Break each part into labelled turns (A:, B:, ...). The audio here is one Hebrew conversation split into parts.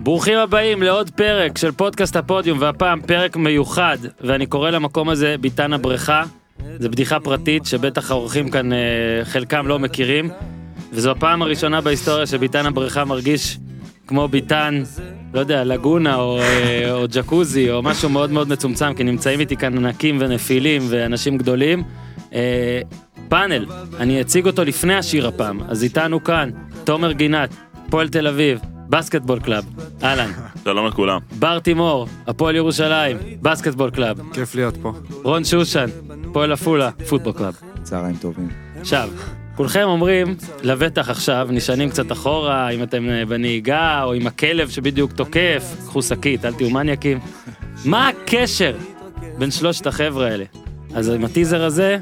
A: ברוכים הבאים לעוד פרק של פודקאסט הפודיום, והפעם פרק מיוחד, ואני קורא למקום הזה ביתן הבריכה. זו בדיחה פרטית שבטח האורחים כאן אה, חלקם לא מכירים, וזו הפעם הראשונה בהיסטוריה שביתן הבריכה מרגיש כמו ביתן, לא יודע, לגונה או, אה, או ג'קוזי או משהו מאוד מאוד מצומצם, כי נמצאים איתי כאן ענקים ונפילים ואנשים גדולים. אה, פאנל, אני אציג אותו לפני השיר הפעם, אז איתנו כאן תומר גינת, פועל תל אביב, בסקטבול קלאב, אהלן,
B: שלום לכולם.
A: בר תימור, הפועל ירושלים, בסקטבול קלאב,
C: כיף להיות פה.
A: רון שושן, פועל עפולה, פוטבול קלאב.
C: צהריים טובים.
A: עכשיו, כולכם אומרים, לבטח עכשיו, נשענים קצת אחורה, אם אתם אה, בנהיגה, או עם הכלב שבדיוק תוקף, קחו שקית, אל תהיו מניאקים. מה הקשר בין שלושת החבר'ה האלה? אז עם הטיזר הזה,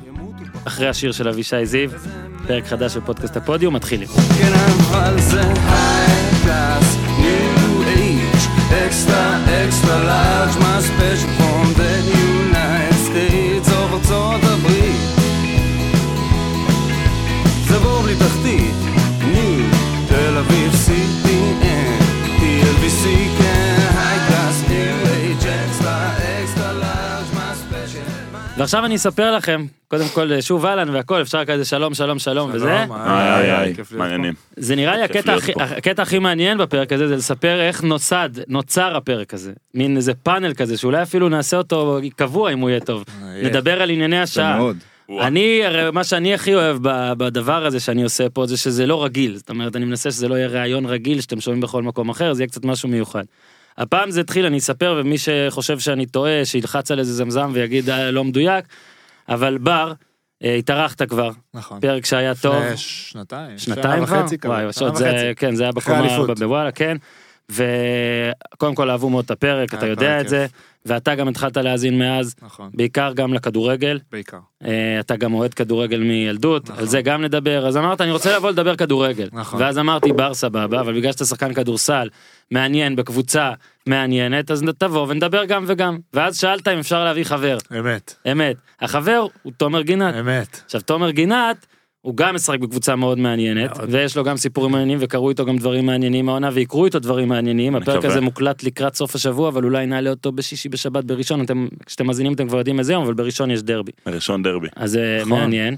A: אחרי השיר של אבישי זיו, פרק חדש של פודקאסט הפודיום, מתחילים.
D: Can I find the high class, new age, extra, extra large, my special from the United States of ארצות הברית? זה בור בלי תחתית, ניו, תל אביב, CTN, TLBC, כן, high class, new age, extra, extra large, כן. my special.
A: ועכשיו אני אספר לכם, קודם כל, אה, שוב אהלן והכל, אפשר כזה שלום, שלום, שלום וזה.
B: איי איי
C: אה,
B: איי, מעניינים.
A: זה נראה לי
B: כיף
A: הקטע,
B: להיות
A: הכי,
B: פה.
A: הקטע הכי מעניין בפרק הזה זה לספר איך נוסד נוצר הפרק הזה מין איזה פאנל כזה שאולי אפילו נעשה אותו קבוע אם הוא יהיה טוב נדבר על ענייני השעה.
C: מאוד.
B: אה, וואו.
A: אני הרי מה שאני הכי אוהב ב- בדבר הזה שאני עושה פה זה שזה לא רגיל זאת אומרת אני מנסה שזה לא יהיה ראיון רגיל שאתם שומעים בכל מקום אחר זה יהיה קצת משהו מיוחד. הפעם זה התחיל אני אספר ומי שחושב שאני טועה שילחץ על איזה זמזם ויגיד "אה, לא מדויק אבל בר אה, התארחת כבר
C: נכון.
A: פרק שהיה טוב.
C: לפני שנתיים.
A: שנתיים כבר?
C: שנה וחצי כבר.
A: וואי,
C: שנה
A: עוד זה,
C: וחצי.
A: כן, זה היה
C: אחרי
A: בקומה
C: האליפות.
A: ארבע בוואלה, כן. וקודם כל אהבו מאוד את הפרק,
C: היה
A: אתה יודע
C: פרק
A: את זה, ואתה גם התחלת להאזין מאז,
C: נכון,
A: בעיקר גם לכדורגל.
C: בעיקר.
A: אה, אתה גם אוהד כדורגל מילדות,
C: נכון.
A: על זה גם נדבר. אז אמרת, אני רוצה לבוא לדבר כדורגל.
C: נכון.
A: ואז אמרתי, בר סבבה, אבל בגלל שאתה שחקן כדורסל, מעניין, בקבוצה מעניינת, אז תבוא ונדבר גם וגם. ואז שאלת אם אפשר להביא חבר.
C: אמת.
A: אמת. החבר הוא תומר גינת.
C: אמת.
A: עכשיו תומר גינת הוא גם משחק בקבוצה מאוד מעניינת
C: מאוד.
A: ויש לו גם סיפורים מעניינים וקרו איתו גם דברים מעניינים העונה ויקרו איתו דברים מעניינים
B: אני
A: הפרק
B: מקווה.
A: הזה מוקלט לקראת סוף השבוע אבל אולי נעלה אותו בשישי בשבת בראשון אתם כשאתם מאזינים אתם כבר יודעים איזה יום אבל בראשון יש דרבי
B: ראשון דרבי.
A: אז זה
C: נכון.
A: מעניין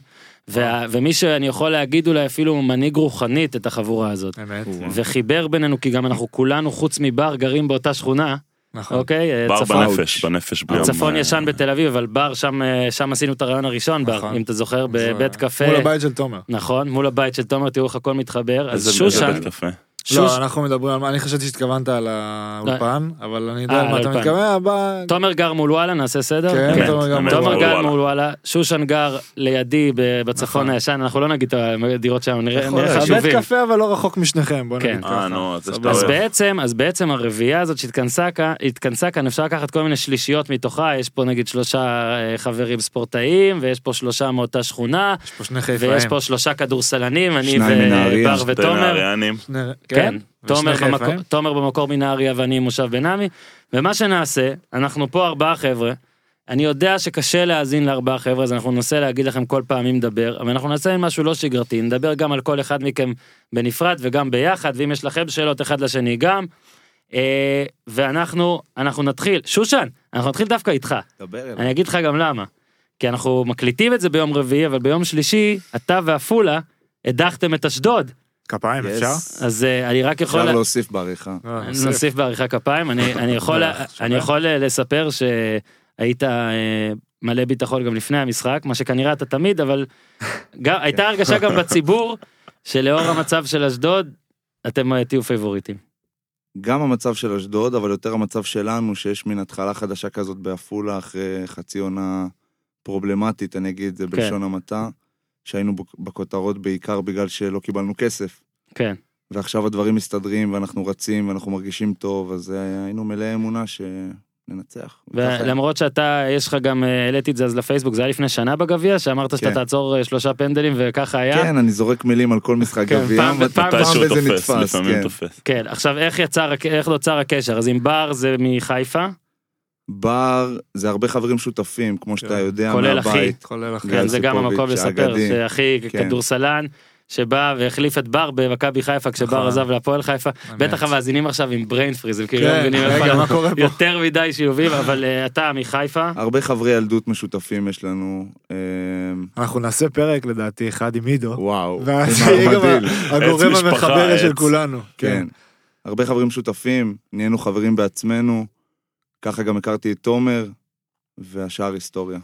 A: וה- ומי שאני יכול להגיד אולי אפילו מנהיג רוחנית את החבורה הזאת.
C: אמת.
A: וחיבר בינינו כי גם אנחנו כולנו חוץ מבר גרים באותה שכונה
C: נכון.
A: אוקיי אה,
B: בר
A: צפון-
B: בנפש, בנפש בלי
A: הצפון ישן בתל אביב אבל בר שם אה, שם עשינו את הרעיון הראשון בר
C: נכון.
A: אם אתה זוכר
C: זה-
A: בבית קפה
C: אה, מול הבית של תומר.
A: נכון, מול הבית של תומר, תראו איך הכל מתחבר.
B: איזה
A: אז שושן, כן,
B: בית קפה.
A: שוש...
C: לא, אנחנו מדברים על מה, אני חשבתי שהתכוונת על האולפן, אבל אני יודע
A: אה,
C: על מה אתה
A: האולפן.
C: מתכוון, הבא...
A: תומר גר מול וואלה, נעשה סדר?
C: כן,
B: אמת,
C: תומר גם.
B: אמת.
A: תומר
B: מול
A: גר
B: וואלה.
A: מול וואלה, שושן גר לידי ב- בצפון
C: נכון.
A: הישן, אנחנו לא נגיד את הדירות שם, נראה
C: יכול
A: נראה
C: להיות. נכון, בית
A: חשובים.
C: קפה אבל לא רחוק משניכם, בוא
A: כן.
C: נגיד ככה.
B: אה, נו, זה שאתה
C: סבבה.
A: אז
B: אוהב.
A: בעצם, אז בעצם הרביעייה הזאת שהתכנסה כאן, התכנסה כאן, אפשר לקחת כל מיני שלישיות מתוכה, יש פה נגיד שלושה אה, חברים ספורטאים, ויש פה שלושה מאותה שכונה,
C: יש פה שני
A: ויש
C: חיפאים.
A: פה שלושה כדורסלנים, אני
E: שניים מנהריה,
A: ובר
B: שתי
A: ותומר.
B: נהריאנים.
C: שני-
A: כן,
C: ושני
A: תומר
C: חיפאים.
A: במקור- תומר במקור מנהריה ואני מושב בן עמי, ומה שנעשה, אנחנו פה ארבעה חבר'ה, אני יודע שקשה להאזין לארבעה חבר'ה, אז אנחנו ננסה להגיד לכם כל פעם מי מדבר, אבל אנחנו נעשה משהו לא שגרתי, נדבר גם על כל אחד מכם בנפרד וגם ביחד, ואם יש לכם שאלות אחד לשני גם, אה, ואנחנו, אנחנו נתחיל, שושן, אנחנו נתחיל דווקא איתך,
E: דבר אליי.
A: אני אגיד לך גם למה, כי אנחנו מקליטים את זה ביום רביעי, אבל ביום שלישי, אתה ועפולה, הדחתם את אשדוד,
C: כפיים,
E: Yes.
C: אפשר?
A: אז אה, אני רק יכול...
E: אפשר להוסיף בעריכה.
C: לא,
A: אני
C: נוסיף.
A: נוסיף בעריכה כפיים, אני, אני, יכול,
C: בטח, שומע.
A: אני יכול אה, לספר שהיית אה, מלא ביטחון גם לפני המשחק, מה שכנראה אתה תמיד, אבל גם, הייתה הרגשה גם בציבור שלאור המצב של אשדוד, אתם אה, תהיו פייבוריטים.
E: גם המצב של אשדוד, אבל יותר המצב שלנו, שיש מין התחלה חדשה כזאת בעפולה אחרי חצי עונה פרובלמטית, אני אגיד
A: כן.
E: את זה בלשון המעטה, שהיינו בק- בכותרות בעיקר בגלל שלא קיבלנו כסף.
A: כן.
E: ועכשיו הדברים מסתדרים, ואנחנו רצים, ואנחנו מרגישים טוב, אז אה, היינו מלאי אמונה שננצח. וככה-
A: ולמרות שאתה, יש לך גם, אה, העליתי את זה אז לפייסבוק, זה היה לפני שנה בגביע, שאמרת שאתה
E: כן.
A: תעצור אה, שלושה פנדלים וככה היה.
E: כן, אני זורק מילים על כל משחק
A: כן,
E: גביע,
A: פעם ופעם
E: ופעם
B: מתישהו
E: וזה
B: תופס,
E: נתפס,
B: לפעמים
E: כן.
B: תופס.
A: כן, עכשיו איך יצר, הק- איך נוצר הקשר? אז עם בר זה מחיפה,
E: בר, זה הרבה חברים שותפים, כמו שאתה
C: כן.
E: יודע,
A: כולל אחי.
E: מהבית.
C: כולל אחרי.
A: כן, זה גם
E: סיפוביץ',
A: המקום לספר,
E: האגדי.
A: זה הכי
E: כן.
A: כדורסלן, שבא והחליף את בר במכבי חיפה כשבר
C: נכון.
A: עזב להפועל חיפה.
C: אמת.
A: בטח המאזינים עכשיו עם brain freeze, הם כאילו לא
C: כן,
A: מבינים איפה
C: רגע, מה
A: אנחנו
C: קורה פה?
A: יותר מדי שיובים, אבל אה, אתה מחיפה.
E: הרבה חברי ילדות משותפים יש לנו. אמ,
C: אנחנו נעשה פרק לדעתי אחד עם עידו.
E: וואו.
C: אוקיי. ואז
E: דבר
C: יהיה גם
E: מדהים.
C: ה- הגורם
B: עץ משפחה,
C: המחבר של
B: עץ.
C: כולנו.
E: כן. הרבה חברים שותפים, נהיינו חברים בעצמנו, ככה גם הכרתי את תומר, והשאר היסטוריה.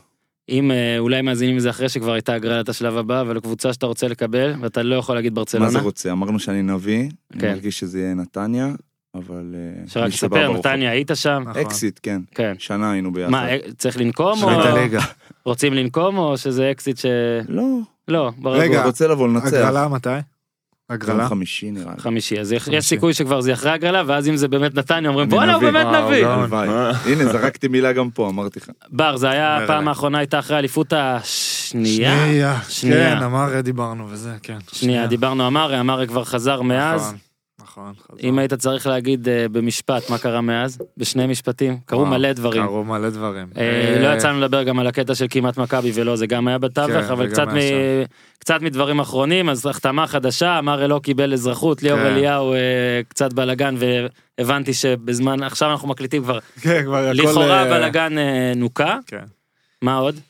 A: אם אה, אולי מאזינים לזה אחרי שכבר הייתה הגרלת השלב הבא, אבל קבוצה שאתה רוצה לקבל, ואתה לא יכול להגיד
E: מה זה
A: ברצלונה.
E: רוצה? אמרנו שאני נביא,
A: כן.
E: אני מרגיש שזה יהיה נתניה, אבל... אה,
A: שרק
E: מי
A: תספר,
E: שבא ברוך הוא.
A: נתניה היית שם?
C: נכון.
E: אקזיט, כן.
A: כן.
E: שנה היינו ביחד.
A: מה, אה, צריך לנקום או
C: שנת הליגה.
A: רוצים לנקום או שזה אקזיט ש...
E: לא,
A: לא, ברור.
C: רגע,
E: הוא רוצה לבוא לנצח.
C: הגרלה מתי?
E: יום
C: הגרלה?
E: חמישי נראה לי.
A: חמישי, אז יש- יש
C: חמישי.
A: סיכוי שכבר זה אחרי הגרלה, ואז אם זה באמת נתניה, אומרים
E: אני
A: בואנה הוא
E: נביא."
A: באמת
C: וואו,
A: נביא.
C: גם.
E: הלוואי. הנה, זרקתי מילה גם פה, אמרתי לך.
A: בר, זה היה,
C: אומר
A: הפעם
C: אליי.
A: האחרונה הייתה אחרי האליפות השנייה. שנייה.
C: שנייה. כן, אמר דיברנו וזה, כן.
A: שנייה, דיברנו אמרי, אמרי כבר חזר מאז.
C: נכון, נכון. חזר.
A: אם היית צריך להגיד אה, במשפט מה קרה מאז, בשני משפטים, קרו
C: וואו,
A: מלא דברים.
C: קרו מלא דברים.
A: אה,
C: אה,
A: לא יצא לנו לדבר גם על הקטע של כמעט מכבי ולא זה גם היה בתווך
C: כן,
A: אבל
C: זה
A: קצת
C: גם
A: מ...
C: היה
A: קצת מדברים אחרונים אז החתמה חדשה אמר לא קיבל אזרחות ליאור
C: כן.
A: אליהו אה, קצת בלאגן והבנתי שבזמן עכשיו אנחנו מקליטים כבר
C: כן, כבר הכל...
A: לכאורה
C: אה,
A: בלאגן אה, נוקה
C: כן.
A: מה עוד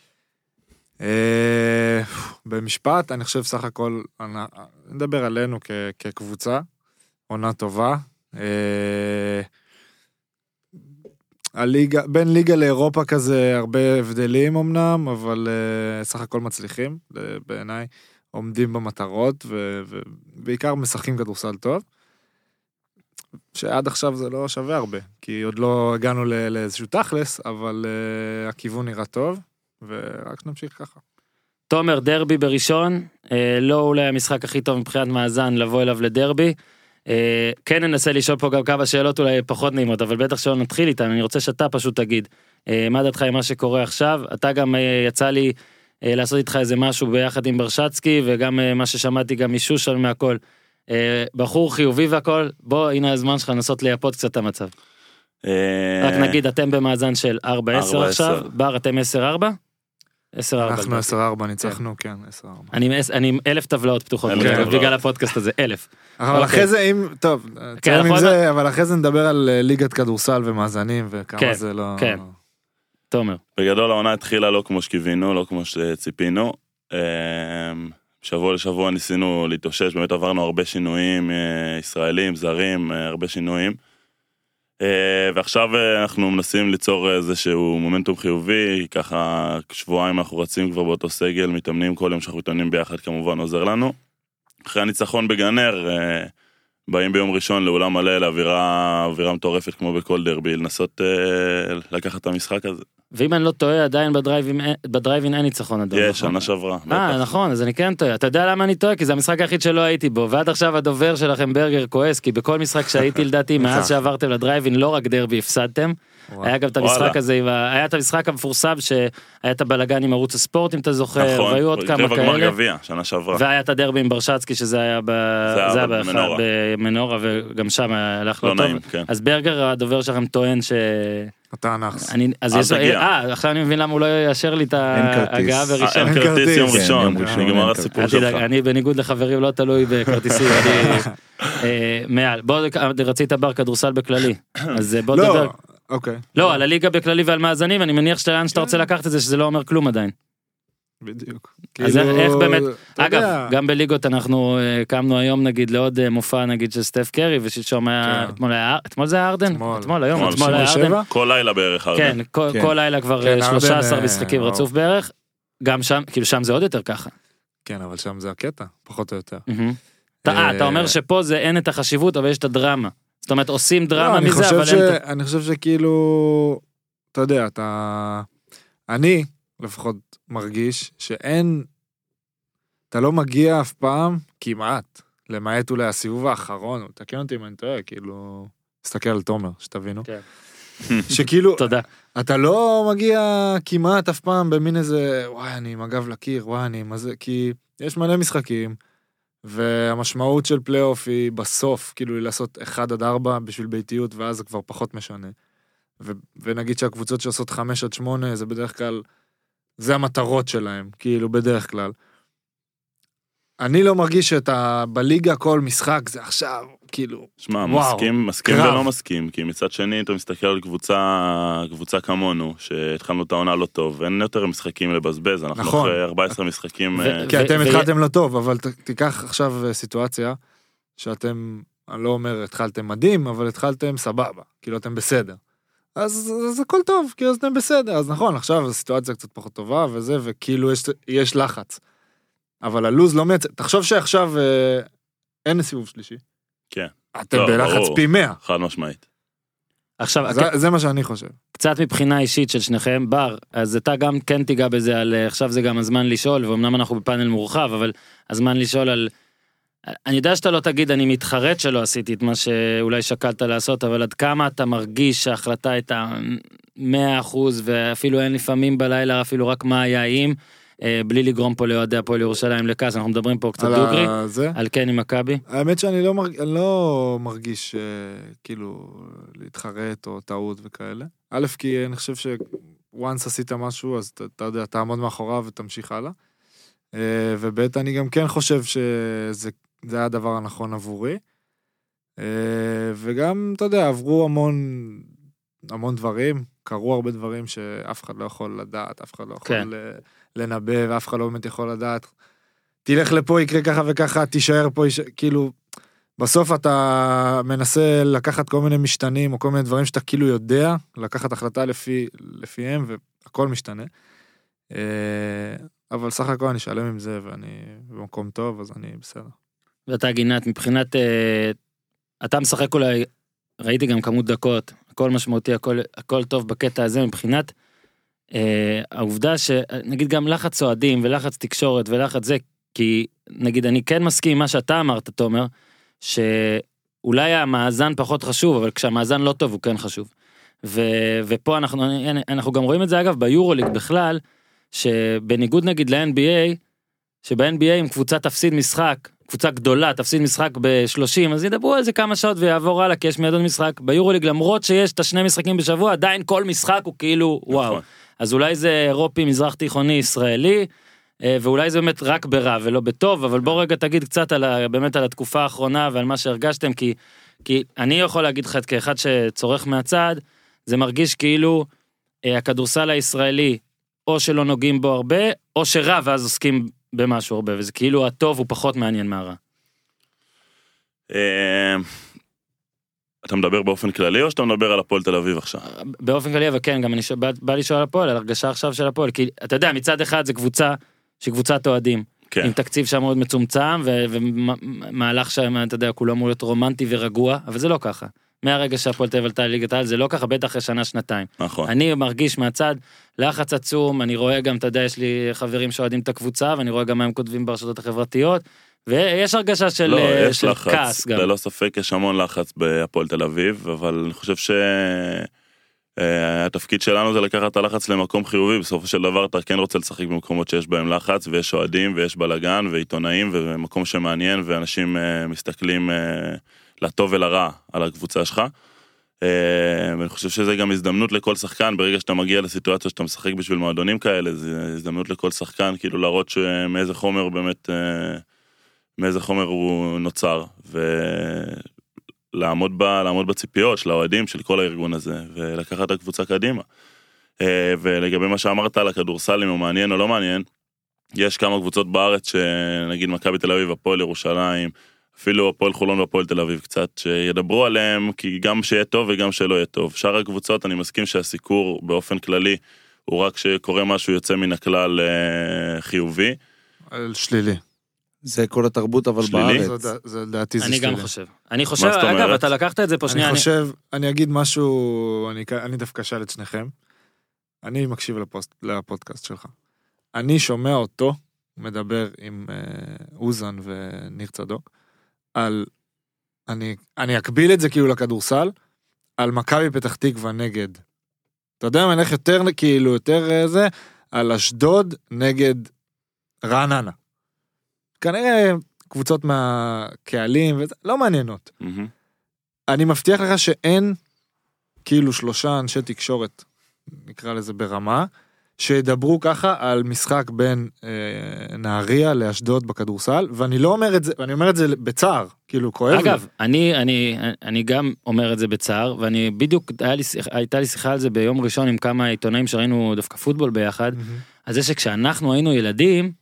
C: אה, במשפט, אני חושב סך הכל, אני- נדבר עלינו כ- כקבוצה, עונה טובה. אה, הליגה, בין ליגה לאירופה כזה, הרבה הבדלים אמנם, אבל אה, סך הכל מצליחים, אה, בעיניי. עומדים במטרות, ו- ובעיקר משחקים כדורסל טוב. שעד עכשיו זה לא שווה הרבה, כי עוד לא הגענו ל- לאיזשהו תכלס, אבל אה, הכיוון נראה טוב. ורק נמשיך ככה.
A: תומר דרבי בראשון אה, לא אולי המשחק הכי טוב מבחינת מאזן לבוא אליו לדרבי. אה, כן ננסה לשאול פה גם כמה שאלות אולי פחות נעימות אבל בטח שלא נתחיל איתן אני רוצה שאתה פשוט תגיד אה, מה דעתך עם מה שקורה עכשיו אתה גם אה, יצא לי אה, לעשות איתך איזה משהו ביחד עם ברשצקי וגם אה, מה ששמעתי גם משושן מהכל. אה, בחור חיובי והכל בוא הנה הזמן שלך לנסות לייפות קצת את המצב
B: אה,
A: רק נגיד אתם במאזן של 4-10
B: 4-10.
A: עכשיו בר אתם 10-4? 10-4.
C: אנחנו
A: לדעתי.
C: 10-4 ניצחנו, כן, 10-4.
A: אני עם עש- אני עם אלף טבלאות פתוחות
B: אלף
A: בגלל-
B: טבלאות.
A: בגלל הפודקאסט הזה אלף
C: אבל
A: אוקיי. כן,
C: אחרי זה, אם, טוב, תסיים עם
A: אנחנו- לא-
C: זה, אבל אחרי זה נדבר על אה, ליגת כדורסל ומאזנים וכמה
A: כן,
C: זה לא...
A: כן. תומר
B: בגדול העונה התחילה לא כמו שקיווינו, לא כמו שציפינו. אמ, שבוע לשבוע ניסינו להתאושש, באמת עברנו הרבה שינויים, אה, ישראלים, זרים, אה, הרבה שינויים. אה, ועכשיו אה, אנחנו מנסים ליצור איזשהו מומנטום חיובי, ככה שבועיים אנחנו רצים כבר באותו סגל, מתאמנים כל יום שאנחנו מתאמנים ביחד כמובן עוזר לנו. אחרי הניצחון בגנר, אה, באים ביום ראשון לאולם מלא לאווירה אווירה מטורפת כמו בכל דרבי, לנסות אה, לקחת את המשחק הזה.
A: ואם אני לא טועה עדיין בדרייבין בדרייבין אין ניצחון אדום
B: יש,
A: נכון?
B: שנה שעברה. בטח.
A: אה נכון אז אני כן טועה אתה יודע למה אני טועה כי זה המשחק היחיד שלא הייתי בו ועד עכשיו הדובר שלכם ברגר כועס כי בכל משחק שהייתי לדעתי מאז שעברתם לדרייבין לא רק דרבי הפסדתם
C: וואו.
A: היה גם את המשחק
B: וואלה.
A: הזה עם ה- היה את המשחק המפורסם שהיה את הבלגן עם ערוץ הספורט אם אתה זוכר
B: נכון,
A: והיו עוד כמה
B: רבע גמר
A: כאלה
B: גביע, שנה שעברה.
A: והיה את הדרבי עם ברשצקי שזה היה ב-
B: היה
A: זה היה
B: ב-
A: באחד-
B: במנורה.
A: במנורה וגם שם הלך
B: לא
A: לא טוב
B: נעים, כן.
A: אז ברגר הדובר שלכם טוען ש...
C: אתה הנאחס.
A: אני, אז
B: אל
A: יש לו,
B: תגיע.
A: אה, עכשיו אני מבין למה הוא לא יאשר לי את
E: אין כרטיס.
A: ההגעה
B: אה,
A: בראשון.
B: אין
C: אין
B: כרטיס
C: כרטיס.
B: יום
C: כן,
B: ראשון,
E: יום ראשון,
B: נגמר
E: אין
B: הסיפור
A: אל תדאג,
B: שלך.
A: אני בניגוד לחברים לא תלוי בכרטיסים, אני אה, מעל. בוא, רצית בר כדורסל בכללי, אז אה, בוא נדבר.
C: לא, אוקיי.
A: לא, על הליגה בכללי ועל מאזנים, אני מניח שלאן שאתה רוצה לקחת את זה, שזה לא אומר כלום עדיין.
C: בדיוק.
A: אז
C: כאילו,
A: איך- איך באמת-
C: אתה יודע,
A: אגב, גם בליגות אנחנו אה, קמנו היום נגיד לעוד אה, מופע נגיד של סטף קרי, ושלשום היה,
C: כן.
A: אתמול היה, אתמול זה היה ארדן?
C: אתמול.
A: אתמול, היום,
B: אתמול,
A: אתמול היה
C: שמונה,
A: ארדן.
C: שבע? לא
B: כל לילה בערך. הרבה.
A: כן, כל,
E: כן.
A: כל לילה כבר
C: כן,
A: אה,
C: הרבה
A: 13
C: ב-
A: משחקים
C: וואו.
A: רצוף בערך. גם שם, כאילו שם זה עוד יותר ככה.
C: כן, אבל שם זה הקטע, פחות או יותר.
A: אתה, אה, אתה אומר
C: אה,
A: שפה זה אין את החשיבות אבל יש את הדרמה. זאת אומרת עושים
C: לא,
A: דרמה
C: אני
A: מזה
C: חושב
A: אבל
C: ש-
A: אין את...
C: אני חושב שכאילו, אתה יודע, אתה... אני לפחות מרגיש שאין... אתה לא מגיע אף פעם, כמעט, למעט אולי הסיבוב האחרון, תקן אותי אם אני טועה, כאילו... תסתכל על תומר, שתבינו.
A: כן.
C: שכאילו,
A: תודה.
C: אתה לא מגיע כמעט אף פעם במין איזה, וואי, אני עם הגב לקיר, וואי, אני עם הזה, כי יש מלא משחקים, והמשמעות של פלייאוף היא בסוף, כאילו, היא לעשות 1 עד 4 בשביל ביתיות, ואז זה כבר פחות משנה. ו- ונגיד שהקבוצות שעושות 5 עד 8, זה בדרך כלל, זה המטרות שלהם, כאילו, בדרך כלל. אני לא מרגיש שאתה בליגה כל משחק זה עכשיו, כאילו,
B: שמע,
A: וואו,
B: מסכים, מסכים
C: קרב.
B: ולא מסכים, כי מצד שני אתה מסתכל על קבוצה, קבוצה כמונו, שהתחלנו את העונה לא טוב, אין יותר משחקים לבזבז, אנחנו
C: נכון.
B: אחרי 14 משחקים,
A: ו- כן.
B: אה,
C: כי
A: ו-
C: אתם
A: ו-
C: התחלתם לא טוב, אבל ת- תיקח עכשיו אה, סיטואציה שאתם, אני לא אומר התחלתם מדהים, אבל התחלתם סבבה, כאילו אתם בסדר. אז אז הכל טוב, כאילו אז אתם בסדר, אז נכון, עכשיו הסיטואציה קצת פחות טובה וזה, וכאילו יש, יש לחץ. אבל הלוז לא מייצר, תחשוב שעכשיו אה, אין סיבוב שלישי.
B: כן.
C: אתם
B: לא,
C: בלחץ
B: ברור.
C: פי 100,
B: חד משמעית.
A: עכשיו,
C: זה, זה מה שאני חושב.
A: קצת מבחינה אישית של שניכם, בר, אז אתה גם כן תיגע בזה על, אה, עכשיו זה גם הזמן לשאול, ואומנם אנחנו בפאנל מורחב, אבל הזמן לשאול על... אני יודע שאתה לא תגיד, אני מתחרט שלא עשיתי את מה שאולי שקלת לעשות, אבל עד כמה אתה מרגיש שההחלטה הייתה 100% ואפילו אין לפעמים בלילה אפילו רק מה היה אם, אה, בלי לגרום פה לאוהדי הפועל ירושלים לכעס, אנחנו מדברים פה קצת
C: על
A: דוגרי,
C: ה- זה.
A: על כן עם מכבי.
C: האמת שאני לא, מרג... אני לא מרגיש אה, כאילו להתחרט או טעות וכאלה. א', כי אני חושב שוואנס עשית משהו, אז אתה- אתה יודע, תעמוד מאחוריו ותמשיך הלאה. אה, וב', אני גם כן חושב שזה זה היה הדבר הנכון עבורי. אה, וגם, אתה יודע, עברו המון, המון דברים, קרו הרבה דברים שאף אחד לא יכול לדעת, אף אחד לא יכול
A: כן.
C: ל- לנבא, ואף אחד לא באמת יכול לדעת. תלך לפה, יקרה ככה וככה, תישאר פה, יש... כאילו, בסוף אתה מנסה לקחת כל מיני משתנים, או כל מיני דברים שאתה כאילו יודע, לקחת החלטה לפי, לפיהם, והכל משתנה. אה, אבל סך הכל אני שלם עם זה, ואני במקום טוב, אז אני בסדר.
A: ואתה גינת מבחינת אה, אתה משחק אולי ראיתי גם כמות דקות הכל משמעותי הכל הכל טוב בקטע הזה מבחינת אה, העובדה שנגיד גם לחץ אוהדים ולחץ תקשורת ולחץ זה כי נגיד אני כן מסכים עם מה שאתה אמרת תומר שאולי המאזן פחות חשוב אבל כשהמאזן לא טוב הוא כן חשוב. ו, ופה אנחנו אנחנו גם רואים את זה אגב ביורוליג בכלל שבניגוד נגיד ל-NBA שב-NBA אם קבוצה תפסיד משחק, קבוצה גדולה תפסיד משחק ב-30, אז ידברו על זה כמה שעות ויעבור הלאה, כי יש מיד עוד משחק. ביורוליג למרות שיש את השני משחקים בשבוע, עדיין כל משחק הוא כאילו וואו.
B: נכון.
A: אז אולי זה אירופי, מזרח תיכוני, ישראלי, אה, ואולי זה באמת רק ברע ולא בטוב, אבל בוא רגע תגיד קצת על ה, באמת על התקופה האחרונה ועל מה שהרגשתם, כי, כי אני יכול להגיד לך כאחד שצורך מהצד, זה מרגיש כאילו אה, הכדורסל הישראלי, או שלא נוגעים בו הרבה, או שרע ואז עוסקים במשהו הרבה, וזה כאילו הטוב הוא פחות מעניין מהרע.
B: אה, אתה מדבר באופן כללי או שאתה מדבר על הפועל תל אביב
A: אה,
B: עכשיו?
A: באופן כללי, אבל כן, גם אני ש... בא, בא לשאול על הפועל, על הרגשה עכשיו של הפועל, כי אתה יודע, מצד אחד זה קבוצה שהיא קבוצת אוהדים, כן.
B: כן,
A: עם תקציב שם מאוד מצומצם, ו- ומהלך שם, אתה יודע, כולו אמור להיות רומנטי ורגוע, אבל זה לא ככה. מהרגע שהפועל תל אביב עלתה לליגת העל, זה לא ככה, בטח אחרי שנה-שנתיים.
B: נכון.
A: אני מרגיש מהצד לחץ עצום, אני רואה גם, אתה יודע, יש לי חברים שאוהדים את הקבוצה, ואני רואה גם מה הם כותבים ברשתות החברתיות, ויש הרגשה של,
B: לא,
A: אה,
B: יש
A: של
B: לחץ, לא-
A: כעס גם.
B: ללא ספק יש המון לחץ בהפועל תל אביב, אבל אני חושב שהתפקיד שלנו זה לקחת את הלחץ למקום חיובי, בסופו של דבר אתה כן רוצה לשחק במקומות שיש בהם לחץ, ויש אוהדים, ויש בלאגן, ועיתונאים, ומקום שמעניין, ואנשים אה, מסתכלים אה, לטוב ולרע על הקבוצה שלך. אה, ואני חושב שזה גם הזדמנות לכל שחקן, ברגע שאתה מגיע לסיטואציה שאתה משחק בשביל מועדונים כאלה, זה הזדמנות לכל שחקן, כאילו להראות שמאיזה חומר הוא באמת, אה, מאיזה חומר הוא נוצר, ולעמוד ב, לעמוד בציפיות של האוהדים, של כל הארגון הזה, ולקחת את הקבוצה קדימה. אה, ולגבי מה שאמרת על הכדורסל, אם הוא מעניין או לא מעניין, יש כמה קבוצות בארץ, שנגיד מכבי תל אביב, הפועל ירושלים, אפילו הפועל חולון והפועל תל אביב קצת, שידברו עליהם, כי גם שיהיה טוב וגם שלא יהיה טוב. שאר הקבוצות, אני מסכים שהסיקור באופן כללי, הוא רק שקורה משהו יוצא מן הכלל אה, חיובי.
C: שלילי.
E: זה כל התרבות אבל
B: שלילי?
E: בארץ.
C: זה- זה- לדעתי זה
A: אני
C: שלילי.
A: גם חושב. אני חושב,
B: זאת
A: אגב,
B: אומרת?
A: אתה לקחת את זה פה שנייה,
C: אני
A: אני-
C: חושב, אני אגיד משהו, אני, כ- אני דווקא אשאל את שניכם. אני מקשיב לפוסט, לפודקאסט שלך. אני שומע אותו מדבר עם אה, אוזן וניר צדוק על, אני, אני אקביל את זה כאילו לכדורסל, על מכבי פתח תקווה נגד. אתה יודע מה, נלך יותר כאילו, יותר אה, זה, על אשדוד נגד רעננה. כנראה קבוצות מהקהלים, וזה, לא מעניינות.
B: מהמם.
C: אני מבטיח לך שאין כאילו שלושה אנשי תקשורת, נקרא לזה ברמה, שידברו ככה על משחק בין אה, נהריה לאשדוד בכדורסל, ואני לא אומר את זה, ואני אומר את זה בצער, כאילו כואב לי.
A: אגב, אני, אני, אני גם אומר את זה בצער, ואני בדיוק, היה לי, שיח- הייתה לי שיחה על זה ביום ראשון עם כמה עיתונאים שראינו דווקא פוטבול
C: אה,
A: ביחד, על זה שכשאנחנו היינו ילדים,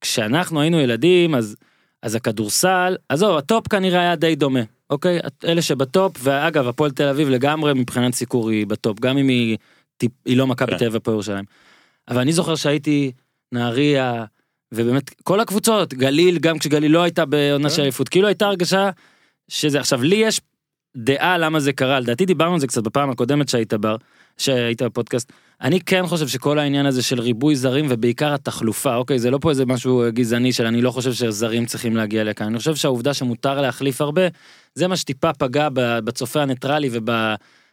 A: כשאנחנו היינו ילדים, אז, אז הכדורסל, עזוב, הטופ כנראה היה די דומה, אוקיי? אלה שבטופ, ואגב, הפועל תל אביב לגמרי מבחינת סיקור היא בטופ, גם אם היא, טיפ, היא לא מכבי
B: כן.
A: תל אביב הפועל ירושלים. אבל אני זוכר שהייתי נהריה, ובאמת, כל הקבוצות, גליל, גם כשגליל לא הייתה בעונה של אליפות, כאילו הייתה הרגשה שזה, עכשיו, לי יש דעה למה זה קרה, לדעתי דיברנו על זה קצת בפעם הקודמת שהיית בר, שהיית בפודקאסט. אני כן חושב שכל העניין הזה של ריבוי זרים ובעיקר התחלופה, אוקיי, זה לא פה איזה משהו אה, גזעני של אני לא חושב שזרים צריכים להגיע לכאן, אני חושב שהעובדה שמותר להחליף הרבה, זה מה שטיפה פגע ב- בצופה הניטרלי וב...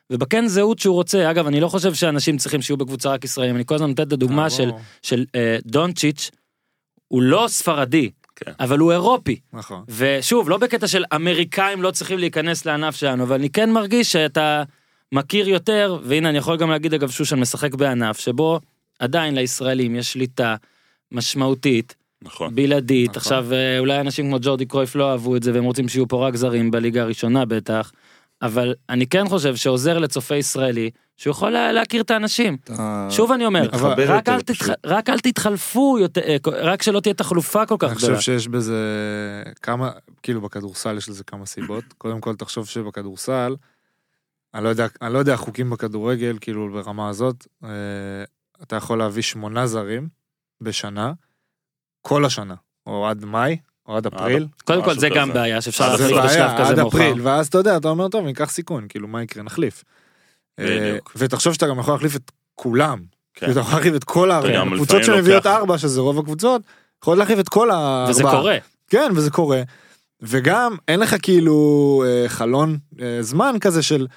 A: ובכן זהות שהוא רוצה, אגב, אני לא חושב שאנשים צריכים שיהיו בקבוצה רק ישראלים, אני כל הזמן נותן את הדוגמה של,
C: ברור.
A: של אה, דונצ'יץ', הוא לא ספרדי,
B: כן.
A: אבל הוא אירופי.
C: נכון.
A: ושוב, לא בקטע של אמריקאים לא צריכים להיכנס לענף שלנו, אבל אני כן מרגיש שאתה מכיר יותר, והנה אני יכול גם להגיד אגב שושן משחק בענף, שבו עדיין לישראלים יש שליטה משמעותית,
B: נכון.
A: בלעדית,
C: נכון.
A: עכשיו אה, אולי אנשים כמו ג'ורדי קרויף לא אהבו את זה והם רוצים שיהיו פה רק זרים בליגה הראשונה בטח, אבל אני כן חושב שעוזר לצופה ישראלי, שהוא יכול לה- להכיר את האנשים.
E: אתה-
A: שוב אני אומר,
E: מתחבר
A: רק
E: יותר
A: אל תתח-
E: פשוט.
A: רק אל תתחלפו יותר, אה, רק שלא תהיה תחלופה כל
C: אני
A: כך
C: חושב
A: גדולה.
C: שיש בזה כמה, כאילו בכדורסל יש לזה כמה סיבות. קודם כל, תחשוב שבכדורסל, אני לא יודע, אני לא יודע חוקים בכדורגל, כאילו ברמה הזאת, אה, אתה יכול להביא שמונה זרים בשנה, כל השנה, או עד מאי, או עד אפריל.
A: קודם כל
B: משהו
A: זה גם
B: כזה.
A: בעיה שאפשר
B: אז
C: זה
A: להחליט בשלב
C: בעיה, עד
A: כזה מאוחר.
C: אפריל, ואז אתה יודע, אתה אומר, טוב, ניקח סיכון, כאילו, מה יקרה, נחליף. אה,
B: בדיוק.
C: ותחשוב שאתה גם יכול להחליף את כולם.
B: כן.
C: כאילו, אתה יכול להחליף את כל
B: גם
C: הערים. הקבוצות
B: לפעמים
C: שמביאות
B: לוקח-
C: ארבע, שזה רוב הקבוצות, יכולות להחליף את כל הארבעה.
A: וזה קורה.
C: כן, וזה קורה. וגם אין לך כאילו אה, חלון אה, זמן כזה של,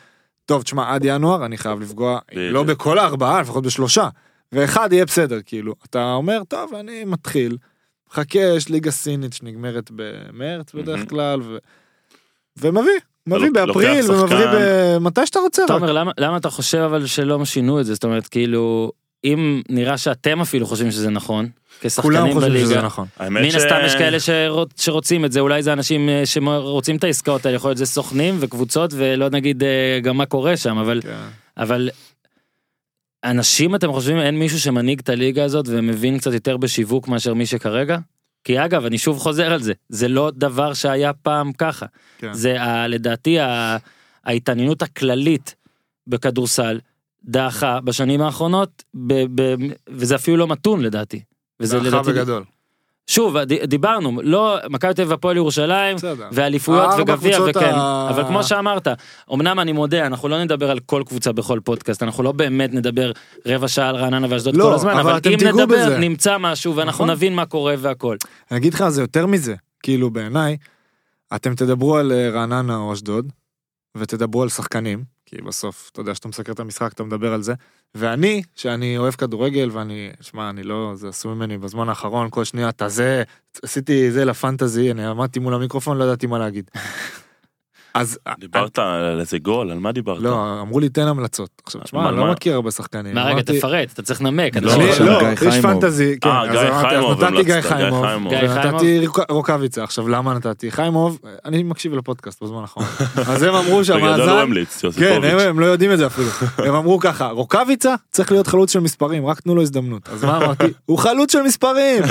C: טוב, תשמע, עד ינואר אני חייב לפגוע, אם
B: בדיוק.
C: לא בכל הארבעה, לפחות בשלושה, ואחד יהיה בסדר, כאילו. אתה אומר, טוב, אני מתחיל, חכה, יש ליגה סינית שנגמרת במרץ בדרך
B: מהמם.
C: כלל, ו... ומביא, מביא
B: לוק-
C: באפריל,
B: לוקח
C: ומביא
B: שחקן.
C: במתי שאתה רוצה. רק.
A: תומר, למה- למה אתה חושב אבל שלא שינו את זה? זאת אומרת, כאילו, אם נראה שאתם אפילו חושבים שזה נכון,
C: כולם
A: כשחקנים
C: חושבים שזה
A: בליגה,
C: נכון.
B: האמת
A: מן הסתם יש כאלה שרוצ- שרוצים את זה, אולי זה אנשים אה, שרוצים את העסקאות האלה, יכול להיות זה סוכנים וקבוצות, ולא נגיד אה, גם מה קורה שם, אבל
C: כן.
A: אבל אנשים אתם חושבים אין מישהו שמנהיג את הליגה הזאת ומבין קצת יותר בשיווק מאשר מי שכרגע? כי אגב אני שוב חוזר על זה זה לא דבר שהיה פעם ככה
C: כן.
A: זה ה, לדעתי ה, ההתעניינות הכללית בכדורסל דעכה בשנים האחרונות ב, ב, וזה אפילו לא מתון לדעתי. וזה
C: זה
A: לדעתי,
C: בגדול.
A: שוב ד- דיברנו לא מכבי תל אביב הפועל ירושלים
C: בסדר.
A: ואליפויות
C: ארבע
A: וגביע
C: קבוצות
A: וכן,
C: ה-
A: אבל כמו שאמרת, אמנם אני מודה, אנחנו לא נדבר על כל קבוצה בכל פודקאסט, אנחנו לא באמת נדבר רבע שעה על רעננה ואשדוד
C: לא,
A: כל הזמן,
C: אבל
A: אבל
C: אתם
A: אם
C: תיגעו
A: נדבר
C: בזה.
A: נמצא משהו ואנחנו
C: נכון.
A: נבין מה קורה והכל.
C: אני אגיד לך, זה יותר מזה. כאילו, בעיניי, אתם תדברו על אה, רעננה או אשדוד, ותדברו על שחקנים, כי בסוף, אתה יודע, כשאתה מסקר את המשחק, אתה מדבר על זה. ואני, שאני אוהב כדורגל, ואני, שמע, אני לא, זה עשו ממני בזמן האחרון, כל שנייה, אתה זה, עשיתי זה לפנטזי, אני עמדתי מול המיקרופון, לא ידעתי מה להגיד. אז... אה,
B: דיברת על איזה גול, על מה דיברת?
C: לא, אמרו לי, תן המלצות. עכשיו, תשמע,
B: מה-
C: אני לא
B: מה?
C: מכיר הרבה שחקנים.
A: מה רגע,
C: אמרתי-
A: תפרט, אתה צריך לנמק. אתה
B: לא,
A: לא-
C: אני-
E: עכשיו
C: לא,
E: גיא
C: יש
E: חיימוב.
C: פנטזי, כן,
B: אה,
C: אז
B: גיא
C: אמרתי, אז
B: חיימוב,
C: נתתי גיא
B: המלצת, גיא
C: חיימוב,
B: חיימוב.
A: גיא
C: ונתתי רוק- רוקאביצה, עכשיו למה נתתי? חיימוב, אני מקשיב לפודקאסט בזמן האחרון, אז הם אמרו
B: בגדול הוא
C: שהמאזן,
B: לא, המליץ,
C: כן, הם-
B: יוסיפוביץ'.
C: הם לא יודעים את זה אפילו, הם אמרו ככה, רוקאביצה צריך להיות חלוץ של מספרים, רק תנו לו הזדמנות, אז מה אמרתי? הוא חלוץ של מספרים!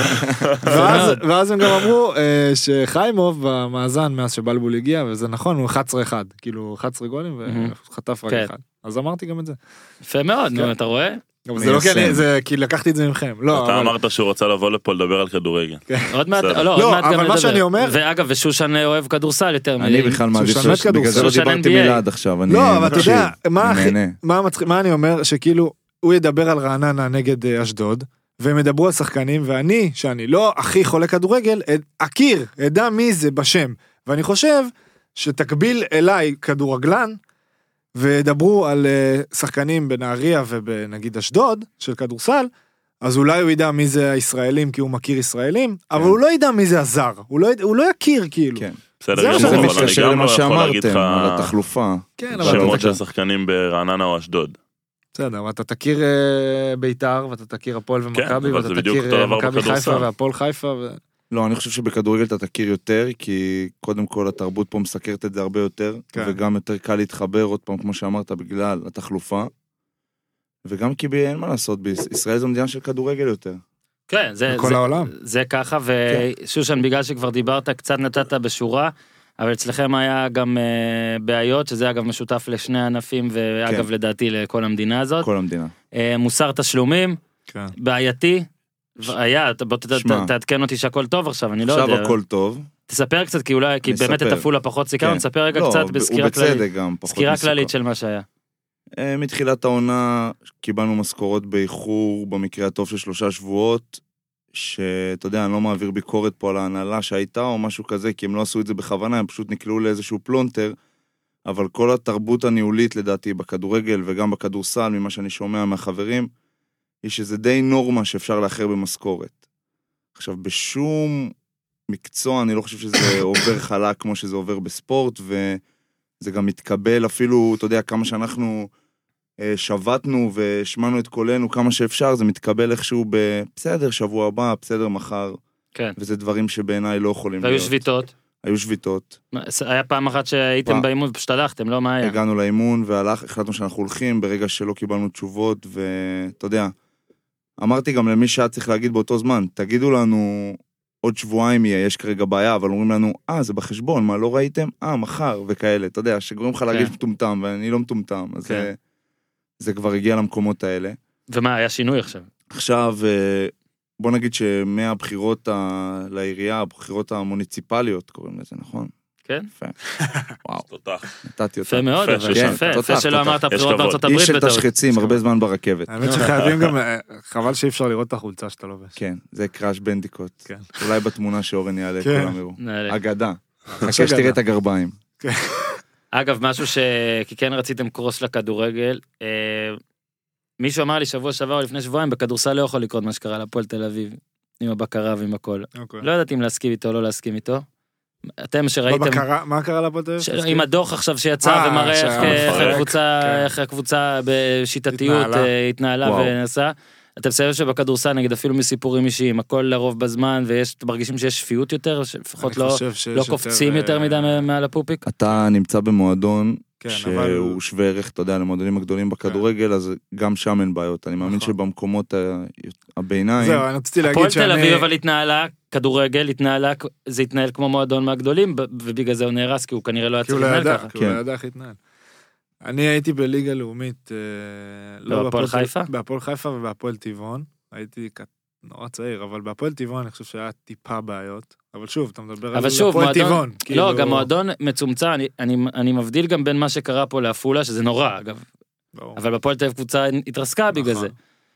C: ואז- ואז הם גם אמרו אה, שחיימוב במאזן מאז שבלבול הגיע, וזה נכון, הוא 11-1, כאילו 11 גולים
A: מהמם.
C: וחטף רק
A: כן.
C: אחד, אז אמרתי גם את זה.
A: יפה מאוד, נו,
C: כן.
A: אתה רואה?
C: אבל זה לא כי אני,
E: מיישם.
C: זה כי לקחתי את זה מכם,
B: אתה
C: לא, אבל-
B: אמרת שהוא רצה לבוא לפה לדבר על כדורגל.
A: עוד מעט,
B: בסדר.
A: לא, עוד
C: לא,
A: מעט גם
C: אבל מה
A: נדבר.
C: שאני אומר-
A: ואגב, ושושן אוהב כדורסל יותר
E: אני בכלל מעדיף,
C: שושנת
E: שלוש- בגלל זה לא
A: כדורסל.
E: דיברתי
A: NBA.
E: מילה עד עכשיו, אני
C: לא, אבל אתה יודע,
E: מקשיב,
C: מה
E: אני
C: הכי-
E: נהנה.
C: מה מצחיק, מה אני אומר? שכאילו, הוא ידבר על רעננה נגד אה, אשדוד, והם ידברו על שחקנים, ואני, שאני לא הכי חולה כדורגל, אד- אכיר, אדע מי זה בשם. ואני חושב שתקביל אליי כדורגלן, וידברו על אה, שחקנים בנהריה ובנגיד אשדוד, של כדורסל, אז אולי הוא ידע מי זה הישראלים כי הוא מכיר ישראלים, אבל הוא לא ידע מי זה הזר, הוא לא, יד- הוא לא יכיר כאילו.
E: כן.
B: בסדר
C: זה
B: גמור,
C: מה
E: זה
C: שזה
B: אבל אני
E: מתקשר
B: גם
E: למה
B: לא יכול להגיד
E: שאמרתם,
B: לך
E: על התחלופה.
C: כן, אבל... אה.
B: שמות
E: אתה-
B: של שחקנים ברעננה או אשדוד.
C: בסדר, אתה תכיר אה, בית"ר, ואתה תכיר הפועל ומכבי,
B: כן, אבל
C: ואתה
B: זה בדיוק
C: תכיר
B: אותו
C: אה,
B: דבר
C: מכבי חיפה
B: בכדורסל.
C: והפועל חיפה. ו-
E: לא, אני חושב שבכדורגל אתה תכיר יותר, כי קודם כל התרבות פה מסקרת את זה הרבה יותר,
C: כן.
E: כן. וגם יותר קל להתחבר, עוד פעם, כמו שאמרת, בגלל התחלופה, וגם כי ב- אין מה לעשות, ביש- ישראל זו מדינה של כדורגל יותר.
A: כן, זה,
C: בכל
A: זה,
C: העולם.
A: זה ככה,
E: כן.
A: ושושן, בגלל שכבר דיברת, קצת נתת בשורה, אבל אצלכם היה גם אה, בעיות, שזה אגב משותף לשני הענפים, ואגב
E: כן.
A: לדעתי לכל המדינה הזאת.
E: כל המדינה.
A: אה, מוסר תשלומים,
C: כן.
A: בעייתי. היה, אתה- בוא ת- ת-
E: שמע.
A: תעדכן אותי שהכל טוב עכשיו, אני לא יודע.
E: עכשיו הכל טוב.
A: תספר קצת, כי אולי, כי
E: אני
A: באמת את
E: אספר.
A: עפולה פחות סיכרנו,
E: כן.
A: תספר רגע
E: לא,
A: קצת
E: ב-
A: בסקירה כללית.
E: ובצדק גם, פחות
A: סקירה
E: מסוכן.
A: כללית של מה שהיה.
E: אה, מתחילת העונה קיבלנו משכורות באיחור, במקרה הטוב של שלושה שבועות, שאתה יודע, אני לא מעביר ביקורת פה על ההנהלה שהייתה או משהו כזה, כי הם לא עשו את זה בכוונה, הם פשוט נקלעו לאיזשהו פלונטר, אבל כל התרבות הניהולית לדעתי בכדורגל וגם בכדורסל, ממה שאני שומע מהחברים, היא שזה די נורמה שאפשר לאחר במשכורת. עכשיו, בשום מקצוע אני לא חושב שזה עובר חלק כמו שזה עובר בספורט, וזה גם מתקבל אפילו, אתה יודע, כמה שאנחנו אה, שבתנו והשמענו את קולנו כמה שאפשר, זה מתקבל איכשהו ב- בסדר, שבוע הבא, בסדר, מחר,
A: כן.
E: וזה דברים שבעיניי לא יכולים
A: והיו
E: להיות.
A: שביתות.
E: היו שביתות.
A: מה, היה פעם אחת שהייתם
E: פעם.
A: באימון ופשוט הלכתם, לא מה היה.
E: הגענו לאימון והלך, החלטנו שאנחנו הולכים ברגע שלא קיבלנו תשובות, ואתה יודע, אמרתי גם למי שהיה צריך להגיד באותו זמן, תגידו לנו עוד שבועיים יהיה, יש כרגע בעיה, אבל אומרים לנו, אה, זה בחשבון, מה, לא ראיתם? אה, מחר, וכאלה, אתה יודע, שגורם לך להרגיש מטומטם, ואני לא מטומטם, אז
A: כן.
E: זה- זה כבר הגיע למקומות האלה.
A: ומה, היה שינוי עכשיו.
E: עכשיו, אה, בוא נגיד שמהבחירות ה... לעירייה, הבחירות המוניציפליות, קוראים לזה, נכון?
A: כן.
E: יפה. וואו,
B: תותח.
E: נתתי אותה.
A: יפה מאוד,
B: יפה,
A: אבל
B: שושן.
A: יפה, יפה
E: תותח,
A: שלא
E: כן, תותח.
A: אמרת
B: יש
A: בחירות
B: כבוד.
A: בארצות הברית.
E: איש של
A: בטעות.
E: תשחצים, הרבה זמן ברכבת.
C: האמת שחייבים גם, אה, חבל שאי אפשר לראות את החולצה שאתה לובש.
E: כן, זה קראש בנדיקוט.
C: כן.
E: אולי בתמונה שאורן יעלה,
C: כן. אה,
E: כולם יראו.
A: נעלה.
E: אגדה. חכה
C: אגדה.
E: שתראה את הגרביים.
A: אגב, משהו ש... כי כן רציתם קרוס לכדורגל. אה, מישהו אמר לי שבוע שעבר או לפני שבועיים, בכדורסל לא יכול לקרות מה שקרה להפועל תל אביב, עם הבקרה ועם הכל.
C: אוקיי.
A: לא ידעתי אם להסכים איתו או לא להסכים איתו.
E: לא
A: אתם
C: מה
A: שראיתם...
C: בקרה- מה קרה לפועל תל אביב?
A: ש- עם הדוח עכשיו שיצא
C: כן. אה,
A: ומראה איך-
C: שה-
A: איך
B: מפרק,
A: הקבוצה-
C: כן.
A: איך הקבוצה בשיטתיות
C: התנהלה.
A: אה, התנהלה
E: וואו.
A: ונסעה. אתה מסיים שבכדורסל נגיד אפילו מסיפורים אישיים הכל לרוב בזמן ויש מרגישים שיש שפיות יותר שלפחות
C: אני
A: לא
C: חושב שיש
A: לא קופצים
C: אה,
A: יותר מדי מ- מעל הפופיק.
E: אתה נמצא במועדון
C: כן, אבל... כן.
E: שהוא שווה ערך, אתה יודע, למועדונים הגדולים בכדורגל, אז גם שם אין בעיות. אני מאמין
C: נכון.
E: שבמקומות ה- הביניים...
C: זהו, אני רציתי להגיד
A: הפועל
C: שאני...
A: תל אביב אבל התנהלה כדורגל התנהלה זה התנהל כמו מועדון מהגדולים ב- ובגלל זה הוא נהרס כי הוא כנראה לא היה
C: כי הוא
A: צריך
C: לא
A: להתנהל
C: ידע,
A: ככה.
C: כי הוא לא
E: כן.
C: ידע איך להתנהל. אני הייתי בליגה לאומית, אה,
A: לא, בהפועל
C: בהפועל-
A: חיפה?
C: בהפועל חיפה ובהפועל טבעון. הייתי כ- נורא צעיר, אבל בהפועל טבעון אני חושב שהיה טיפה בעיות. אבל שוב, אתה מדבר על
A: אבל שוב,
C: הפועל
A: מועדון-
C: טבעון.
A: לא
C: כאילו-
A: גם מועדון מצומצם אני- אני אני מבדיל גם בין מה שקרה פה לעפולה שזה נורא אגב
C: ברור.
A: אבל בהפועל תל אביב קבוצה התרסקה בגלל
C: נכון.
A: זה.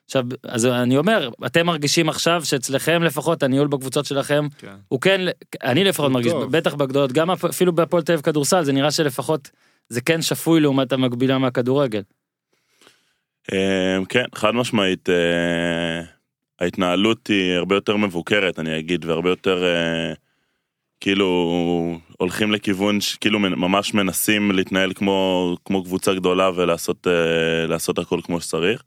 A: עכשיו, אז אני אומר, אתם מרגישים עכשיו שאצלכם לפחות הניהול בקבוצות שלכם
C: כן.
A: הוא כן, אני לפחות
C: הוא
A: מרגיש,
C: טוב.
A: בטח בגדולות, גם אפ- אפילו בהפועל תל אביב כדורסל, זה נראה שלפחות זה כן שפוי לעומת המקבילה מהכדורגל.
B: אמ, כן, חד משמעית, אה, ההתנהלות היא הרבה יותר מבוקרת, אני אגיד, והרבה יותר אה, כאילו הולכים לכיוון שכאילו מנ- ממש מנסים להתנהל כמו, כמו קבוצה גדולה ולעשות אה, לעשות הכל כמו שצריך.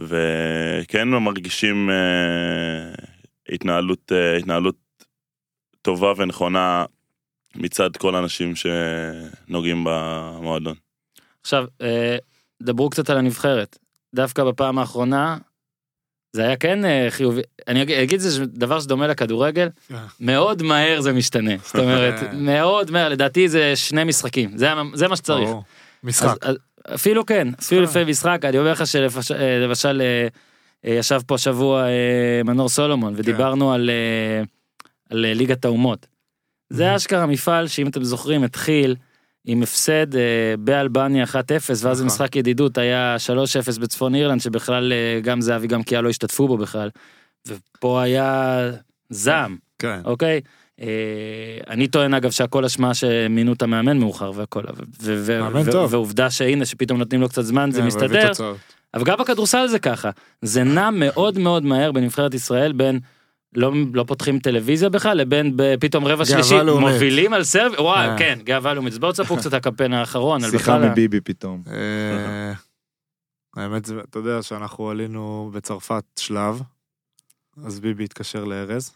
B: וכן מרגישים אה, התנהלות, אה, התנהלות טובה ונכונה מצד כל האנשים שנוגעים במועדון.
A: עכשיו, אה, דברו קצת על הנבחרת. דווקא בפעם האחרונה, זה היה כן אה, חיובי, אני אג- אגיד זה ש- דבר שדומה לכדורגל, מאוד מהר זה משתנה. זאת אומרת, מאוד מהר, לדעתי זה שני משחקים, זה, ה- זה מה שצריך.
C: ברור. משחק.
A: אז, אז, אפילו כן, אפילו לפני משחק, אני אומר לך שלמשל אה, למשל, אה, אה, ישב פה השבוע אה, מנור
C: כן.
A: סולומון ודיברנו על, אה, על אה, ליגת האומות. זה אשכרה מפעל שאם אתם זוכרים התחיל עם הפסד אה, באלבניה 1-0 ואז
C: נכון.
A: משחק ידידות היה 3-0 בצפון אירלנד שבכלל אה, גם זהבי גם קיאה לא השתתפו בו בכלל. ופה היה זעם.
C: כן.
A: אוקיי? אה, אני טוען אגב שהכל אשמה שמינו את המאמן מאוחר והכל, ו- ו- ו-
C: מאמן
A: ו-
C: טוב.
A: ועובדה שהנה שפתאום נותנים לו קצת זמן זה
C: כן, והביא
A: מסתדר,
C: תוצאות.
A: אבל גם בכדורסל זה ככה, זה נע מאוד מאוד מהר בנבחרת ישראל בין לא, לא פותחים טלוויזיה בכלל לבין ב- פתאום רבע
C: גאווה
A: שלישי
C: לאומית.
A: מובילים על סרב, וואי
C: אה.
A: כן גאווה לאומית, אז בואו תספרו קצת הקמפיין האחרון, על
E: שיחה
A: בכלל ה-
E: מביבי פתאום.
C: אה, האמת זה, אתה יודע שאנחנו עלינו בצרפת שלב, אז ביבי התקשר לארז.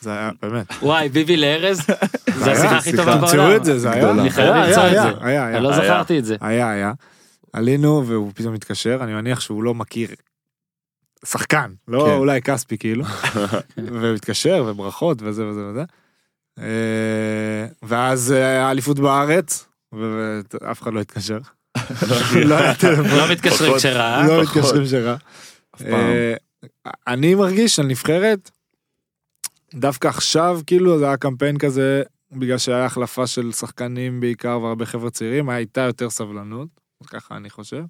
C: זה היה, באמת.
A: וואי, ביבי לארז? זו השיחה
C: היה,
A: הכי טובה בעולם.
C: אה, תמצאו את זה, אה, זה היה.
E: גדולה.
A: אני חייב
C: היה,
A: למצוא את
C: היה,
A: זה.
C: היה, היה.
A: אני לא
B: היה.
A: זכרתי את זה.
C: היה, היה. עלינו והוא פתאום התקשר, אני מניח שהוא לא מכיר שחקן, לא
E: כן.
C: אולי כספי כאילו. והוא התקשר וברכות וזה וזה וזה. אה, ואז אה, האליפות בארץ, ו- ואף אחד לא התקשר. לא היה טלפון,
A: לא מתקשרים
B: פחות.
A: כשרע.
C: לא
B: פחות.
C: מתקשרים שרע.
E: אף פעם.
C: אה, אני מרגיש שהנבחרת, דווקא עכשיו, כאילו, זה היה קמפיין כזה, בגלל שהיה החלפה של שחקנים בעיקר והרבה חבר'ה צעירים, הייתה יותר סבלנות, ככה אני חושב.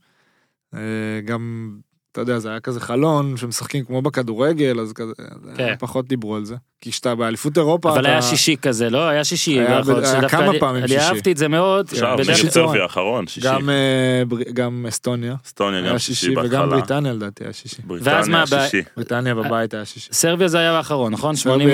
C: אה, גם, אתה יודע, זה היה כזה חלון שמשחקים כמו בכדורגל, אז כזה, אה,
A: כן.
C: פחות דיברו על זה. כי כשאתה באליפות אירופה,
A: אבל
C: אתה...
A: היה שישי כזה, לא? היה שישי.
C: היה
A: נכון,
C: ב- היה
A: שדווקא
C: כמה
A: אני-
C: פעמים
A: אני
C: שישי.
A: אהבתי את זה מאוד.
B: עכשיו,
A: בדרך
B: נגד
C: בדרך
A: כלל-
B: סופיה, האחרון, שישי.
C: גם, אה, בר- גם אסטוניה,
B: אסטוניה, גם
C: היה
B: שישי
C: שישי, וגם
B: בהתחלה.
C: בריטניה לדעתי היה שישי.
A: ואז מה
B: בריטניה,
A: הבעיה?
B: שישי.
C: בריטניה
A: אה,
C: בבית היה שישי.
A: סרביה זה היה האחרון, נכון?
C: סרביה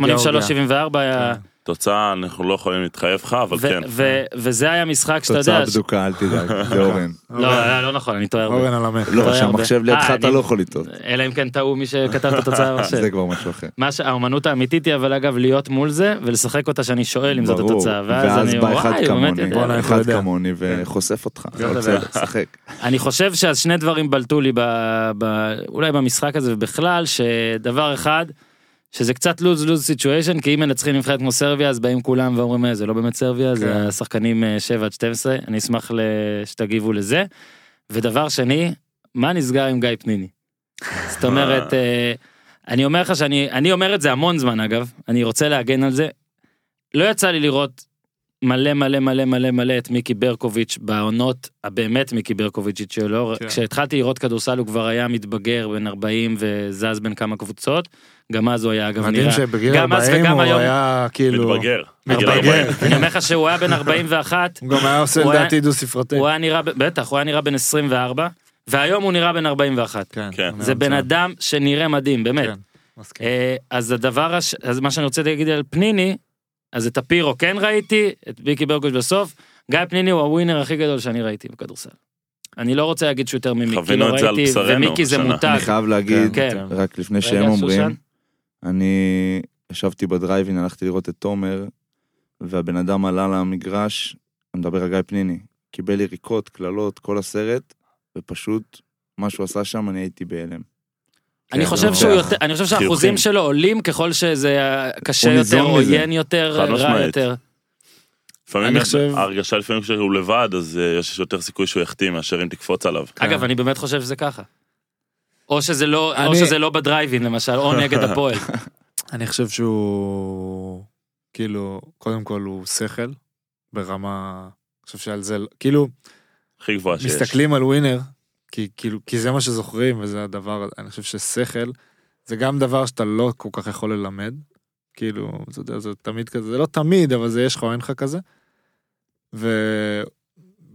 C: וגיאורגיה.
A: 83-74 היה...
B: תוצאה, אנחנו לא יכולים להתחייב לך, כן. אבל
A: ו-
B: כן.
A: ו- וזה היה משחק שאתה יודע...
E: תוצאה
A: ש-
E: בדוקה, אל תדאג, זה אורן.
A: לא, לא, לא נכון, אני טועה הרבה.
C: אורן הלמד.
E: לא,
A: הרבה.
E: שהמחשב לידך
A: אה,
E: אתה
A: אני-
E: לא יכול לטעות.
A: אלא אם כן טעו מי שכתב את התוצאה במחשב.
E: זה כבר משהו אחר.
A: מה שהאומנות האמיתית היא אבל אגב להיות מול זה ולשחק אותה שאני שואל לא אם זאת
E: ברור.
A: התוצאה ואז אני
E: בא
A: וואי
E: אחד
A: הוא באמת לא
E: כמוני,
A: יודע. כן.
C: בואנה, איך הוא
E: אחד
C: יודע.
E: כמוני וחושף אותך.
A: יודע.
E: בסדר, שחק.
A: אני חושב שאז שני דברים בלטו לי ב, ב, אולי במשחק הזה ובכלל שדבר אחד שזה קצת לוז לוז סיטואשן כי אם מנצחים נבחרת כמו סרביה אז באים כולם ואומרים "אה, זה לא באמת סרביה זה
C: כן.
A: השחקנים אה, 7 עד 12 אני אשמח ל- שתגיבו לזה. ודבר שני מה נסגר עם גיא פניני. זאת אומרת אה, אני אומר לך שאני אני אומר את זה המון זמן אגב אני רוצה להגן על זה. לא יצא לי לראות מלא מלא מלא מלא מלא את מיקי ברקוביץ' בעונות הבאמת מיקי ברקוביץ' שלו.
C: כן.
A: כשהתחלתי לראות כדורסל הוא כבר היה מתבגר בן 40 וזז בין כמה קבוצות. גם אז הוא היה אגב
C: מדהים
A: נראה.
C: שבגיל
A: גם אז
C: 40
A: וגם
C: הוא
A: היום.
C: היה כאילו...
B: מתבגר. בגיל
A: מתבגר.
B: 40.
A: אני אומר לך שהוא היה בן 41
C: הוא גם היה עושה
A: הוא
C: לדעתי דו ספרתי.
A: הוא היה נראה ב- בטח הוא היה נראה בן 24 והיום הוא נראה בן 41.
B: כן.
A: זה בן אדם שנראה מדהים באמת.
C: כן. מסכים.
A: אה, אז הדבר, הש... אז מה שאני רוצה להגיד על פניני, אז את הפירו כן ראיתי, את ביקי ברקוביץ' בסוף, גיא פניני הוא הווינר הכי גדול שאני ראיתי בכדורסל. אני לא רוצה להגיד שהוא יותר ממיקי,
B: חווינו
A: לא
B: את זה על
A: ראיתי,
B: בשרנו
A: ומיקי זה
B: השנה.
A: מותג.
E: אני
C: נכון.
E: חייב להגיד,
A: כן.
E: רק לפני שהם
A: רגע,
E: אומרים,
A: שושן.
E: אני ישבתי בדרייבין, הלכתי לראות את תומר, והבן אדם עלה למגרש, אני מדבר על גיא פניני, קיבל יריקות, קללות, כל הסרט, ופשוט מה שהוא עשה שם, אני הייתי בהלם.
A: אני
E: כן,
A: חושב
E: זה
A: שהוא
E: מותג.
A: יותר, אני חושב
B: חיוכים.
A: שהאחוזים שלו עולים ככל שזה אה, קשה
E: הוא
A: יותר,
E: ניזון מזה.
A: עוין יותר,
B: חד
A: רע
B: משמעית.
A: יותר.
B: לפעמים
C: אני
B: יש-
C: חושב-
B: ההרגשה לפעמים כשהוא לבד, אז אה, יש יותר סיכוי שהוא יחטיא מאשר אם תקפוץ עליו.
A: אגב, אני באמת חושב שזה ככה. או שזה לא, או
C: אני-
A: שזה לא בדרייבין למשל, או נגד הפועל.
C: אני חושב שהוא... כאילו, קודם כל הוא שכל, ברמה... אני חושב שעל זה... לא- כאילו,
B: הכי גבוהה שיש.
C: מסתכלים על ווינר, כי כאילו, כי זה מה שזוכרים, וזה הדבר, אני חושב ששכל, זה גם דבר שאתה לא כל כך יכול ללמד. כאילו, אתה יודע, זה תמיד כזה, זה לא תמיד, אבל זה יש לך או אין לך כזה.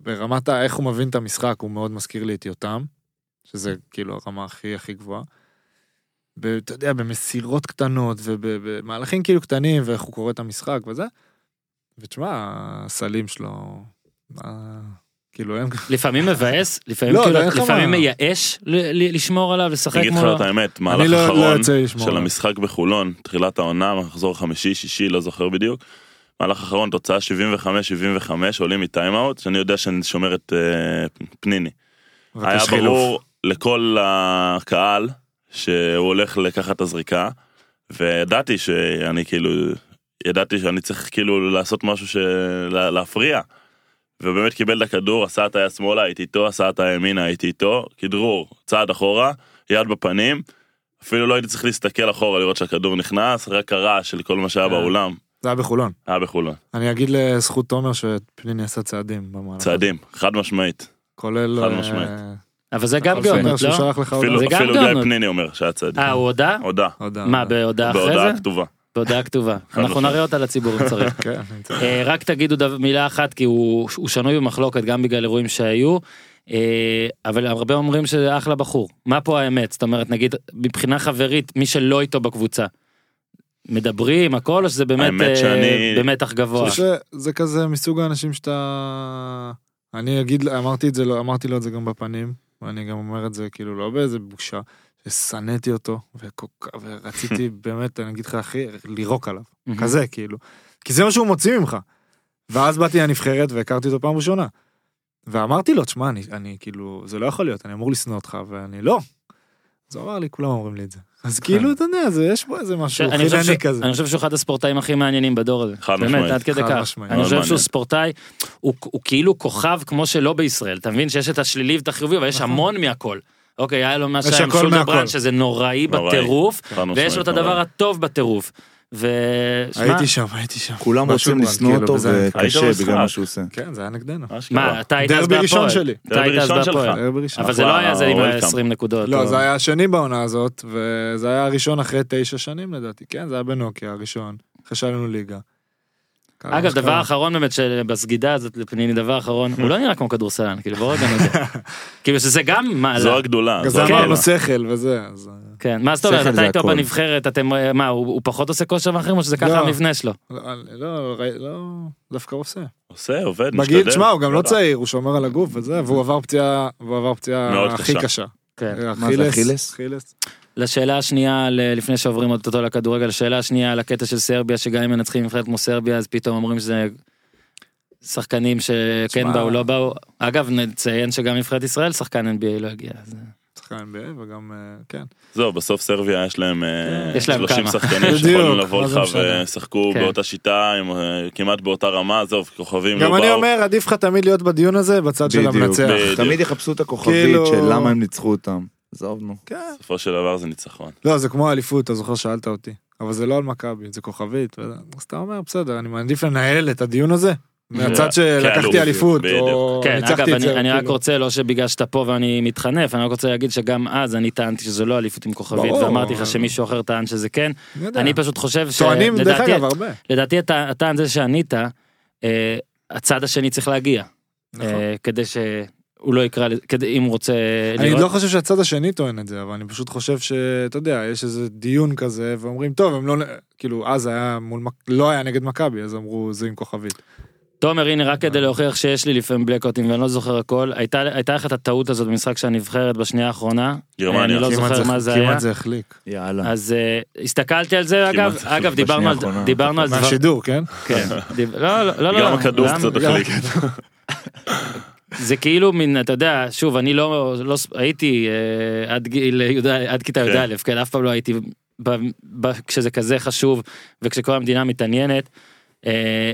C: וברמת ה- איך הוא מבין את המשחק, הוא מאוד מזכיר לי את יותם, שזה כאילו הרמה הכי הכי גבוהה. ב- אתה יודע, במסירות קטנות ובמהלכים כאילו קטנים, ואיך הוא קורא את המשחק וזה. ותשמע, הסלים שלו, מה- כאילו אין
A: לפעמים מבאס, לפעמים
C: לא,
A: כאילו-
C: לא, אין לך מה.
A: לפעמים מייאש ל- ל- לשמור עליו, לשחק
B: אני אגיד לך
A: מולו.
B: את האמת,
C: אני
B: מהלך
C: לא- לא
B: אחרון
C: יוצא לי לשמור
B: של
C: עליו.
B: המשחק בחולון, תחילת העונה, מחזור חמישי, שישי, לא זוכר בדיוק. מהלך אחרון, תוצאה 75-75, עולים מטיימאוט, שאני יודע שאני שומר את אה, פניני.
C: מבקש
B: היה
C: חילוף.
B: ברור לכל הקהל שהוא הולך לקחת את הזריקה, וידעתי שאני כאילו, ידעתי שאני צריך כאילו לעשות משהו של... להפריע. ובאמת קיבל את הכדור, עשה את היד שמאלה, הייתי איתו, עשה את הימינה, הייתי איתו, כדרור, צעד אחורה, יד בפנים, אפילו לא הייתי צריך להסתכל אחורה לראות שהכדור נכנס, רק הרעש של כל מה שהיה
C: אה.
B: באולם,
C: זה היה בחולון.
B: היה בחולון.
C: אני אגיד לזכות תומר שפניני עשה צעדים במהלך.
B: צעדים, חד משמעית.
C: כולל...
B: חד
C: אה,
B: משמעית.
A: אבל זה גם
C: כל ספר
A: גאונות,
C: שהוא
A: לא?
C: שלח לך
B: אפילו לא.
A: זה גם
B: אפילו גיא
A: גאונות.
B: פניני אומר שהיה צעדים.
A: אה, הוא הודה?
B: הודה.
C: הודעה.
A: מה, בהודעה אחרי
B: בהודעה
A: זה?
B: כתובה.
A: בהודעה כתובה. אנחנו
B: משמעית.
A: נראה אותה לציבור אם צריך.
C: כן, אני צריך.
A: אה, רק תגידו דו- מילה אחת כי הוא הוא שנוי במחלוקת גם בגלל אירועים שהיו. אה, אבל הרבה אומרים שזה אחלה בחור. מה פה האמת? זאת אומרת, נגיד, מבחינה חברית, מי שלא איתו בקבוצה. מדברים, הכל, או שזה באמת
B: האמת
A: אה,
B: שאני-
A: במתח גבוה?
C: אני חושב שזה כזה מסוג האנשים שאתה... אני אגיד, אמרתי את זה, לא- לו- אמרתי לו את זה גם בפנים, ואני גם אומר את זה כאילו לא באיזה בושה, ששנאתי אותו, וכל כך- ורציתי באמת, אני אגיד לך אחי, לירוק עליו,
A: מהמם.
C: כזה כאילו. כי זה מה שהוא מוציא ממך. ואז באתי לנבחרת והכרתי אותו פעם ראשונה. ואמרתי לו, תשמע, אני, אני כאילו, זה לא יכול להיות, אני אמור לשנוא אותך, ואני לא. אז הוא אמר לי, כולם אומרים לי את זה. אז כאילו, אתה יודע, זה, יש בו איזה משהו
A: אני חושב
C: חילני
A: כן. ש-
C: כזה.
A: אני חושב שהוא אחד הספורטאים הכי מעניינים בדור הזה.
B: חד
A: באמת,
B: משמעית.
A: עד כדי
C: חד
A: כך.
C: משמעית.
A: אני
B: מאוד
A: חושב שהוא
B: מעניין.
A: ספורטאי, הוא הוא כאילו כוכב כמו שלא בישראל. אתה מבין שיש את השלילי ואת החיובי, אבל יש המון מהכל. אוקיי, היה לו מה
C: נכון. יש
A: שהיה עם
C: הכל
A: שולדר
C: מהכל.
A: ברנד, שזה נוראי
B: נוראי.
A: בטירוף,
B: חד משמעית,
A: ויש לו את הדבר
B: נוראי.
A: הטוב בטירוף. ושמע,
C: הייתי שם, הייתי שם.
E: כולם רוצים
C: בשומרון,
E: לשנוא
C: כאילו,
E: אותו
C: וזה היה-
B: היית
E: וקשה
B: במשחק.
E: בגלל מה שהוא עושה.
C: כן, זה היה נגדנו.
A: מה, אתה היית אז
C: דרבי ראשון
A: בהפועל.
C: שלי.
A: אתה היית
B: לא. דרבי
A: אז
B: ראשון שלך.
A: בהפועל.
C: דרבי ראשון.
A: אבל זה לא
B: אחלה,
A: היה זה עם
B: welcome.
A: ה-20 נקודות.
C: לא,
A: או-
C: זה היה השני בעונה הזאת, וזה היה הראשון אחרי תשע שנים לדעתי, כן? זה היה בנוקיה הראשון, אחרי שעלינו ליגה. קרה מה
A: אגב, דבר
C: שקרה.
A: אחרון באמת, שבסגידה הזאת לפניני, דבר אחרון, הוא לא נראה כמו כדורסלן, כאילו בואו רגע נודה. כאילו שזה גם מעלה.
B: זו הגדולה.
C: אז
B: זו
A: כן.
B: הגדולה.
C: אמרנו שכל וזה, אז...
A: כן, מה זאת אומרת,
E: שכל
A: אתה
E: זה
A: איתו
E: הכל.
A: בנבחרת, אתם, אה, מה, הוא הוא פחות עושה כושר מאחרים, או שזה ככה
C: לא.
A: המבנה שלו?
C: לא, לא, ראי- לא, דווקא עושה.
B: עושה, עובד, משתדל.
C: בגיל, תשמע, הוא גם לא
B: רע.
C: צעיר, הוא שומר על הגוף וזה, והוא עבר פציעה, והוא עבר פציעה
B: מאוד
C: הכי
B: קשה.
C: קשה.
A: כן.
C: אה,
E: מה זה, אכילס?
C: אכילס.
A: לשאלה השנייה, ל- לפני שעוברים עוד אותו לכדורגל, לשאלה השנייה על הקטע של סרביה, שגם אם מנצחים נבחרת כמו סרביה, אז פתאום אומרים שזה שחקנים שכן
C: תשמע.
A: באו, לא באו. אגב, נציין שגם נבחרת ישראל, שחקן NBA לא הגיע. אז-
C: שחקן NBA וגם, אה, כן.
B: זהו, בסוף סרביה יש להם אה,
A: יש להם
B: 30
A: כמה.
B: שחקנים
C: בדיוק,
B: שיכולים לבוא
C: מה
B: לך
C: זה משנה.
B: ושחקו
A: כן.
B: באותה שיטה, עם, אה, כמעט באותה רמה, עזוב, כוכבים לא
C: גם אני
B: באו.
C: אומר, עדיף לך תמיד להיות בדיון הזה בצד של
E: בדיוק.
C: המנצח.
B: בדיוק.
E: תמיד יחפשו את הכוכבית
C: כאילו-
E: של למה הם ניצחו אותם. עזוב נו.
C: כן.
B: בסופו של דבר זה ניצחון.
A: אה,
C: לא, זה כמו האליפות, אתה זוכר שאלת אותי. אבל זה לא על מכבי, זה כוכבית. וזה- אז אתה אומר, בסדר, אני מעדיף לנהל את הדיון הזה. מהצד
B: כאלוף,
C: שלקחתי אליפות, או
B: כן, בדיוק.
A: כן, אגב,
C: ניצחתי את
A: אני,
C: זה.
A: אני רק
C: כאילו.
A: רוצה, לא שבגלל שאתה פה ואני מתחנף, אני רק רוצה להגיד שגם אז אני טענתי שזו לא אליפות עם כוכבית,
C: ברור.
A: ואמרתי לך שמישהו אחר טען שזה כן.
C: אני יודע.
A: אני פשוט חושב ש...
C: טוענים, דרך
A: לדעתי-
C: אגב, הרבה.
A: לדעתי אתה, אתה על זה שענית, אה, הצד השני צריך להגיע,
C: נכון.
A: אה, כדי שהוא לא יקרא, לזה- כדי, אם הוא רוצה
C: אני
A: לראות.
C: לא חושב שהצד השני טוען את זה, אבל אני פשוט חושב שאתה יודע, יש איזה דיון כזה, ואומרים, טוב, הם לא... נ- כאילו, אז היה מול... מק- לא היה נגד מכבי, אז אמרו, זה עם כוכבית.
A: תומר, הנה, רק
C: אה.
A: כדי להוכיח שיש לי לפעמים בלקאוטים ואני לא זוכר הכל, הייתה הייתה לך את הטעות הזאת במשחק של הנבחרת בשנייה האחרונה,
B: גרמניה.
A: אני לא
C: כמעט
A: זוכר מה זה היה.
C: כמעט זה החליק.
E: יאללה.
A: אז אה, הסתכלתי על זה,
B: כמעט
A: אגב,
B: החליק
A: אגב, דיברנו על-
E: האחרונה.
A: דיברנו על דבר...
C: מהשידור, כן?
A: כן. דיב- לא, לא, לא, לא.
B: גם הכדור
A: למה?
B: קצת
A: לא.
B: החליק.
A: זה כאילו מין, אתה יודע, שוב, אני לא, לא ס- הייתי אה, עד גיל, י"א, עד כיתה
B: כן.
A: י"א, כן, אף פעם לא הייתי, ב, ב, כשזה כזה חשוב, וכשכל המדינה מתעניינת. אה,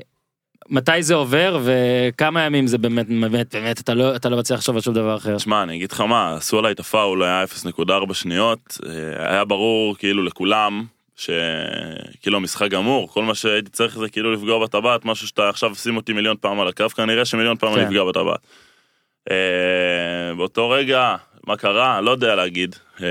A: מתי זה עובר וכמה ימים זה באמת באמת באמת אתה לא אתה לא מצליח לחשוב על שום דבר אחר.
B: שמע, אני אגיד לך מה, עשו עליי את הפאול, היה 0.4 שניות, אה, היה ברור כאילו לכולם, שכאילו המשחק גמור, כל מה שהייתי צריך זה כאילו לפגוע בטבעת, משהו שאתה עכשיו שים אותי מיליון פעם על הקו, כנראה שמיליון פעם אני
A: כן.
B: אפגע בטבעת. אה, באותו רגע, מה קרה? לא יודע להגיד. אה,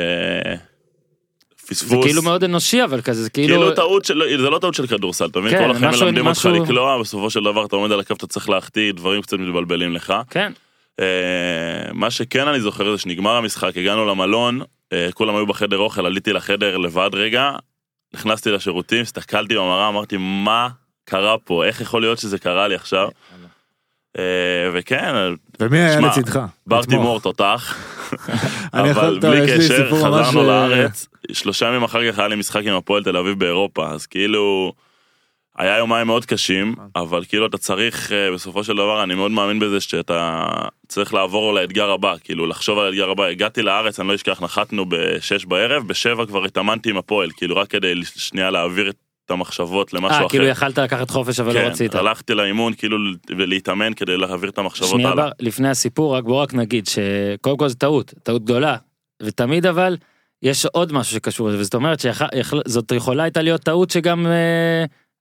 A: זה
B: פספוס.
A: כאילו מאוד אנושי אבל כזה זה כאילו,
B: כאילו טעות של, זה לא טעות של כדורסל, אתה מבין?
A: כן,
B: כל החיים
A: משהו-
B: מלמדים אותך
A: משהו-
B: לקלוע, בסופו של דבר אתה עומד על הקו, אתה צריך להחטיא, דברים קצת מתבלבלים לך.
A: כן
B: אה, מה שכן אני זוכר זה שנגמר המשחק, הגענו למלון, אה, כולם היו בחדר אוכל, עליתי לחדר לבד רגע, נכנסתי לשירותים, הסתכלתי במראה, אמרתי, מה קרה פה? איך יכול להיות שזה קרה לי עכשיו? אה, וכן,
C: ומי היה
B: שמע,
C: לצדך?
B: בר
C: לתמוך.
B: תימור תותח,
C: אני
B: אבל
C: יכול- טוב,
B: בלי
C: יש לי
B: קשר,
C: סיפור ממש,
B: חזרנו
C: אה,
B: לארץ, שלושה ימים אחר כך היה לי משחק עם הפועל תל אביב באירופה, אז כאילו, היה יומיים מאוד קשים, אבל כאילו אתה צריך, אה, בסופו של דבר, אני מאוד מאמין בזה שאתה צריך לעבור לאתגר הבא, כאילו לחשוב על האתגר הבא. הגעתי לארץ, אני לא אשכח, נחתנו בשש בערב, בשבע כבר התאמנתי עם הפועל, כאילו רק כדי שנייה להעביר את המחשבות למשהו
A: אה,
B: אחר.
A: כאילו יכלת לקחת חופש אבל לא רצית.
B: כן, הלכתי לאימון כאילו ולהתאמן כדי להעביר את המחשבות
A: שנייה
B: הלאה.
A: בר, לפני הסיפור רק בוא רק נגיד שקודם כל זו טעות טעות גדולה ותמיד אבל יש עוד משהו שקשור לזה וזאת אומרת שזאת יכולה הייתה להיות טעות שגם אה,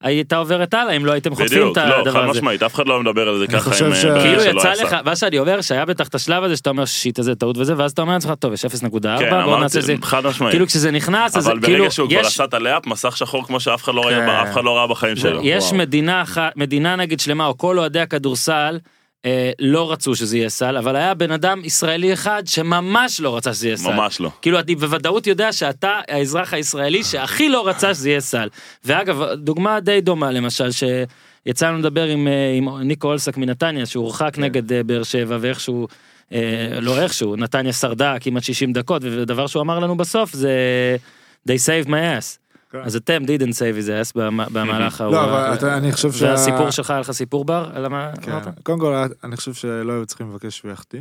A: הייתה עוברת הלאה אם לא הייתם חוטפים את
B: בדיוק, לא, חד
A: הדבר הזה.
B: משמעית, אף אחד לא מדבר על זה
C: אני
B: ככה
C: חושב
B: עם...
C: ש-
B: אה,
A: כאילו
B: שלא
A: יצא
B: עשה.
A: לך מה שאני אומר שהיה בטח את השלב הזה שאתה אומר שיט איזה טעות וזה ואז אתה אומר לעצמך טוב יש 0.4
B: כן,
A: בוא
B: אמרתי,
A: נעשה את זה
B: חד משמעית.
A: כאילו כשזה נכנס אז
B: אבל
A: כאילו
B: ברגע שהוא כבר
A: יש
B: עשה את הלאפ, מסך שחור כמו שאף אחד לא
C: כן.
B: ראה אף אחד לא ראה בחיים שלו.
A: יש מדינה אחת, מדינה נגיד שלמה, או כל אוהדי הכדורסל, אה, לא רצו שזה יהיה סל, אבל היה בן אדם ישראלי אחד שממש לא רצה שזה יהיה סל.
B: ממש לא.
A: כאילו אני בוודאות יודע שאתה האזרח הישראלי שהכי לא רצה שזה יהיה סל. ואגב, דוגמה די דומה למשל, שיצא לנו לדבר עם, אה, עם ניקו אולסק מנתניה, שהורחק נגד אה, באר שבע, ואיכשהו אה, לא איכשהו, נתניה שרדה כמעט 60 דקות, ודבר שהוא אמר לנו בסוף זה, they saved my ass.
C: כן.
A: אז אתם didn't save his ass במ- במהלך ההוא.
C: לא, אבל אתה- אני חושב שה...
A: והסיפור שלך היה לך סיפור בר? על מה
C: כן.
A: אמרת?
C: קודם כל, אני חושב שלא היו צריכים לבקש שהוא יחטיא,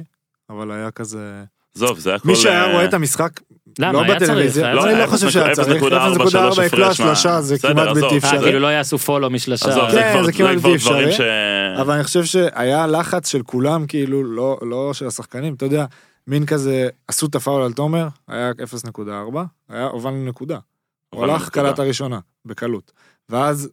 C: אבל היה כזה...
B: עזוב, זה היה כל...
C: מי שהיה
B: אה,
C: רואה את המשחק,
A: למה?
C: לא
A: היה צריך.
C: בטלוויזיה,
A: היה
C: אבל
A: צריך.
C: אני לא
B: אפס
C: חושב שהיה
B: נקודה-
C: צריך,
B: 0.4
C: 0.4
B: שלוש, מה?
C: שלושה, זה
B: בסדר,
C: כמעט
B: עזוב.
C: בלתי
B: אה,
A: אה,
C: אפשרי.
A: כאילו לא יעשו follow משלושה. אה,
B: עזוב,
C: כן,
B: זה
C: זה
B: כבר-
C: כמעט
B: זה כבר
C: בלתי
B: דברים
C: אפשרי.
B: ש...
C: אבל אני חושב שהיה לחץ של כולם, כאילו, לא, לא של השחקנים, אתה יודע, מין כזה, עשו את הפאול על תומר, היה 0.4, היה הובלנו נקודה. הוא
B: הובלנו
C: הלך,
B: נקודה.
C: קלע את הראשונה, בקלות. ואז,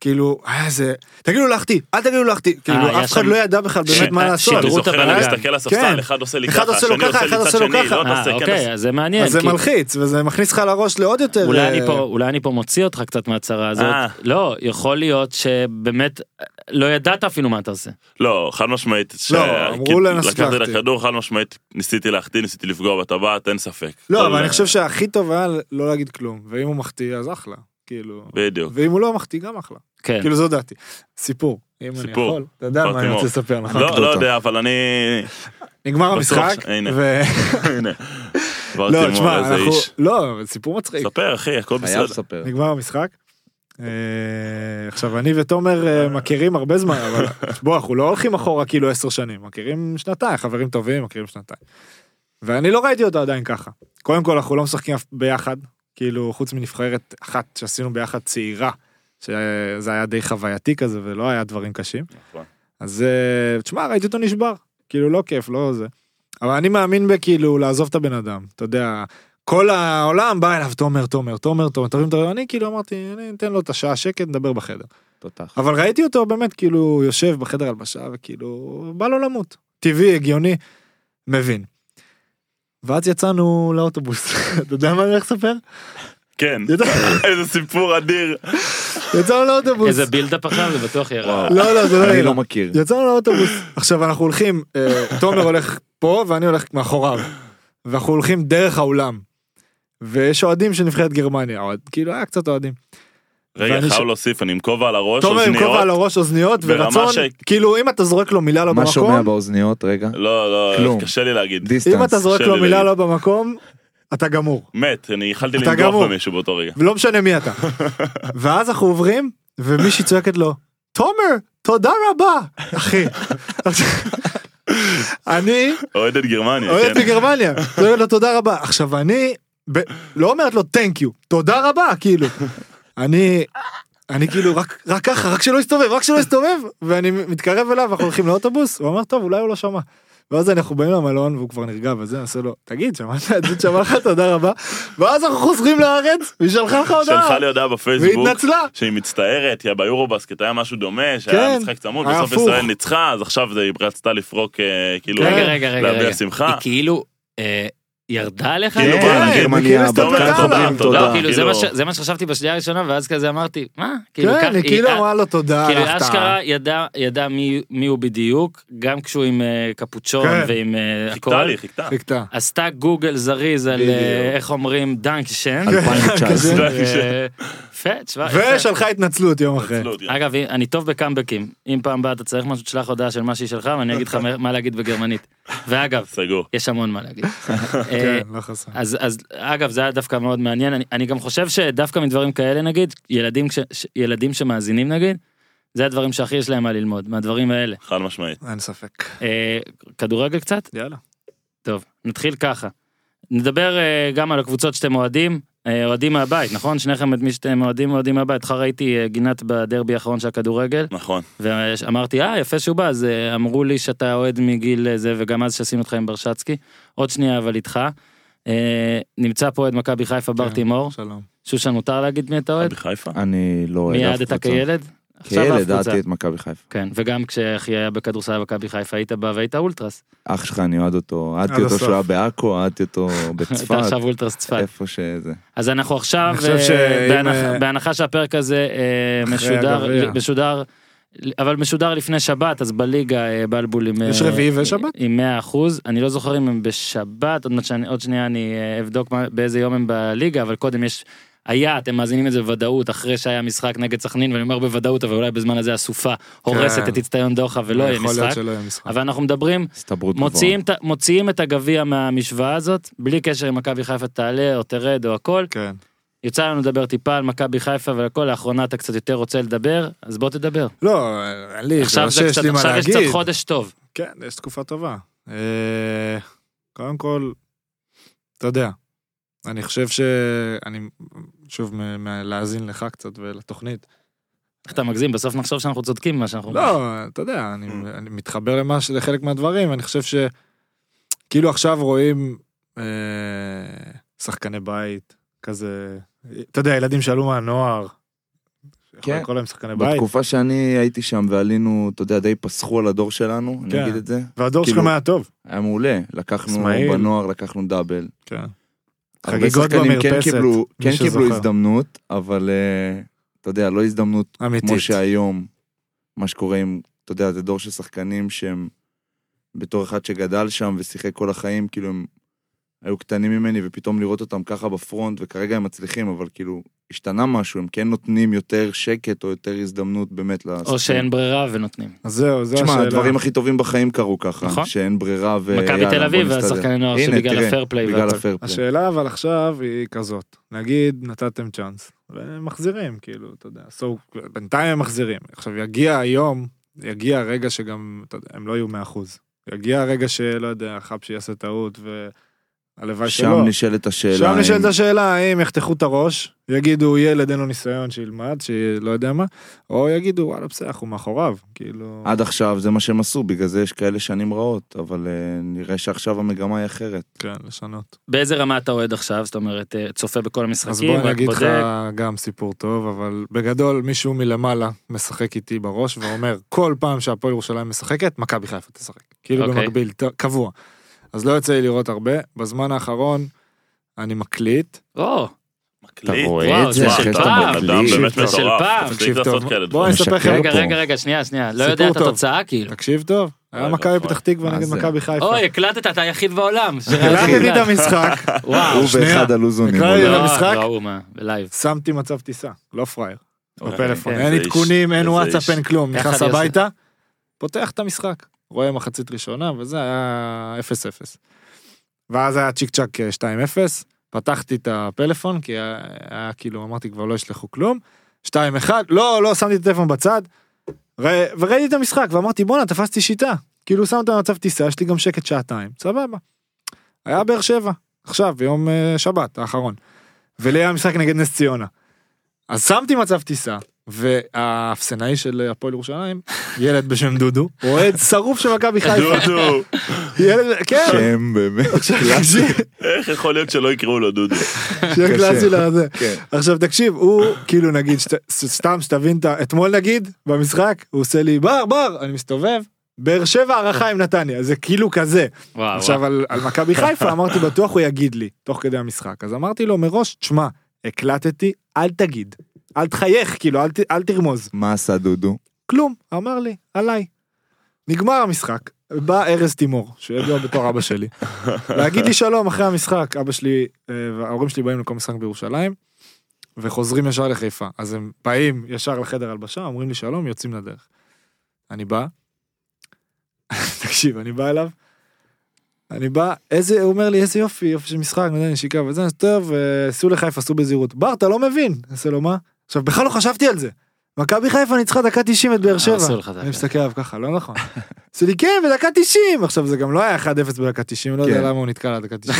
C: כאילו, היה איזה, תגידו להחטיא, אל תגידו להחטיא,
B: אה,
C: כאילו,
A: היה
C: אף אחד
A: שם-
C: לא ידע בכלל באמת
A: ש-
C: מה לעשות.
B: אני
A: שידרו את
B: זוכר,
A: הבלגן.
B: אני מסתכל על הספסל,
C: כן.
B: אחד עושה לי
C: אחד
B: ככה,
C: עושה לו
B: השני
C: ככה,
B: עושה לי
C: אחד
B: צד
C: עושה לו
B: שני,
C: ככה.
B: לא
A: אה,
B: תעשה, כן
A: אוקיי,
B: תעשה.
A: אז זה מעניין.
C: אז זה
A: כי-
C: מלחיץ, וזה מכניס לך לראש לעוד יותר...
A: אולי
C: אה,
A: אני פה, אולי אני פה מוציא אותך קצת מהצרה הזאת.
B: אה.
A: לא, יכול להיות שבאמת אה, לא ידעת אפילו מה אתה עושה.
B: לא, חד משמעית. ש-
C: לא, אמרו
B: כי-
C: לנסות
B: לקחתי את
C: להחטיא.
B: הכדור, חד משמעית, ניסיתי להחטיא, ניסיתי לפגוע בטבעת, אין ספק.
C: לא,
B: כל-
C: אבל אני חושב שהכי טוב היה לא להגיד כלום, ואם הוא מחטיא, אז אחלה, כאילו.
B: בדיוק.
C: ואם הוא לא מחטיא, גם אחלה.
A: כן.
C: כאילו זו דעתי. סיפור. אם אני
B: סיפור.
C: יכול, אתה יודע מה אני
B: פרטימור.
C: רוצה לספר, נכון?
B: לא, לא יודע, אבל אני...
C: נגמר
B: בטוח
C: המשחק,
B: ש- הנה.
C: ו...
B: הנה.
C: לא,
B: ברטימור,
C: תשמע,
B: איזה
C: אנחנו...
B: איש.
C: לא, זה סיפור מצחיק.
B: ספר, אחי, הכל
E: חייב
B: בסדר.
E: לספר.
C: נגמר המשחק. אה, עכשיו, אני ותומר אה, מכירים הרבה זמן, אבל בוא, אנחנו לא הולכים אחורה כאילו עשר שנים, מכירים שנתיים, חברים טובים, מכירים שנתיים. ואני לא ראיתי אותו עדיין ככה. קודם כל, אנחנו לא משחקים אף- ביחד, כאילו, חוץ מנבחרת אחת שעשינו ביחד צעירה, שזה היה די חווייתי כזה, ולא היה דברים קשים.
B: נכון.
C: אז אה, תשמע, ראיתי אותו נשבר, כאילו, לא כיף, לא זה. אבל אני מאמין בכאילו לעזוב את הבן אדם, אתה יודע, כל העולם בא אליו, תומר, תומר, תומר, תומר, תומר, תומר, אני כאילו אמרתי, אני אתן לו את השעה שקט, נדבר בחדר.
E: תותח.
C: אבל ראיתי אותו באמת כאילו יושב בחדר הלבשה, וכאילו, בא לו למות. טבעי, הגיוני, מבין. ואז יצאנו לאוטובוס, אתה יודע מה אני הולך לספר?
B: כן.
C: ידע-
B: איזה סיפור אדיר.
C: יצאנו לאוטובוס.
A: איזה בילדאפ עכשיו זה בטוח יהיה רע.
C: לא, לא, זה לא
E: אני
C: יהיה.
E: לא מכיר.
C: יצאנו לאוטובוס. עכשיו אנחנו הולכים, אה, תומר הולך פה ואני הולך מאחוריו. ואנחנו הולכים דרך האולם. ויש אוהדים של נבחרת גרמניה, אוהד- כאילו היה קצת אוהדים.
B: רגע,
C: ואני ש-
B: חייב להוסיף, אני עם כובע על הראש,
C: תומר עם כובע על
B: אוזניות.
C: הראש אוזניות
B: ברמה
C: ורצון
B: ש-
C: כאילו אם אתה זורק לו מילה לא
E: מה שומע
C: במקום
E: באוזניות רגע?
B: לא, לא,
E: כלום.
B: קשה לי להגיד.
E: דיסטנס.
C: אם אתה זורק
B: קשה
C: לו
B: לי
C: מילה
B: להגיד.
C: לא במקום אתה גמור
B: מת, אני יכלתי
C: אתה
B: לנגוח
C: גמור.
B: במישהו באותו רגע.
C: ולא משנה מי אתה ואז אנחנו עוברים ומישהי צועקת לו תומר תודה רבה אחי אני
B: אוהדת גרמניה,
C: אוהד
B: כן.
C: מגרמניה אומרת לו תודה רבה עכשיו אני ב- לא אומרת לו thank you תודה רבה כאילו אני אני כאילו רק רק ככה רק שלא יסתובב רק שלא יסתובב ואני מתקרב אליו אנחנו הולכים לאוטובוס הוא אמר טוב אולי הוא לא שמע. ואז אנחנו באים למלון והוא כבר נרגע וזה אני עושה לו תגיד שמעת את זה שמע לך תודה רבה ואז אנחנו חוזרים לארץ והיא שלחה לך הודעה
B: שלחה לי הודעה בפייסבוק.
C: והיא התנצלה.
B: שהיא מצטערת, יא ביורובסקט היה משהו דומה, שהיה
C: כן,
B: משחק צמוד,
C: היה
B: בסוף
C: הפוך.
B: ישראל ניצחה, אז עכשיו זה- היא רצתה לפרוק, אה, כאילו,
A: רגע,
C: כן.
A: רגע, רגע,
B: להביע
A: רגע.
B: שמחה.
A: היא כאילו אה, ירדה עליך?
B: כאילו,
A: לא,
E: כן,
B: בוא,
E: גרמניה,
C: כאילו,
E: בבקעת
C: הסתובבה
E: חברים,
B: לה.
A: לא,
E: תודה.
A: כאילו זה
B: כאילו-
A: מה ש- זה מה שחשבתי בשנייה הראשונה ואז כזה אמרתי מה? כאילו, כך-
C: כן היא כאילו אמרה לו תודה
A: כאילו
C: על ההפתעה.
A: אשכרה ידע ידע מי- מי הוא בדיוק גם כשהוא עם אה, קפוצ'ון
C: כן.
A: ועם אה,
B: חיכתה
A: הכל.
B: לי, חיכתה.
C: חיכתה.
A: עשתה גוגל זריז על אה,
C: בדיוק.
A: איך אומרים דנק שן.
E: 2019.
B: דנק שן.
A: יפה, תשמע. יפה.
C: ושלחה התנצלות יום אחרי.
B: התנצלות, כן.
A: אגב, אני טוב בקאמבקים. אם פעם באה אתה צריך משהו, תשלח הודעה של מה שהיא שלך ואני אגיד לך מה- מה להגיד בגרמנית. ואגב,
B: סגור.
A: יש המון מה להגיד. אה,
C: כן, לא חסר.
A: אז, אז אגב זה היה דווקא מאוד מעניין אני, אני גם חושב שדווקא מדברים כאלה נגיד ילדים כש, ש, ילדים שמאזינים נגיד זה הדברים שהכי יש להם מה ללמוד מהדברים האלה
B: חד משמעית.
C: אין ספק.
A: אה, כדורגל קצת
C: יאללה.
A: טוב נתחיל ככה נדבר אה, גם על הקבוצות שאתם אוהדים אה, אוהדים מהבית נכון שניכם את מי שאתם אוהדים אוהדים מהבית אותך ראיתי אה, גינת בדרבי האחרון של הכדורגל
B: נכון.
A: ואמרתי אה יפה שהוא בא אז אה, אמרו לי שאתה אוהד מגיל אה, זה וגם אז שעשינו אותך עם ברשצקי עוד שנייה אבל איתך. אה, נמצא פה אוהד מכבי חיפה בר
C: כן.
A: תימור
C: שלום.
A: שושן מותר להגיד מי אתה אוהד?
B: בחיפה?
E: אני לא אוהד כן,
A: מי
E: אף
A: אהדת
E: קבוצה.
A: כילד? עכשיו אף
E: כילד
A: קבוצה.
E: אהדתי את מכבי חיפה.
A: כן, וגם כשאחי היה בכדורסל מכבי חיפה היית בא והיית אולטרס.
E: אח שלך אני אוהד אותו,
C: עד
E: אהדתי אותו
C: הסוף.
E: שהוא היה בעכו, אהדתי אותו
A: אתה
E: בצפת,
A: עכשיו אולטרס צפת.
E: איפה שזה.
A: אז אנחנו עכשיו,
C: אני חושב
A: אה,
C: שאם,
A: בהנח-
C: אה,
A: בהנחה שהפרק הזה אה,
C: אחרי
A: משודר,
C: הגביע.
A: משודר, אבל משודר לפני שבת, אז בליגה אה, בלבול עם...
C: יש
A: אה,
C: רביעי ושבת.
A: עם 100 אחוז, אני לא זוכר אם הם בשבת, עוד, מעט שאני, עוד שנייה אני אה, אבדוק מה, באיזה יום הם בליגה, אבל קודם יש היה, אתם מאזינים לזה בוודאות, אחרי שהיה משחק נגד סכנין, ואני אומר בוודאות, אבל אולי בזמן הזה הסופה הורסת
C: כן.
A: את אצטדיון דוחה ולא לא, יהיה
C: יכול להיות
A: משחק.
C: שלא יהיה משחק.
A: אבל אנחנו מדברים,
E: הסתברות גבוהה.
A: מוציאים, את ה- מוציאים את הגביע מהמשוואה הזאת, בלי קשר אם מכבי חיפה תעלה או תרד או הכל.
C: כן.
A: יצא לנו לדבר טיפה על מכבי חיפה והכל, לאחרונה אתה קצת יותר רוצה לדבר, אז בוא תדבר.
C: לא, אין לי, זה
A: עכשיו
C: לא
A: זה
C: שיש
A: קצת,
C: לי מה
A: עכשיו יש
C: להגיד.
A: קצת חודש טוב.
C: כן, יש תקופה טובה. אה, קודם כל, אתה יודע, אני חושב ש... אני שוב מ- מלהאזין לך קצת ולתוכנית.
A: איך אתה מגזים, בסוף נחשוב שאנחנו צודקים ממה שאנחנו אומרים.
C: לא, אתה יודע, אני,
A: Mm.
C: אני מתחבר למה ש- לחלק מהדברים, אני חושב ש... כאילו עכשיו רואים אה, שחקני בית, כזה... אתה יודע, ילדים שעלו מהנוער. יכול
E: כן.
C: לקרוא להם שחקני בית.
E: בתקופה שאני הייתי שם ועלינו, אתה יודע, די פסחו על הדור שלנו,
C: כן.
E: אני אגיד את זה.
C: והדור שלכם
E: כאילו-
C: היה טוב.
E: היה מעולה, לקחנו
C: אסמאעיל.
E: בנוער, לקחנו דאבל.
C: כן.
E: הרבה
C: חגיגות
E: שחקנים כן
C: במרפסת,
E: קיבלו,
C: מי
E: כן
C: שזוכר.
E: קיבלו הזדמנות, אבל אה, אתה יודע, לא הזדמנות כמו
C: אמיתית.
E: שהיום, מה שקורה עם, אתה יודע, זה דור של שחקנים שהם, בתור אחד שגדל שם ושיחק כל החיים, כאילו הם היו קטנים ממני, ופתאום לראות אותם ככה בפרונט, וכרגע הם מצליחים, אבל כאילו, השתנה משהו, הם כן נותנים יותר שקט או יותר הזדמנות באמת לשחקנים.
A: או שאין ברירה ונותנים.
C: אז זהו, זו
E: תשמע,
C: השאלה.
E: הדברים הכי טובים בחיים קרו ככה,
A: נכון.
E: שאין ברירה ו...
A: מכבי
E: יאללה,
A: תל אביב
E: בוא נסתדר.
A: והשחקני נוער
E: הנה,
A: שבגלל
E: תראה,
A: הפייר פליי.
E: בגלל
A: והכל.
E: הפייר פליי.
C: השאלה אבל עכשיו היא כזאת, נגיד נתתם צ'אנס, ומחזירים, כאילו, אתה יודע, so, בינתיים הם מחזירים. עכשיו, יגיע היום, יגיע הרגע שגם, אתה יודע, הם לא יהיו 100%. יגיע הרגע שלא יודע, חבשי יעשה טעות, והלוואי שלא.
E: שם נשאלת השאלה.
C: שם נשאלת
E: אם-
C: השאלה האם יחתכו את הראש, יגידו ילד אין לו ניסיון שילמד, שלא יודע מה, או יגידו וואלה בסדר, אנחנו מאחוריו, כאילו...
E: עד עכשיו זה מה שהם עשו, בגלל זה יש כאלה שנים רעות, אבל אה, נראה שעכשיו המגמה היא אחרת.
C: כן, לשנות.
A: באיזה רמה אתה אוהד עכשיו? זאת אומרת, אה, צופה בכל
C: אז
A: המשחקים,
C: בוא אני
A: רק
C: אגיד לך
A: בודק.
C: גם סיפור טוב, אבל בגדול מישהו מלמעלה משחק איתי בראש ואומר, כל פעם שהפועל ירושלים משחקת, מכבי חיפה תשחק. כאילו
A: אוקיי.
C: במקביל, ת- קבוע. אז לא יוצא לי לראות הרבה, בזמן האחרון אני מקליט.
A: או,
B: מקליט.
E: רואה
A: וואו, זה
B: וואו,
A: של
B: אתה
A: פעם.
B: בן אדם
E: זה
B: באמת
A: של
B: מטורף.
A: פעם.
B: תפסיק
C: תקשיב
B: אה, לעשות
C: טוב,
B: כאלה
C: בוא
B: דברים.
C: אני אספר לכם
A: רגע,
E: פה.
A: רגע, רגע, שנייה, שנייה. לא יודע
C: סיפור
A: את
C: טוב.
A: התוצאה, כאילו.
C: תקשיב טוב, היה
B: אוי,
C: מכבי
B: ואבוי.
C: פתח תקווה
E: מה
C: נגד
E: זה?
C: מכבי חיפה.
A: אוי, הקלטת, אתה היחיד בעולם.
C: הקלטתי את המשחק,
A: וואו.
E: הוא
C: אה, שנייה.
E: ואחד הלוזונים.
C: נקרא לי
E: אולי.
A: לא,
C: למשחק?
A: ראו מה, בלייב.
C: שמתי מצב טיסה, לא פראייר.
B: אוקיי.
C: בפלאפון,
A: כן.
C: אין
B: איזה
C: עדכונים,
B: איש,
C: אין
B: איזה
C: וואטסאפ,
B: איש.
C: אין כלום,
A: יחד
C: נכנס
A: יוסי.
C: הביתה, פותח את המשחק, רואה מחצית ראשונה, וזה היה 0-0. ואז היה צ'יק צ'אק אה, 2-0, פתחתי את הפלאפון, כי היה, היה כאילו, אמרתי, כבר לא ישלחו כלום, 2-1, לא, לא, שמתי את הטלפון בצד, ר- וראיתי את המשחק, ואמרתי, בואנה, תפסתי שיטה. כאילו, שם אותם במצב טיסה, יש לי גם שקט שעתיים, סבבה. היה באר שבע, עכשיו, ביום אה, שבת האחרון. ולי היה משחק נגד נס ציונה. אז שמתי מצב טיסה, והאפסנאי של הפועל ירושלים, ילד בשם דודו, אוהד שרוף של מכבי חיפה.
B: דודו,
C: ילד, כן,
E: שם באמת.
B: איך יכול להיות שלא יקראו לו דודו?
C: שיהיה קלאסי לזה.
E: כן.
C: עכשיו תקשיב, הוא כאילו נגיד, שת- ס- סתם שתבין את ה... אתמול נגיד, במשחק, הוא עושה לי בר, בר, אני מסתובב, באר שבע הערכה עם נתניה, זה כאילו כזה.
A: וואו, וואו.
C: עכשיו על, על מכבי חיפה אמרתי בטוח הוא יגיד לי תוך כדי המשחק אז אמרתי לו מראש תשמע הקלטתי אל תגיד אל תחייך כאילו אל, ת, אל תרמוז
E: מה עשה דודו?
C: כלום אמר לי עליי. נגמר המשחק בא ארז תימור שידוע בתור אבא שלי להגיד לי שלום אחרי המשחק אבא שלי אה, וההורים שלי באים לכל משחק בירושלים. וחוזרים ישר לחיפה אז הם באים ישר לחדר הלבשה אומרים לי שלום יוצאים לדרך. אני בא. תקשיב אני בא אליו. אני בא איזה הוא אומר לי איזה יופי יופי של משחק נותן נשיקה וזה אז טוב אה, סעו לחיפה סעו בזהירות בר אתה לא מבין אני עושה לו מה עכשיו בכלל לא חשבתי על זה. מכבי חיפה ניצחה דקה 90 את באר שבע.
A: הרסו לך את
C: אני
A: זה.
C: מסתכל עליו ככה, לא נכון. עושה לי כן, בדקה 90! עכשיו זה גם לא היה 1-0 בדקה 90, לא יודע
E: כן.
C: למה הוא נתקע לדקה 90.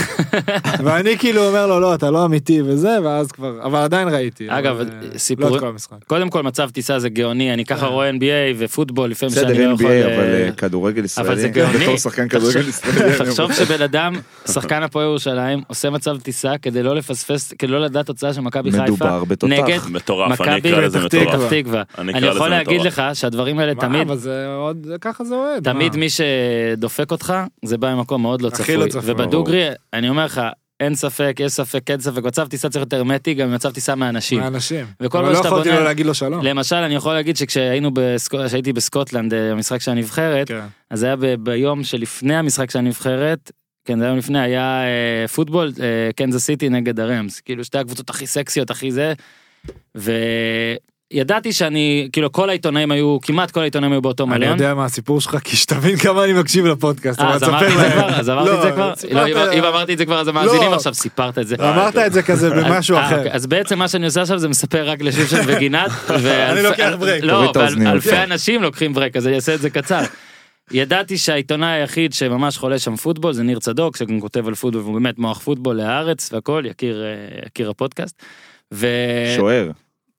C: ואני כאילו אומר לו, לא, אתה לא אמיתי וזה, ואז כבר, אבל עדיין ראיתי.
A: אגב,
C: אבל, אה,
A: סיפורים-
C: לא את כל המשחק.
A: קודם כל מצב טיסה זה גאוני, אני
B: אה.
A: ככה רואה NBA ופוטבול לפעמים
E: בסדר,
A: שאני לא
E: NBA,
A: יכול...
E: אבל
A: אה,
E: אה, כדורגל ישראלי.
A: זה גאוני.
E: בתור שחקן כדורגל
A: תחשוב-
E: ישראלי. אני
A: תחשוב
E: אומר.
A: שבן אדם, שחקן הפועל ירושלים, עושה מצב טיסה כדי לא לפספס, כדי לא לדעת תוצאה של מכבי חיפה,
E: מדובר בתותח.
A: נגד
B: מטורף, אני
A: מכבי
B: אקרא לזה
C: פתח
B: מטורף.
A: פתח תקווה.
B: אני
A: אני
B: אקרא
A: יכול
B: לזה
A: להגיד
B: מטורף.
A: לך שהדברים האלה
C: מה,
A: תמיד,
C: אבל זה עוד, ככה זה אוהד.
A: תמיד
C: מה?
A: מי שדופק אותך, זה בא ממקום מאוד לא
C: הכי
A: צפוי.
C: לא צפוי.
A: ובדוגרי, אני אומר לך, אין ספק, יש ספק, כן ספק, מצב טיסה צריך להיות הרמטי, גם מצב טיסה מהאנשים.
C: מהאנשים.
A: וכל
C: אבל
A: מה
C: לא
A: שאתה
C: יכולתי
A: בונה-
C: לו להגיד לו שלום.
A: למשל, אני יכול להגיד שכשהיינו בסקוט- כשהייתי בסקוטלנד, אה, המשחק של הנבחרת,
C: כן.
A: אז זה היה ב- ביום שלפני המשחק של הנבחרת, כן, זה היום לפני, היה אה, פוטבול, אה, קנזס סיטי נגד הרמס, כאילו שתי הקבוצות הכי סקסיות, הכי זה, וידעתי שאני, כאילו כל העיתונאים היו, כמעט כל העיתונאים היו באותו
C: אני
A: מלון.
C: יודע מה הסיפור שלך, כי שתבין כמה אני מקשיב לפודקאסט.
A: אה,
C: אבל
A: אז
C: תספר
A: אמרתי את זה
C: להם.
A: כבר, אז אמרתי את זה כבר,
C: סיפרת-
A: לא, אם- אם אמרתי את זה כבר אז המאזינים עכשיו סיפרת את זה.
C: אמרת את זה כזה במשהו
A: אה,
C: אחר.
A: אוקיי, אז בעצם מה שאני עושה עכשיו זה מספר רק לשושן וגינת.
C: אני לוקח כן. ברייק.
E: תוריד
A: לא,
E: את
A: אבל
E: האוזניות.
A: אלפי אנשים לוקחים ברייק, אז אני אעשה את זה קצר. ידעתי שהעיתונאי היחיד שממש חולה שם פוטבול זה ניר צדוק, שגם כותב על פוטבול, והוא באמת מוח פוטבול להארץ והכל, יקיר, אה, יקיר הפודקאסט. ו...
E: שוער.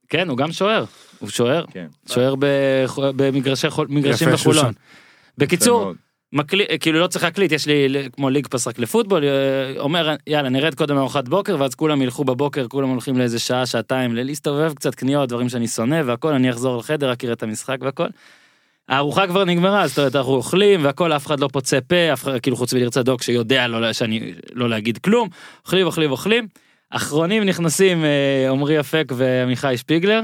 A: כן, הוא גם שוער. הוא שוער.
E: כן.
A: שוער בח- במגרשי חול- מגרשים
C: יפה,
A: בחולון.
C: שושן.
A: בקיצור, מקליט, כאילו לא צריך להקליט, יש לי ל- כמו ליג פס רק לפוטבול, אה, אומר יאללה נרד קודם לארוחת בוקר ואז כולם ילכו בבוקר, כולם הולכים לאיזה שעה, שעתיים, ל- להסתובב קצת קניות, דברים שאני שונא והכל, אני אחזור לחדר, אכיר את המשחק והכל. הארוחה כבר נגמרה, אז זאת אומרת אנחנו אוכלים והכל, אף אחד לא פוצה פה, אף אחד, כאילו חוץ מליר צדוק שיודע לא, לה- שאני לא להגיד כלום, אוכלים אוכלים אוכלים. אחרונים נכנסים אה, עמרי אפק ועמיחי שפיגלר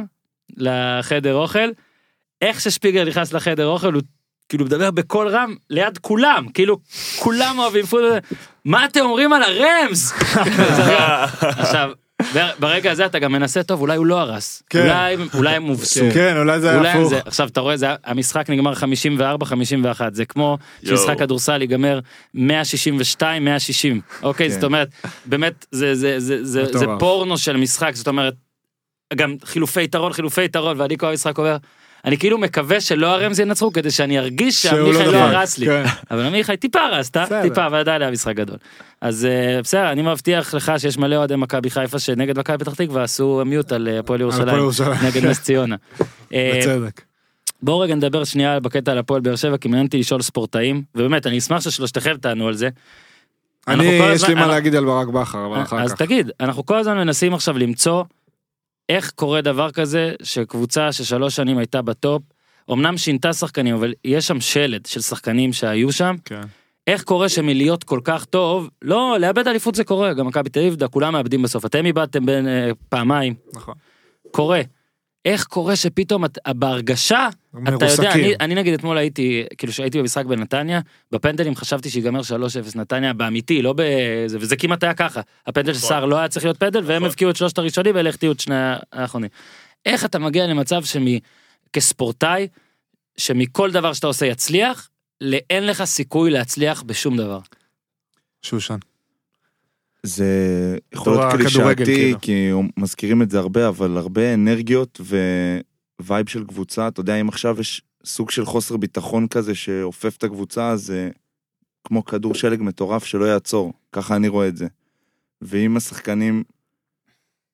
A: לחדר אוכל. איך ששפיגלר נכנס לחדר אוכל הוא כאילו מדבר בקול רם ליד כולם כאילו כולם אוהבים פוטבול מה אתם אומרים על הרמס. עכשיו בר- ברגע הזה אתה גם מנסה טוב אולי הוא לא הרס
C: כן.
A: אולי אולי הם הובסו.
C: כן, אולי זה
A: אולי
C: היה
A: הם
C: הפוך.
A: זה, עכשיו אתה רואה זה המשחק נגמר 54 51 זה כמו
B: יואו.
A: שמשחק כדורסל ייגמר 162 160 אוקיי
E: כן.
A: זאת אומרת באמת זה זה זה זה זה
C: מטורף.
A: פורנו של משחק זאת אומרת גם חילופי יתרון חילופי יתרון ואני כל המשחק אומר אני כאילו מקווה שלא הרמז ינצחו כדי שאני ארגיש
C: שהוא
A: שעמיחי לא
C: דפק.
A: הרס לי
C: כן.
A: אבל עמיחי טיפה הרסת
C: בסדר.
A: טיפה אבל עדיין היה משחק גדול אז אה, בסדר אני מבטיח לך שיש מלא אוהדי מכבי חיפה שנגד מכבי פתח תקווה עשו מיוט על אה, הפועל
C: הפועל
A: ירושלים
C: ירושלים.
A: נגד נס ציונה. אה,
C: בצדק.
A: בואו רגע נדבר שנייה בקטע על הפועל באר שבע כי מעניין אותי לשאול ספורטאים ובאמת אני אשמח ששלושתכם תענו על זה. אנחנו
C: אני,
A: כל
C: יש
A: הזמן-
C: לי מה
A: אנחנו- אה,
C: להגיד על ברק בכר, אבל אחר
A: אז
C: כך.
A: תגיד אנחנו כל הזמן מנסים עכשיו למצוא איך קורה דבר כזה שקבוצה ששלוש שנים הייתה בטופ אמנם שינתה שחקנים אבל יש שם שלד של שחקנים שהיו שם
C: כן.
A: איך קורה שמלהיות כל כך טוב לא לאבד אליפות זה קורה גם מכבי תל אביב דה, כולם מאבדים בסוף אתם איבדתם בין אה, פעמיים
C: נכון.
A: קורה. איך קורה שפתאום את, בהרגשה אתה יודע, אני,
C: מרוסקים.
A: אני נגיד אתמול הייתי, כאילו שהייתי במשחק בנתניה, בפנדלים חשבתי שיגמר 3-0 נתניה, באמיתי, לא בזה, וזה כמעט היה ככה. הפנדל של
C: נכון.
A: סער לא היה צריך להיות פנדל, והם
B: נכון.
A: הבקיעו את שלושת הראשונים ואלה החטיאו את שני האחרונים. איך אתה מגיע למצב שכספורטאי, שמכל דבר שאתה עושה יצליח, לאין לך סיכוי להצליח בשום דבר.
C: שושן.
E: זה יכול להיות
C: הכדורגל,
E: קלישאתי,
C: כאילו.
E: כי מזכירים את זה הרבה, אבל הרבה אנרגיות ווייב של קבוצה. אתה יודע, אם עכשיו יש סוג של חוסר ביטחון כזה שאופף את הקבוצה, אז זה כמו כדור שלג מטורף שלא יעצור. ככה אני רואה את זה. ואם השחקנים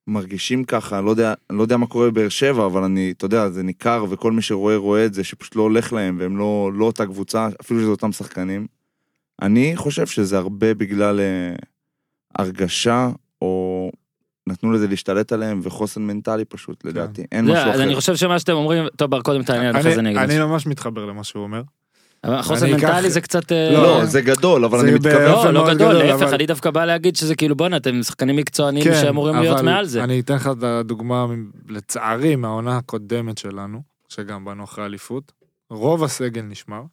E: מרגישים ככה, לא יודע, לא יודע מה קורה בבאר שבע, אבל אני, אתה יודע, זה ניכר, וכל מי שרואה רואה את זה, שפשוט לא הולך להם, והם לא, לא אותה קבוצה, אפילו שזה אותם שחקנים. אני חושב שזה הרבה בגלל... אה, הרגשה, או נתנו לזה להשתלט עליהם, וחוסן מנטלי פשוט,
C: כן.
E: לדעתי. אין
A: זה,
E: משהו
A: לא, אז אני
E: אחר.
A: חושב שמה שאתם אומרים, טוב בר קודם תענה, אחרי זה אני אגיד.
C: אני
A: משהו.
C: ממש מתחבר למה שהוא אומר.
A: אבל חוסן
C: אני אקח-
A: מנטלי זה קצת... אה,
C: לא,
E: לא, זה גדול, אבל
C: זה
E: אני
C: ב-
E: מתכוון...
A: לא,
C: באופן
A: לא
C: מאוד
A: גדול,
C: גדול,
A: להפך,
C: אבל- כן,
A: אני דווקא בא להגיד שזה כאילו בואנה, אתם שחקנים מקצוענים שאמורים להיות
C: אבל
A: מעל זה.
C: אני אתן לך את הדוגמה, מ- לצערי, מהעונה הקודמת שלנו, שגם באנו אחרי אליפות. רוב הסגל נשמר.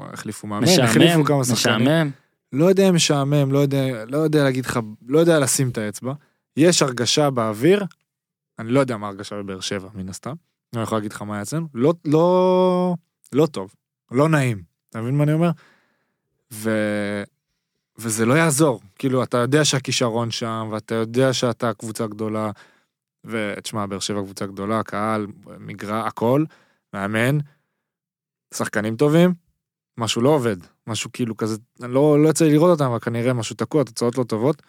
C: החליפו מאמן, החליפו
A: משעמם,
C: כמה שחקנים.
A: משעמם.
C: לא יודע אם משעמם, לא יודע, לא יודע להגיד לך, לא יודע לשים את האצבע. יש הרגשה באוויר, אני לא יודע מה הרגשה בבאר שבע, מן הסתם. אני יכול להגיד לך מה היה אצלנו. לא, לא, לא טוב, לא נעים. אתה מבין מה אני אומר? ו... וזה לא יעזור. כאילו, אתה יודע שהכישרון שם, ואתה יודע שאתה קבוצה גדולה, ותשמע, באר שבע קבוצה גדולה, קהל, מגרע, הכל, מאמן, שחקנים טובים, משהו לא עובד, משהו כאילו כזה, אני לא, לא יצא לי לראות אותם, אבל כנראה משהו תקוע, תוצאות לא טובות.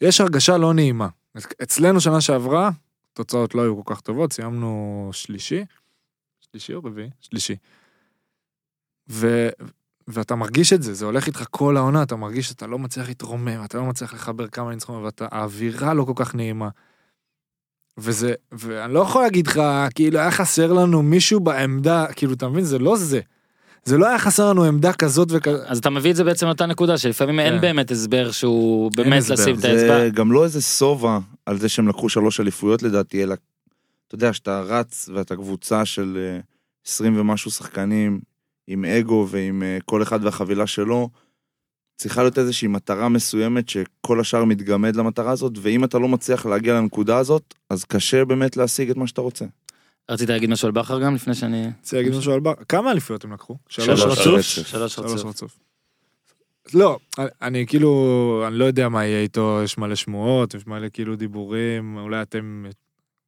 C: יש הרגשה לא נעימה. אצלנו שנה שעברה, תוצאות לא היו כל כך טובות, סיימנו שלישי, שלישי או רביעי? שלישי. ו... ואתה מרגיש את זה, זה הולך איתך כל העונה, אתה מרגיש שאתה לא מצליח להתרומם, אתה לא מצליח לחבר כמה ניצחונות, והאווירה לא כל כך נעימה. וזה, ואני לא יכול להגיד לך, כאילו היה חסר לנו מישהו בעמדה, כאילו, אתה מבין? זה לא זה. זה לא היה חסר לנו עמדה כזאת וכזאת.
A: אז אתה מביא את זה בעצם לאותה נקודה שלפעמים אין
C: כן.
A: באמת הסבר שהוא
C: אין
A: באמת
C: הסבר.
A: לשים את האצבע.
E: זה גם לא איזה שובע על זה שהם לקחו שלוש אליפויות לדעתי, אלא, אתה יודע, שאתה רץ ואתה קבוצה של אה, 20 ומשהו שחקנים, עם אגו ועם אה, כל אחד והחבילה שלו, צריכה להיות איזושהי מטרה מסוימת שכל השאר מתגמד למטרה הזאת, ואם אתה לא מצליח להגיע לנקודה הזאת, אז קשה באמת להשיג את מה שאתה רוצה.
A: רצית להגיד משהו על בכר גם לפני שאני...
C: רוצה להגיד משהו על בר... כמה אליפויות הם לקחו?
A: שלוש
B: שלוש
A: רצוף?
B: רצוף.
A: שלוש
C: שלוש
A: רצוף.
C: רצוף. לא, אני- אני כאילו, אני לא יודע מה יהיה איתו, יש מלא שמועות, יש מלא כאילו דיבורים, אולי אתם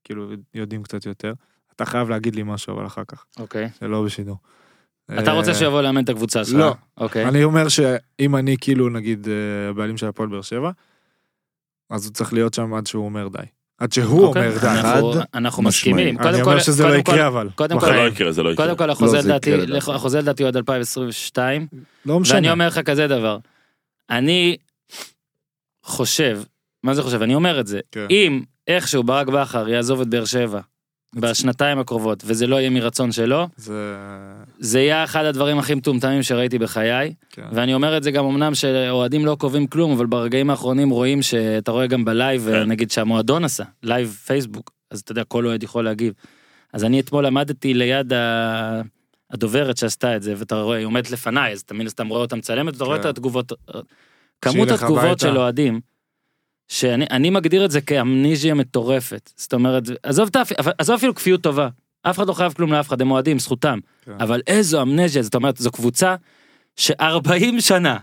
C: כאילו יודעים קצת יותר. אתה חייב להגיד לי משהו, אבל אחר כך,
A: אוקיי.
C: זה לא בשידור.
A: אתה
C: אה,
A: רוצה שיבוא לאמן את הקבוצה שלך?
C: לא.
A: אוקיי.
C: אני אומר שאם אני כאילו, נגיד, אה, הבעלים של הפועל באר שבע, אז הוא צריך להיות שם עד שהוא אומר די. עד שהוא
A: אוקיי,
C: אומר די.
A: אנחנו-
E: חד
A: אנחנו
E: משמעית.
A: מסכימים.
C: אני
A: קודם
C: אומר
A: כל-
C: שזה לא
A: קודם כל-
C: יקרה, אבל.
A: קודם כל-
B: זה לא
C: בחיים.
B: יקרה, זה לא יקרה.
A: קודם כל החוזה
E: לא, זה
A: לדעתי,
E: יקרה לדעתי.
A: החוזה לדעתי הוא עד 2022,
C: לא
A: ואני
C: משנה.
A: אומר לך כזה דבר, אני חושב, מה זה חושב? אני אומר את זה,
C: כן.
A: אם איכשהו ברק בכר יעזוב את באר שבע בשנתיים הקרובות, וזה לא יהיה מרצון שלו,
C: זה...
A: זה יהיה אחד הדברים הכי מטומטמים שראיתי בחיי,
C: כן.
A: ואני אומר את זה גם אמנם שאוהדים לא קובעים כלום, אבל ברגעים האחרונים רואים שאתה רואה גם בלייב,
B: כן.
A: נגיד שהמועדון עשה, לייב פייסבוק, אז אתה יודע, כל אוהד יכול להגיב. אז אני אתמול עמדתי ליד ה... הדוברת שעשתה את זה, ואתה רואה, היא עומדת לפניי, אז אתה מן הסתם רואה אותה מצלמת, ואתה רואה את
C: כן.
A: התגובות.
C: כשהיא
A: כמות
C: הלכה
A: התגובות
C: הביתה.
A: של אוהדים, שאני אני מגדיר את זה כאמניזיה מטורפת. זאת אומרת, עזוב, את האפ- אבל- עזוב אפילו כפיות טובה, אף אחד לא חייב כלום לאף אחד, הם אוהדים, זכותם.
C: כן.
A: אבל איזו אמנזיה, זאת אומרת, זו קבוצה ש-40 שנה,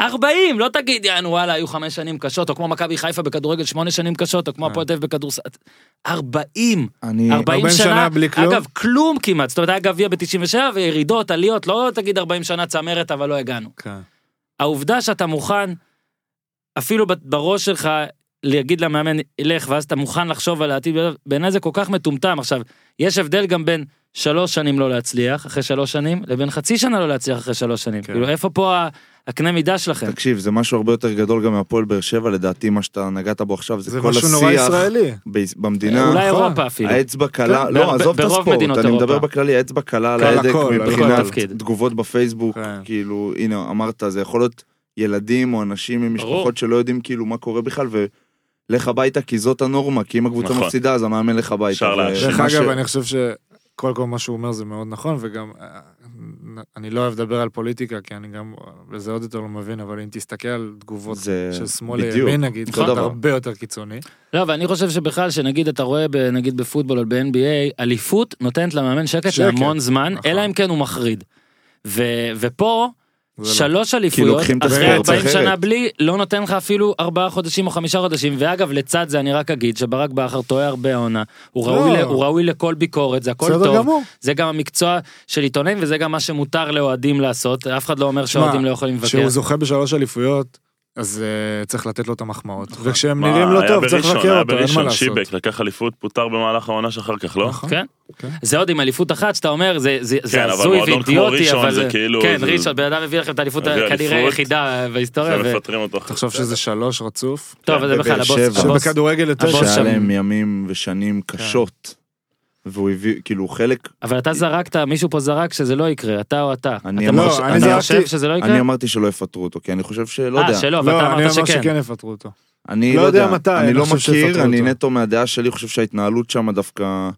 A: 40, לא תגיד, יענו וואלה, היו חמש שנים קשות, או כמו מכבי חיפה בכדורגל שמונה שנים קשות, או כמו
C: כן.
A: הפועל תל אביב בכדורסל, 40. 40
E: אני...
C: 40 שנה
A: שנה,
C: בלי כלום?
A: אגב, כלום כמעט, זאת אומרת, היה גביע ב-97 וירידות, עליות, לא תגיד 40 שנה צמרת, אבל לא הגענו.
C: כן.
A: העובדה שאתה מוכן, אפילו ב- בראש שלך, להגיד למאמן, לך, ואז אתה מוכן לחשוב על העתיד, בעיניי זה כל כך מטומטם. עכשיו, יש הבדל גם בין שלוש שנים לא להצליח, אחרי שלוש שנים, לבין חצי שנה לא להצליח אחרי שלוש שנים.
C: כן.
A: כאילו, איפה פה ה- הקנה מידה שלכם?
E: תקשיב, זה משהו הרבה יותר גדול גם מהפועל באר שבע, לדעתי, מה שאתה נגעת בו עכשיו, זה
C: זה
E: כל
C: משהו נורא
E: השיח
C: ישראלי.
E: ב- במדינה.
A: אולי
C: נכון.
A: אירופה אפילו.
E: האצבע קלה,
A: כן,
E: לא,
A: ב-
E: עזוב את
A: ברוב
E: הספורט,
A: מדינות
E: אני
A: אירופה.
E: מדבר בכללי, האצבע קלה על
C: קל
E: ההדק
C: הכל, על
E: מבחינת
A: כל תפקיד.
E: תגובות בפייסבוק,
C: כן.
E: כאילו, הנה, אמרת, זה יכול להיות ילדים או אנשים
A: ברור.
E: ממשפחות שלא יודעים כאילו מה קורה בכלל, ולך הביתה כי זאת הנורמה, כי אם הקבוצה
B: נכון.
E: מפסידה אז המאמן לך הביתה.
B: אפשר
E: ו-
B: להאשים.
E: ומה
C: דרך
E: ש-
C: אגב, אני חושב שקודם כל מה שהוא אומר זה מאוד נכון, וגם אה, אני לא אוהב לדבר על פוליטיקה, כי אני גם בזה עוד יותר לא מבין, אבל אם תסתכל על תגובות
E: זה
C: של שמאל
E: בדיוק,
C: לימין נגיד,
E: אותו
C: זה
E: דבר.
C: הרבה יותר קיצוני.
A: לא, אבל אני חושב שבכלל, שנגיד אתה רואה, ב- נגיד בפוטבול או ב-NBA, אליפות נותנת למאמן שקט
C: שקט,
A: להמון זמן,
C: נכון.
A: אלא אם כן הוא מחריד. ו- ופה,
C: זה לא.
A: שלוש
E: כי
A: אליפויות,
E: לוקחים את
A: אחרי
C: הספורט
A: 40
E: אחרת.
A: שנה בלי, לא נותן לך אפילו ארבעה חודשים או חמישה חודשים, ואגב, לצד זה אני רק אגיד שברק בכר טועה הרבה העונה, הוא
C: לא.
A: ראוי ל- הוא ראוי לכל ביקורת, זה הכל
C: בסדר
A: טוב,
C: גמור.
A: זה גם המקצוע של עיתונאים וזה גם מה שמותר לאוהדים לעשות, אף אחד לא אומר
C: תשמע,
A: שאוהדים לא יכולים לבקר.
C: כשהוא זוחה בשלוש אליפויות, אז אה, צריך לתת לו את המחמאות. וכשהם
B: נכון. מה,
C: נראים לא
B: היה
C: טוב, צריך
B: בראשון,
C: לבקר
B: היה
C: אותו, אין מה
B: בראשון,
C: לעשות.
B: שיבק לקח אליפות, פוטר במהלך העונה שאחר כך, לא?
C: נכון.
A: כן?
E: אוקיי.
C: כן.
A: זה עוד עם אליפות אחת שאתה אומר זה זה זה
B: כן, אבל
A: הזוי
B: מועדון כמו
A: ואידיוטי
B: ראשון
A: אבל
B: זה כאילו-
A: כן
B: זה-
A: ראשון בן אדם הביא לכם את האליפות
B: הביא
A: כנראה
B: אליפות.
A: היחידה בהיסטוריה ו-
B: ומפטרים אותו. אחרי
C: תחשוב
B: זה.
C: שזה שלוש רצוף.
A: טוב אבל זה
B: בבאר
A: בכלל הבוס
E: כן, שבע.
A: הבוס-
C: שבכדורגל יותר
A: הבוס
E: שהיה
A: שם.
E: להם ימים ושנים
C: כן.
E: קשות, והוא הביא, כאילו, הוא חלק,
A: אבל אתה זרקת מישהו פה זרק שזה לא יקרה אתה או אתה
E: אני
A: אתה
E: אמר-
A: מרש-
E: לא,
A: אתה
E: אני זרקתי-
A: חושב שזה לא יקרה
E: אני אמרתי שלא יפטרו אותו, כי אני חושב שלא
A: אה
E: יודע.
A: שלא אבל
C: לא,
A: אתה
C: אני
A: אמרת
C: אומר
A: שכן
C: שכן יפטרו אותו.
E: אני
C: לא
E: לא
C: יודע
E: יודע
C: מתי,
E: אני
C: אני
E: לא
C: חושב שיפטרו
E: מכיר, אני
C: אותו.
E: נטו מהדעה שלי חושב שההתנהלות שם דווקא,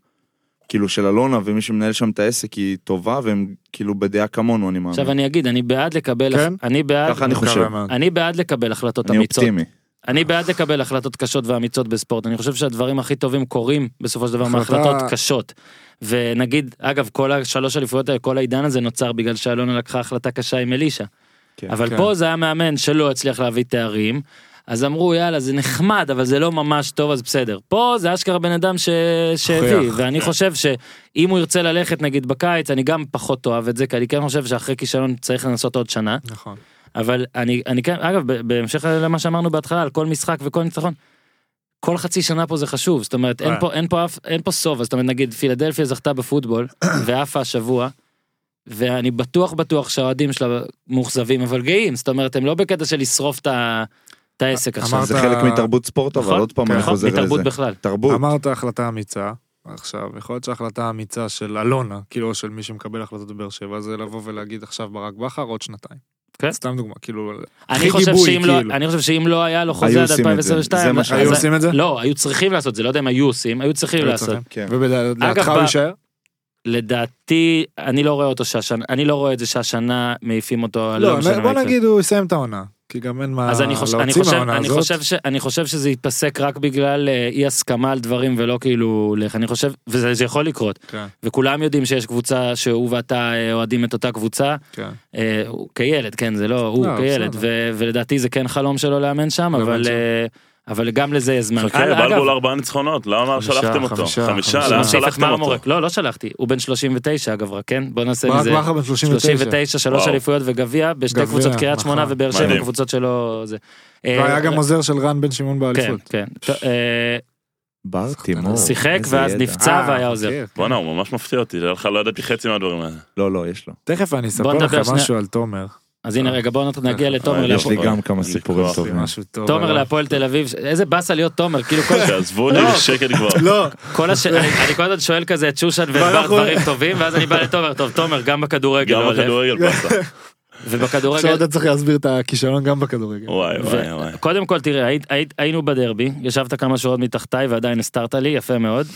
E: כאילו של אלונה ומי שמנהל שם את העסק היא טובה, והם כאילו בדעה כמונו, אני מאמין.
A: עכשיו אני אגיד אני בעד לקבל
C: כן?
A: אני בעד
E: ככה אני חושב,
C: מקווה מאוד.
A: אני בעד לקבל החלטות
E: אני
A: אמיצות
E: אופטימי.
A: אני בעד לקבל החלטות קשות ואמיצות בספורט, אני חושב שהדברים הכי טובים קורים בסופו של דבר
C: החלטה-
A: מהחלטות קשות. ונגיד, אגב, כל השלוש אליפויות האלה, כל העידן הזה נוצר בגלל שאלונה לקחה החלטה קשה עם אלישע.
E: כן,
A: אבל
C: כן.
A: פה זה היה מאמן שלא הצליח להביא תארים, אז אמרו יאללה זה נחמד אבל זה לא ממש טוב אז בסדר. פה זה אשכרה בן אדם ש... שהביא,
C: הוכיח.
A: ואני חושב שאם הוא ירצה ללכת נגיד בקיץ, אני גם פחות אוהב את זה, כי אני כן חושב שאחרי כישלון צריך לנסות עוד שנה.
C: נכון.
A: אבל אני, אני כן, אגב, ב- בהמשך למה שאמרנו בהתחלה על כל משחק וכל ניצחון, כל חצי שנה פה זה חשוב, זאת אומרת, אין
C: אה.
A: פה, אין פה אף, אין פה סוף, אז זאת אומרת, נגיד פילדלפיה זכתה בפוטבול, ועפה השבוע, ואני בטוח בטוח שהאוהדים שלה מאוכזבים, אבל גאים, זאת אומרת, הם לא בקטע של לשרוף את ה- את העסק עכשיו.
C: אמרת-
E: זה חלק מתרבות ספורט, אבל
A: נכון?
E: עוד פעם אני
A: נכון?
E: חוזר
A: מתרבות
E: לזה.
A: בכלל.
E: תרבות,
C: אמרת החלטה אמיצה, עכשיו, יכול להיות שההחלטה האמיצה של אלונה, כאילו, או של מי שמקבל החלטות בבאר שבע, זה לבוא ולהגיד עכשיו ברק בכר עוד שנתיים.
A: כן.
C: סתם דוגמה, כאילו,
A: אני
C: הכי
A: חושב,
C: גיבוי,
A: שאם לא,
C: כאילו.
A: אני חושב שאם לא היה לו חוזה
E: היו
A: עד
E: עושים את זה.
A: 2022,
E: זה מה
A: אז-
E: שהיו
C: היו
A: אז-
C: עושים את זה?
A: לא, היו צריכים לעשות, זה לא יודע אם היו עושים, היו צריכים
C: היו
A: לעשות.
C: צריכים.
E: כן.
C: ובדעתך
A: ב-
C: הוא יישאר?
A: לדעתי אני לא רואה אותו שהשנה אני לא רואה את זה שהשנה מעיפים אותו
C: לא,
A: משנה מה
C: בוא
A: יקרה.
C: נגיד הוא יסיים את העונה. כי גם אין מה
A: אז אני חושב, אני,
C: להוציא
A: חושב,
C: מהעונה
A: אני,
C: הזאת.
A: חושב ש, אני חושב שזה ייפסק רק בגלל אה, אי הסכמה על דברים ולא כאילו, לך, אני חושב, וזה זה יכול לקרות,
C: כן,
A: וכולם יודעים שיש קבוצה שהוא ואתה אה, אוהדים את אותה קבוצה,
C: כן.
A: אה, הוא כילד, כן, זה לא, הוא
C: לא,
A: כילד,
C: בסדר.
A: ו, ולדעתי זה כן חלום שלו לאמן שם,
C: לאמן
A: אבל,
C: שם.
A: אה, אבל גם לזה יש זמן.
B: חכה,
A: אה, אגב,
B: בלבול ארבעה ניצחונות, למה
C: חמישה,
B: שלחתם אותו?
C: חמישה,
B: חמישה,
C: חמישה.
B: לאן
A: נוסיף את
B: שלחתם אותו?
A: מרמורק. לא, לא שלחתי, הוא בן 39 אגב, רק כן? בוא נעשה
C: ברק
A: מזה.
C: בכר בן 39.
A: 39, שלוש
B: וואו.
A: אליפויות וגביע, בשתי
C: גביע,
A: קבוצות קריית שמונה
C: נכון.
A: ובאר שבע,
B: מדהים.
A: קבוצות שלא... זה.
C: והיה
A: אה,
C: גם עוזר של רן בן שמעון
A: כן,
C: באליפות.
A: כן. ט- אה,
E: בר
C: שחקן
E: תימור.
A: שיחק
E: איזה
A: ואז
E: ידע.
A: נפצע
C: אה,
A: והיה
C: מכיר,
A: עוזר.
C: כן.
B: בואנה, הוא ממש מפתיע אותי, נראה לך לא ידעתי חצי מהדברים האלה.
E: לא, לא, יש לו.
C: כן. תכף אני אספר
A: נדבר
C: לכם
A: שנייה.
C: משהו על תומר.
A: אז הנה רגע, בואו נגיע לתומר.
B: אה, יש
E: יש
A: להפועל-
E: לי
B: לו.
E: גם כמה
B: אין לי
E: סיפורים
B: כוח.
E: טובים.
C: משהו טוב.
A: תומר
C: עליו.
A: להפועל תל אביב, ש- איזה באסה להיות תומר, כאילו כל...
B: תעזבו אותי בשקט כבר.
C: לא,
A: כל הש... אני אני כל הזמן שואל כזה את שושן ובר
C: ואנחנו-
A: דברים טובים ואז אני בא לתומר טוב תומר גם בכדורגל
B: גם
A: לא הולך."
B: בכדורגל פסה.
C: עכשיו
A: ובכדורגל
C: אתה צריך להסביר את הכישלון גם בכדורגל.
B: וואי
A: ו-
B: וואי וואי.
A: קודם כל תראה היית, היית, היינו בדרבי ישבת כמה שורות מתחתיי ועדיין הסתרת לי יפה מאוד.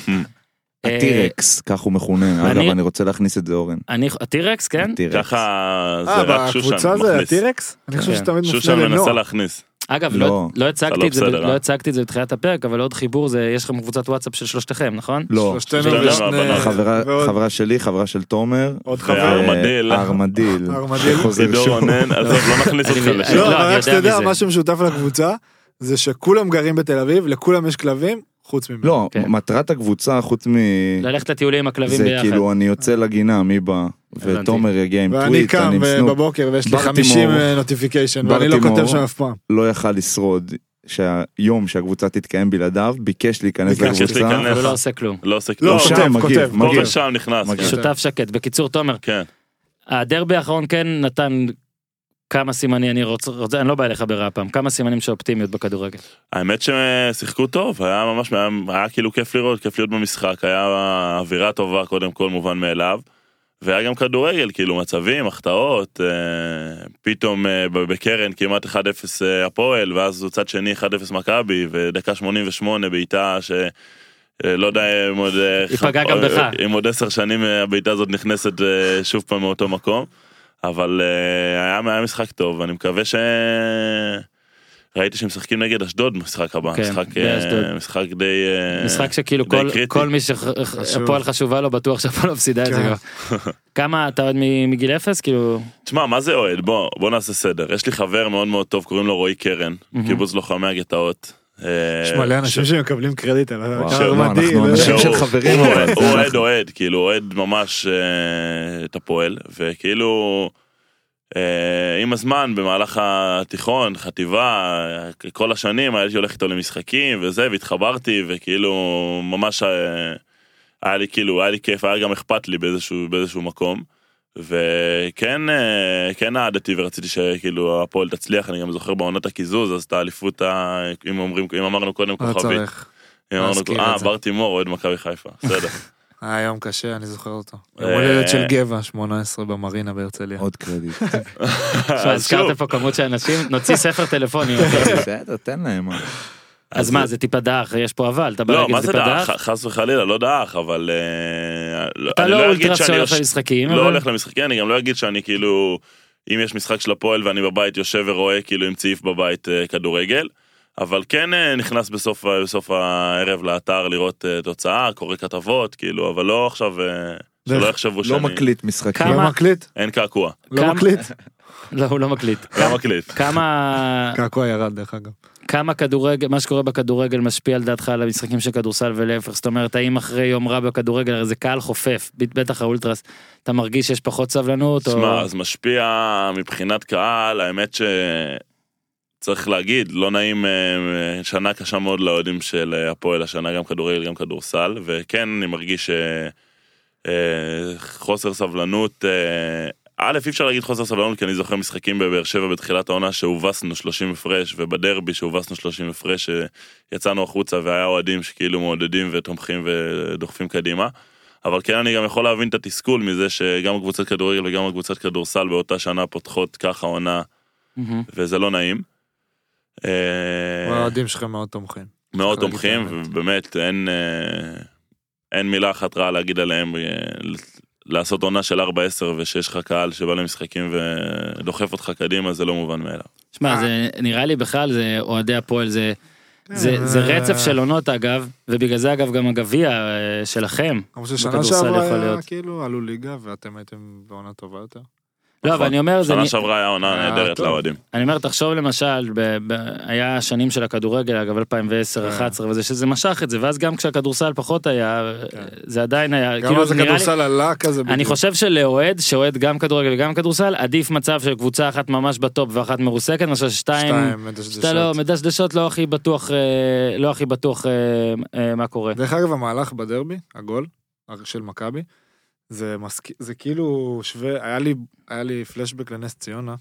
A: אה,
E: הטירקס, כך הוא מכונה.
A: אני-
E: אגב, אני רוצה להכניס את זה, אורן.
A: אני הטירקס כן
E: הטירקס.
B: ככה
C: אה,
B: זה רק שושן
C: בקבוצה זה
B: מכניס.
C: הטירקס? אני חושב
A: כן.
C: שתמיד
B: שושן
C: מופנה
B: מנסה
C: לנוער.
B: להכניס.
A: אגב
E: לא.
A: לא, לא
B: אתה
A: הצגתי
B: לא
A: את זה ב-
B: בסדר,
A: לא
B: אה?
A: הצגתי את זה בתחילת הפרק אבל עוד חיבור זה יש לכם קבוצת וואטסאפ של שלושתכם נכון?
E: לא.
C: שלושתנו
B: שלושתנו
C: ושני...
B: והבנות.
E: חברה-
C: ועוד-
E: חברה שלי, חברה של תומר.
C: עוד חבר.
B: והארמדיל.
E: ארמדיל.
C: ארמדיל.
E: שחוזר
B: עידו
E: שוב.
B: רונן, עזוב, לא נכניס
A: אני
B: אותך
A: מבין.
B: לשם.
A: לא,
C: לא,
A: אני
C: אבל רק
A: יודע
C: שתדע,
A: מזה.
C: מה שמשותף לקבוצה זה שכולם גרים בתל אביב, לכולם יש כלבים, חוץ ממנו.
E: לא,
A: כן.
E: מטרת הקבוצה, חוץ מ...
A: ללכת לטיולים עם הכלבים
E: לא. זה
A: ביחד.
E: כאילו, אני יוצא לגינה, מי בא?
A: הבנתי.
E: ותומר יגיע עם
C: ואני
E: טוויט, אני
C: קם
E: עם
C: אה,
E: סנופ.
C: בבוקר ויש לי
E: בר
C: 50
E: תימור.
C: נוטיפיקיישן,
E: בר
C: ואני לא
E: תימור.
C: כותב שם אף פעם.
E: לא יכל לשרוד שהיום שהקבוצה תתקיים בלעדיו, ביקש להיכנס
C: ביקש
E: לקבוצה.
B: להיכנס.
A: אבל הוא לא עושה כלום.
B: לא עושה
C: כן. לא,
B: כלום.
E: שם,
C: כותב,
E: מגיב,
C: כותב.
E: מגיב.
B: פה
E: מגיע.
B: ושם נכנס.
E: מגיע.
B: כן.
A: שותף שקט בקיצור תומר
B: כן.
A: הדרבי האחרון כן נתן כמה סימנים אני רוצה, רוצה אני לא בא אליך ברע פעם כמה סימנים של אופטימיות בכדורגל.
B: האמת ששיחקו טוב, היה ממש, היה, היה כאילו כיף לראות, כיף להיות במשחק, היה אווירה טובה קודם כל, מובן מאליו. והיה גם כדורגל, כאילו מצבים, החטאות, אה, פתאום אה, ב- בקרן כמעט 1-0 אה, הפועל, ואז צד שני 1-0 מכבי, ודקה 88 בעיטה ש... אה, לא יודע אם עוד... אה,
A: היא פגעה
B: ח-
A: גם בך.
B: אם עוד עשר שנים אה, הבעיטה הזאת נכנסת אה, שוב פעם מאותו מקום. אבל אה, היה, היה משחק טוב, ואני מקווה ש... ראיתי שהם משחקים נגד אשדוד במשחק הבא,
A: כן,
B: משחק, אה,
A: באשדוד.
B: משחק די... אה,
A: משחק שכאילו
B: די
A: כל,
B: קריטי.
A: כל מי
C: חשוב.
A: שהפועל חשובה לו בטוח שהפועל מפסידה את זה
C: כן.
A: גם. כמה אתה עוד מ- מגיל אפס כאילו
B: תשמע, מה זה אוהד? בוא, בוא נעשה סדר. יש לי חבר מאוד מאוד טוב, קוראים לו רועי קרן,
A: מהמם.
B: קיבוץ לוחמי הגטאות. אה,
C: יש מלא
B: ש-
C: אנשים שמקבלים קרדיט על
E: וואו,
C: הקר
E: לא,
C: מדהים,
E: אנחנו
C: לא יודע.
E: אנשים
B: שהוא-
E: של חברים,
B: הוא
E: אבל
B: אוהד-
E: זה
B: הוא אוהד
E: אנחנו.
B: אוהד, כאילו, אוהד ממש אה, את הפועל, וכאילו, אה, עם הזמן, במהלך התיכון, חטיבה, אה, כל השנים, הייתי הולך איתו למשחקים וזה, והתחברתי, וכאילו, ממש אה, היה לי כאילו, היה לי כיף, היה גם אכפת לי באיזשהו, באיזשהו מקום. וכן אה, כן אהדתי ורציתי שכאילו הפועל תצליח, אני גם זוכר בעונת הקיזוז, אז את האליפות, ה- אם, אומרים, אם אמרנו קודם
C: לא
B: כוכבית,
C: צריך.
B: אם אמרנו,
C: להזכיר
B: אה,
C: את זה.
B: בר תימור אוהד מכבי חיפה, בסדר.
C: היה אה, יום קשה, אני זוכר אותו.
B: אה,
C: יום הולדת של גבע, 18 במרינה בהרצליה.
E: עוד קרדיט.
B: אז שוב,
A: הזכרת פה כמות של אנשים נוציא ספר טלפונים. אוקיי.
E: בסדר, תן להם. מה.
A: אז מה זה טיפה דאח יש פה אבל אתה בא
B: לא,
A: להגיד
B: מה
A: זה
B: זה
A: טיפה
B: דאח?
A: דאח.
B: ח- חס וחלילה, לא דאח, אבל... אה,
A: אתה
B: אני
A: לא
B: אגיד
A: אולטרס
B: שאני
A: שהולך
B: יוש-
A: למשחקים
B: לא
A: אבל
B: הולך למשחקים, אני גם לא אגיד שאני כאילו, אם יש משחק של הפועל ואני בבית יושב ורואה כאילו עם צעיף בבית אה, כדורגל, אבל כן אה, נכנס בסוף, ה- בסוף הערב לאתר לראות אה, תוצאה, קורא כתבות, כאילו, אבל לא עכשיו, אה, שלא
C: דרך-
B: יחשבו
E: לא
B: שאני...
E: מקליט משחקים.
A: כמה-
C: לא מקליט?
B: אין קעקוע,
C: לא
A: כמה-
C: מקליט?
A: לא הוא לא מקליט.
B: לא מקליט.
A: כמה
C: קעקוע ירד דרך אגב.
A: כמה כדורגל מה שקורה בכדורגל משפיע על דעתך על המשחקים של כדורסל ולהפך זאת אומרת האם אחרי יום רע בכדורגל הרי זה קהל חופף בטח האולטרס אתה מרגיש שיש פחות סבלנות או
B: תשמע, אז משפיע מבחינת קהל, האמת שצריך להגיד, לא נעים, אה, שנה קשה מאוד לאוהדים של אה, הפועל השנה, גם כדורגל, גם כדורסל, וכן, אני מרגיש אה, אה, חוסר סבלנות. אה, א', אי אפשר להגיד חוסר סבלנות, כי אני זוכר משחקים בבאר שבע בתחילת העונה שהובסנו 30 הפרש, ובדרבי שהובסנו 30 הפרש, אה, יצאנו החוצה והיה אוהדים שכאילו מעודדים ותומכים ודוחפים קדימה. אבל כן אני גם יכול להבין את התסכול מזה שגם קבוצת כדורגל וגם קבוצת כדורסל באותה שנה פותחות ככה עונה,
A: מהמם.
B: וזה לא נעים. אה,
C: האוהדים שלכם מאוד תומכים.
B: מאוד
C: צריך להגיד
B: תומכים,
C: את האמת.
B: ובאמת אין, אה, אין מילה אחת רעה להגיד עליהם. אה, לעשות עונה של 4-10 ושיש לך קהל שבא למשחקים ודוחף אותך קדימה זה לא מובן מאליו.
A: שמע, זה נראה לי בכלל, זה אוהדי הפועל, זה...
C: כן,
A: זה,
C: אה,
A: זה רצף של עונות אגב, ובגלל זה אגב גם הגביע אה, שלכם.
C: כמו ששנה
A: בכדורסל
C: שעברה
A: יכול
C: היה
A: להיות.
C: כאילו, עלו ליגה ואתם הייתם בעונה טובה יותר.
B: נכון.
A: לא, אבל אני אומר, זה,
B: שנה שעברה היה עונה
C: אה,
B: נהדרת
C: טוב.
B: לאוהדים.
A: אני אומר, תחשוב למשל, ב, ב, היה השנים של הכדורגל, אגב 2010, 2011, וזה שזה משך את זה, ואז גם כשהכדורסל פחות היה,
C: כן.
A: כאילו, זה עדיין היה,
C: גם אז
A: נראה לי-
C: הכדורסל עלה כזה.
A: אני
C: בדיוק.
A: חושב שלאוהד, שאוהד גם כדורגל וגם כדורסל, עדיף מצב של קבוצה אחת ממש בטופ ואחת מרוסקת, מאשר שתיים,
C: שתיים, מדשדשות.
A: שאתה לא, מדשדשות לא הכי בטוח, אה, לא הכי בטוח אה, אה, מה קורה.
C: דרך אגב, המהלך בדרבי, הגול של מכבי, זה, מסק... זה כאילו שווה, היה לי, היה לי פלשבק לנס ציונה,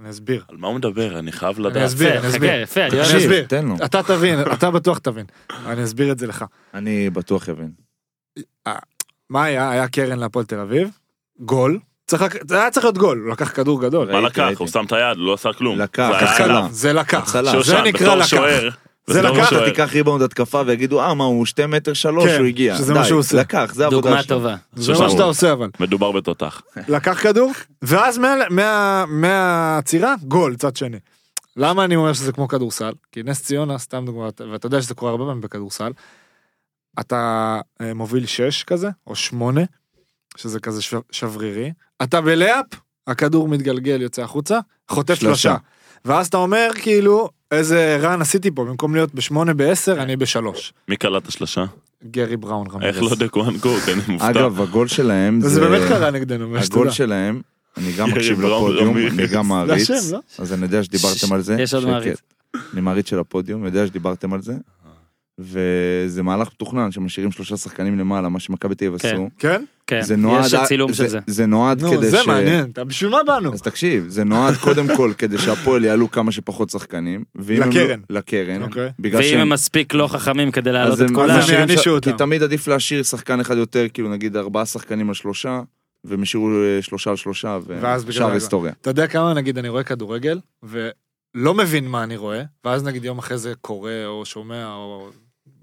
C: אני אסביר.
B: על מה הוא מדבר? אני חייב
C: אני
B: לדעת.
C: אסביר,
A: יפה,
C: אני
A: חכה,
C: אסביר.
A: יפה, אני
C: תקשיב.
A: אסביר.
C: אסביר.
E: תן לו.
C: אתה תבין, אתה בטוח תבין, אני אסביר את זה לך.
E: אני בטוח יבין.
C: מה היה? היה קרן להפועל תל אביב, גול, צריך, לק- זה היה צריך להיות גול, הוא לקח כדור
B: מה
C: גדול.
E: ראיתי,
B: לקח?
E: ראיתי.
B: הוא שם את היד, לא עשה כלום.
E: לקח,
B: זה היה
E: הצלה.
B: עליו.
C: לקח, זה לקח,
E: הצלה.
C: זה
B: שושן,
C: נקרא
B: בתור
C: לקח.
B: שוער.
C: זה
B: בתור
C: לקח, אתה
B: שוער.
E: תיקח ריבאונד התקפה ויגידו, אה, מה, הוא שתי מטר שלוש,
C: כן,
E: הוא הגיע.
C: שזה מה
E: די,
C: שהוא עושה.
E: לקח, זה העבודה
A: דוגמה
E: שלו.
A: טובה.
C: זה
B: שושן.
C: מה שאתה עושה אבל.
B: מדובר בתותח.
C: לקח כדור, ואז מה- מה- מהעצירה, גול, צד שני. למה אני אומר שזה כמו כדורסל? כי נס ציונה, סתם דוגמא, ואתה יודע שזה קורה הרבה פעמים בכדורסל, אתה אה, מוביל 6 כזה, או 8, שזה כזה שו- שברירי, אתה בלאפ, הכדור מתגלגל, יוצא החוצה, חוטף
E: שלושה.
C: שלושה. ואז אתה אומר, כאילו, איזה רן עשיתי פה, במקום להיות בשמונה, בעשר, אני בשלוש.
B: מי קלע את השלשה?
C: גרי בראון רמז.
B: איך לא דקואן קוק? אני מופתע.
E: אגב, הגול שלהם זה...
C: זה באמת קרה נגדנו, מה
E: הגול
C: שתדע.
E: שלהם, אני גם
B: ירי
E: מקשיב
B: בראון
E: לפודיום,
B: רמירez.
E: אני
C: זה
E: גם מעריץ.
C: השם, לא?
E: אז אני יודע שדיברתם על זה.
A: יש עוד
E: שקט.
A: מעריץ.
E: אני מעריץ של הפודיום, יודע שדיברתם על זה. וזה מהלך מתוכנן שמשאירים שלושה שחקנים למעלה, מה שמכבי תל אביב
A: כן.
E: עשו.
C: כן?
A: כן,
E: זה נועד...
A: יש הצילום של זה.
E: זה נועד
C: נו,
E: כדי ש...
C: זה מעניין, אתה- בשביל מה באנו?
E: אז תקשיב, זה נועד קודם כל כדי שהפועל יעלו כמה שפחות שחקנים. ואם הם לא-
C: לקרן.
E: לקרן.
C: אוקיי.
E: בגלל
A: ואם
E: שהם-
A: הם מספיק לא חכמים כדי להעלות
E: אז
A: את
E: הם-
A: כולם,
E: אז הם
C: יענישו
E: משאירים ש-
C: אותם.
A: כן.
E: כי תמיד עדיף להשאיר שחקן אחד יותר, כאילו נגיד ארבעה שחקנים על שלושה, והם השאירו אה, שלושה על שלושה,
C: ואז בגלל
E: ושאר
C: זה-
E: היסטוריה.
C: אתה יודע כמה נגיד אני רואה כדורגל ולא מבין מה אני רואה ואז נגיד יום אחרי זה קורא או שומע או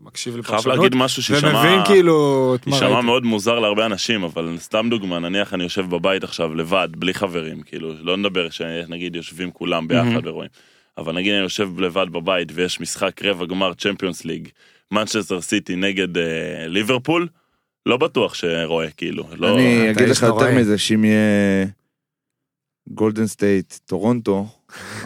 C: מקשיב
B: חייב
C: לפרשנות
B: להגיד משהו שיישמע...
C: ומבין כאילו את מה
B: יישמע
C: ראיתי.
B: מאוד מוזר להרבה אנשים, אבל סתם דוגמה, נניח אני יושב בבית עכשיו לבד, בלי חברים, כאילו, לא נדבר שנגיד יושבים כולם ביחד
A: מהמם.
B: ורואים. אבל נגיד אני יושב לבד בבית ויש משחק רבע גמר צ'מפיונס ליג, מנצ'סטר סיטי נגד אה, ליברפול, לא בטוח שרואה, כאילו. לא,
E: אני אגיד
C: איש
E: לך יותר
C: נוראי.
E: מזה, שאם יהיה גולדן סטייט טורונטו,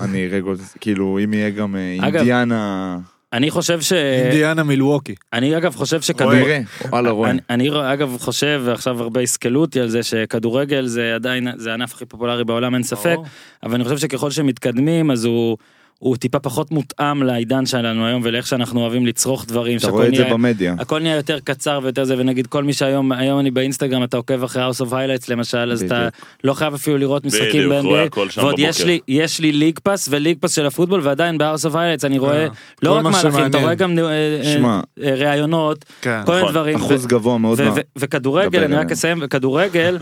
E: אני אראה גולדן סטייט, כאילו אם יהיה גם אה,
A: אגב,
E: אינדיאנה,
A: אני חושב ש...
C: אה, אינדיאנה מילווקי.
A: אני אגב חושב
E: רואה,
A: שכדור...
E: יראה, וואלה רואה.
A: אני- אני אגב חושב, ועכשיו הרבה יסכלו אותי על זה, שכדורגל זה עדיין, זה הענף הכי פופולרי בעולם, אין ספק,
C: ברור.
A: אבל אני חושב שככל שמתקדמים, אז הוא... הוא טיפה פחות מותאם לעידן שלנו היום ולאיך שאנחנו אוהבים לצרוך דברים.
E: אתה
A: שהכל
E: רואה את זה
A: נהיה-
E: במדיה.
A: הכל נהיה יותר קצר ויותר זה ונגיד כל מי שהיום היום אני באינסטגרם אתה עוקב אחרי House of Highlights למשל אז אתה
E: בדיוק.
A: לא חייב אפילו לראות משחקים
B: בדיוק, רואה
A: ב-NBA
B: הכל שם
A: ועוד
B: בבוקר.
A: יש לי יש לי ליג פאס וליג פאס של הפוטבול ועדיין ב-House of Highlights אני רואה
C: אה,
A: לא
C: כל
A: רק
C: מה
A: מהלכים אתה
C: שמעניין.
A: רואה גם אה, אה,
E: שמע.
A: אה, ראיונות
C: כן.
A: כל מיני
B: נכון,
A: דברים
E: אחוז גבוה מאוד.
A: ו-
E: מה-
A: ו- וכדורגל
E: דבר
A: אני רק
E: אליהם.
A: אסיים וכדורגל.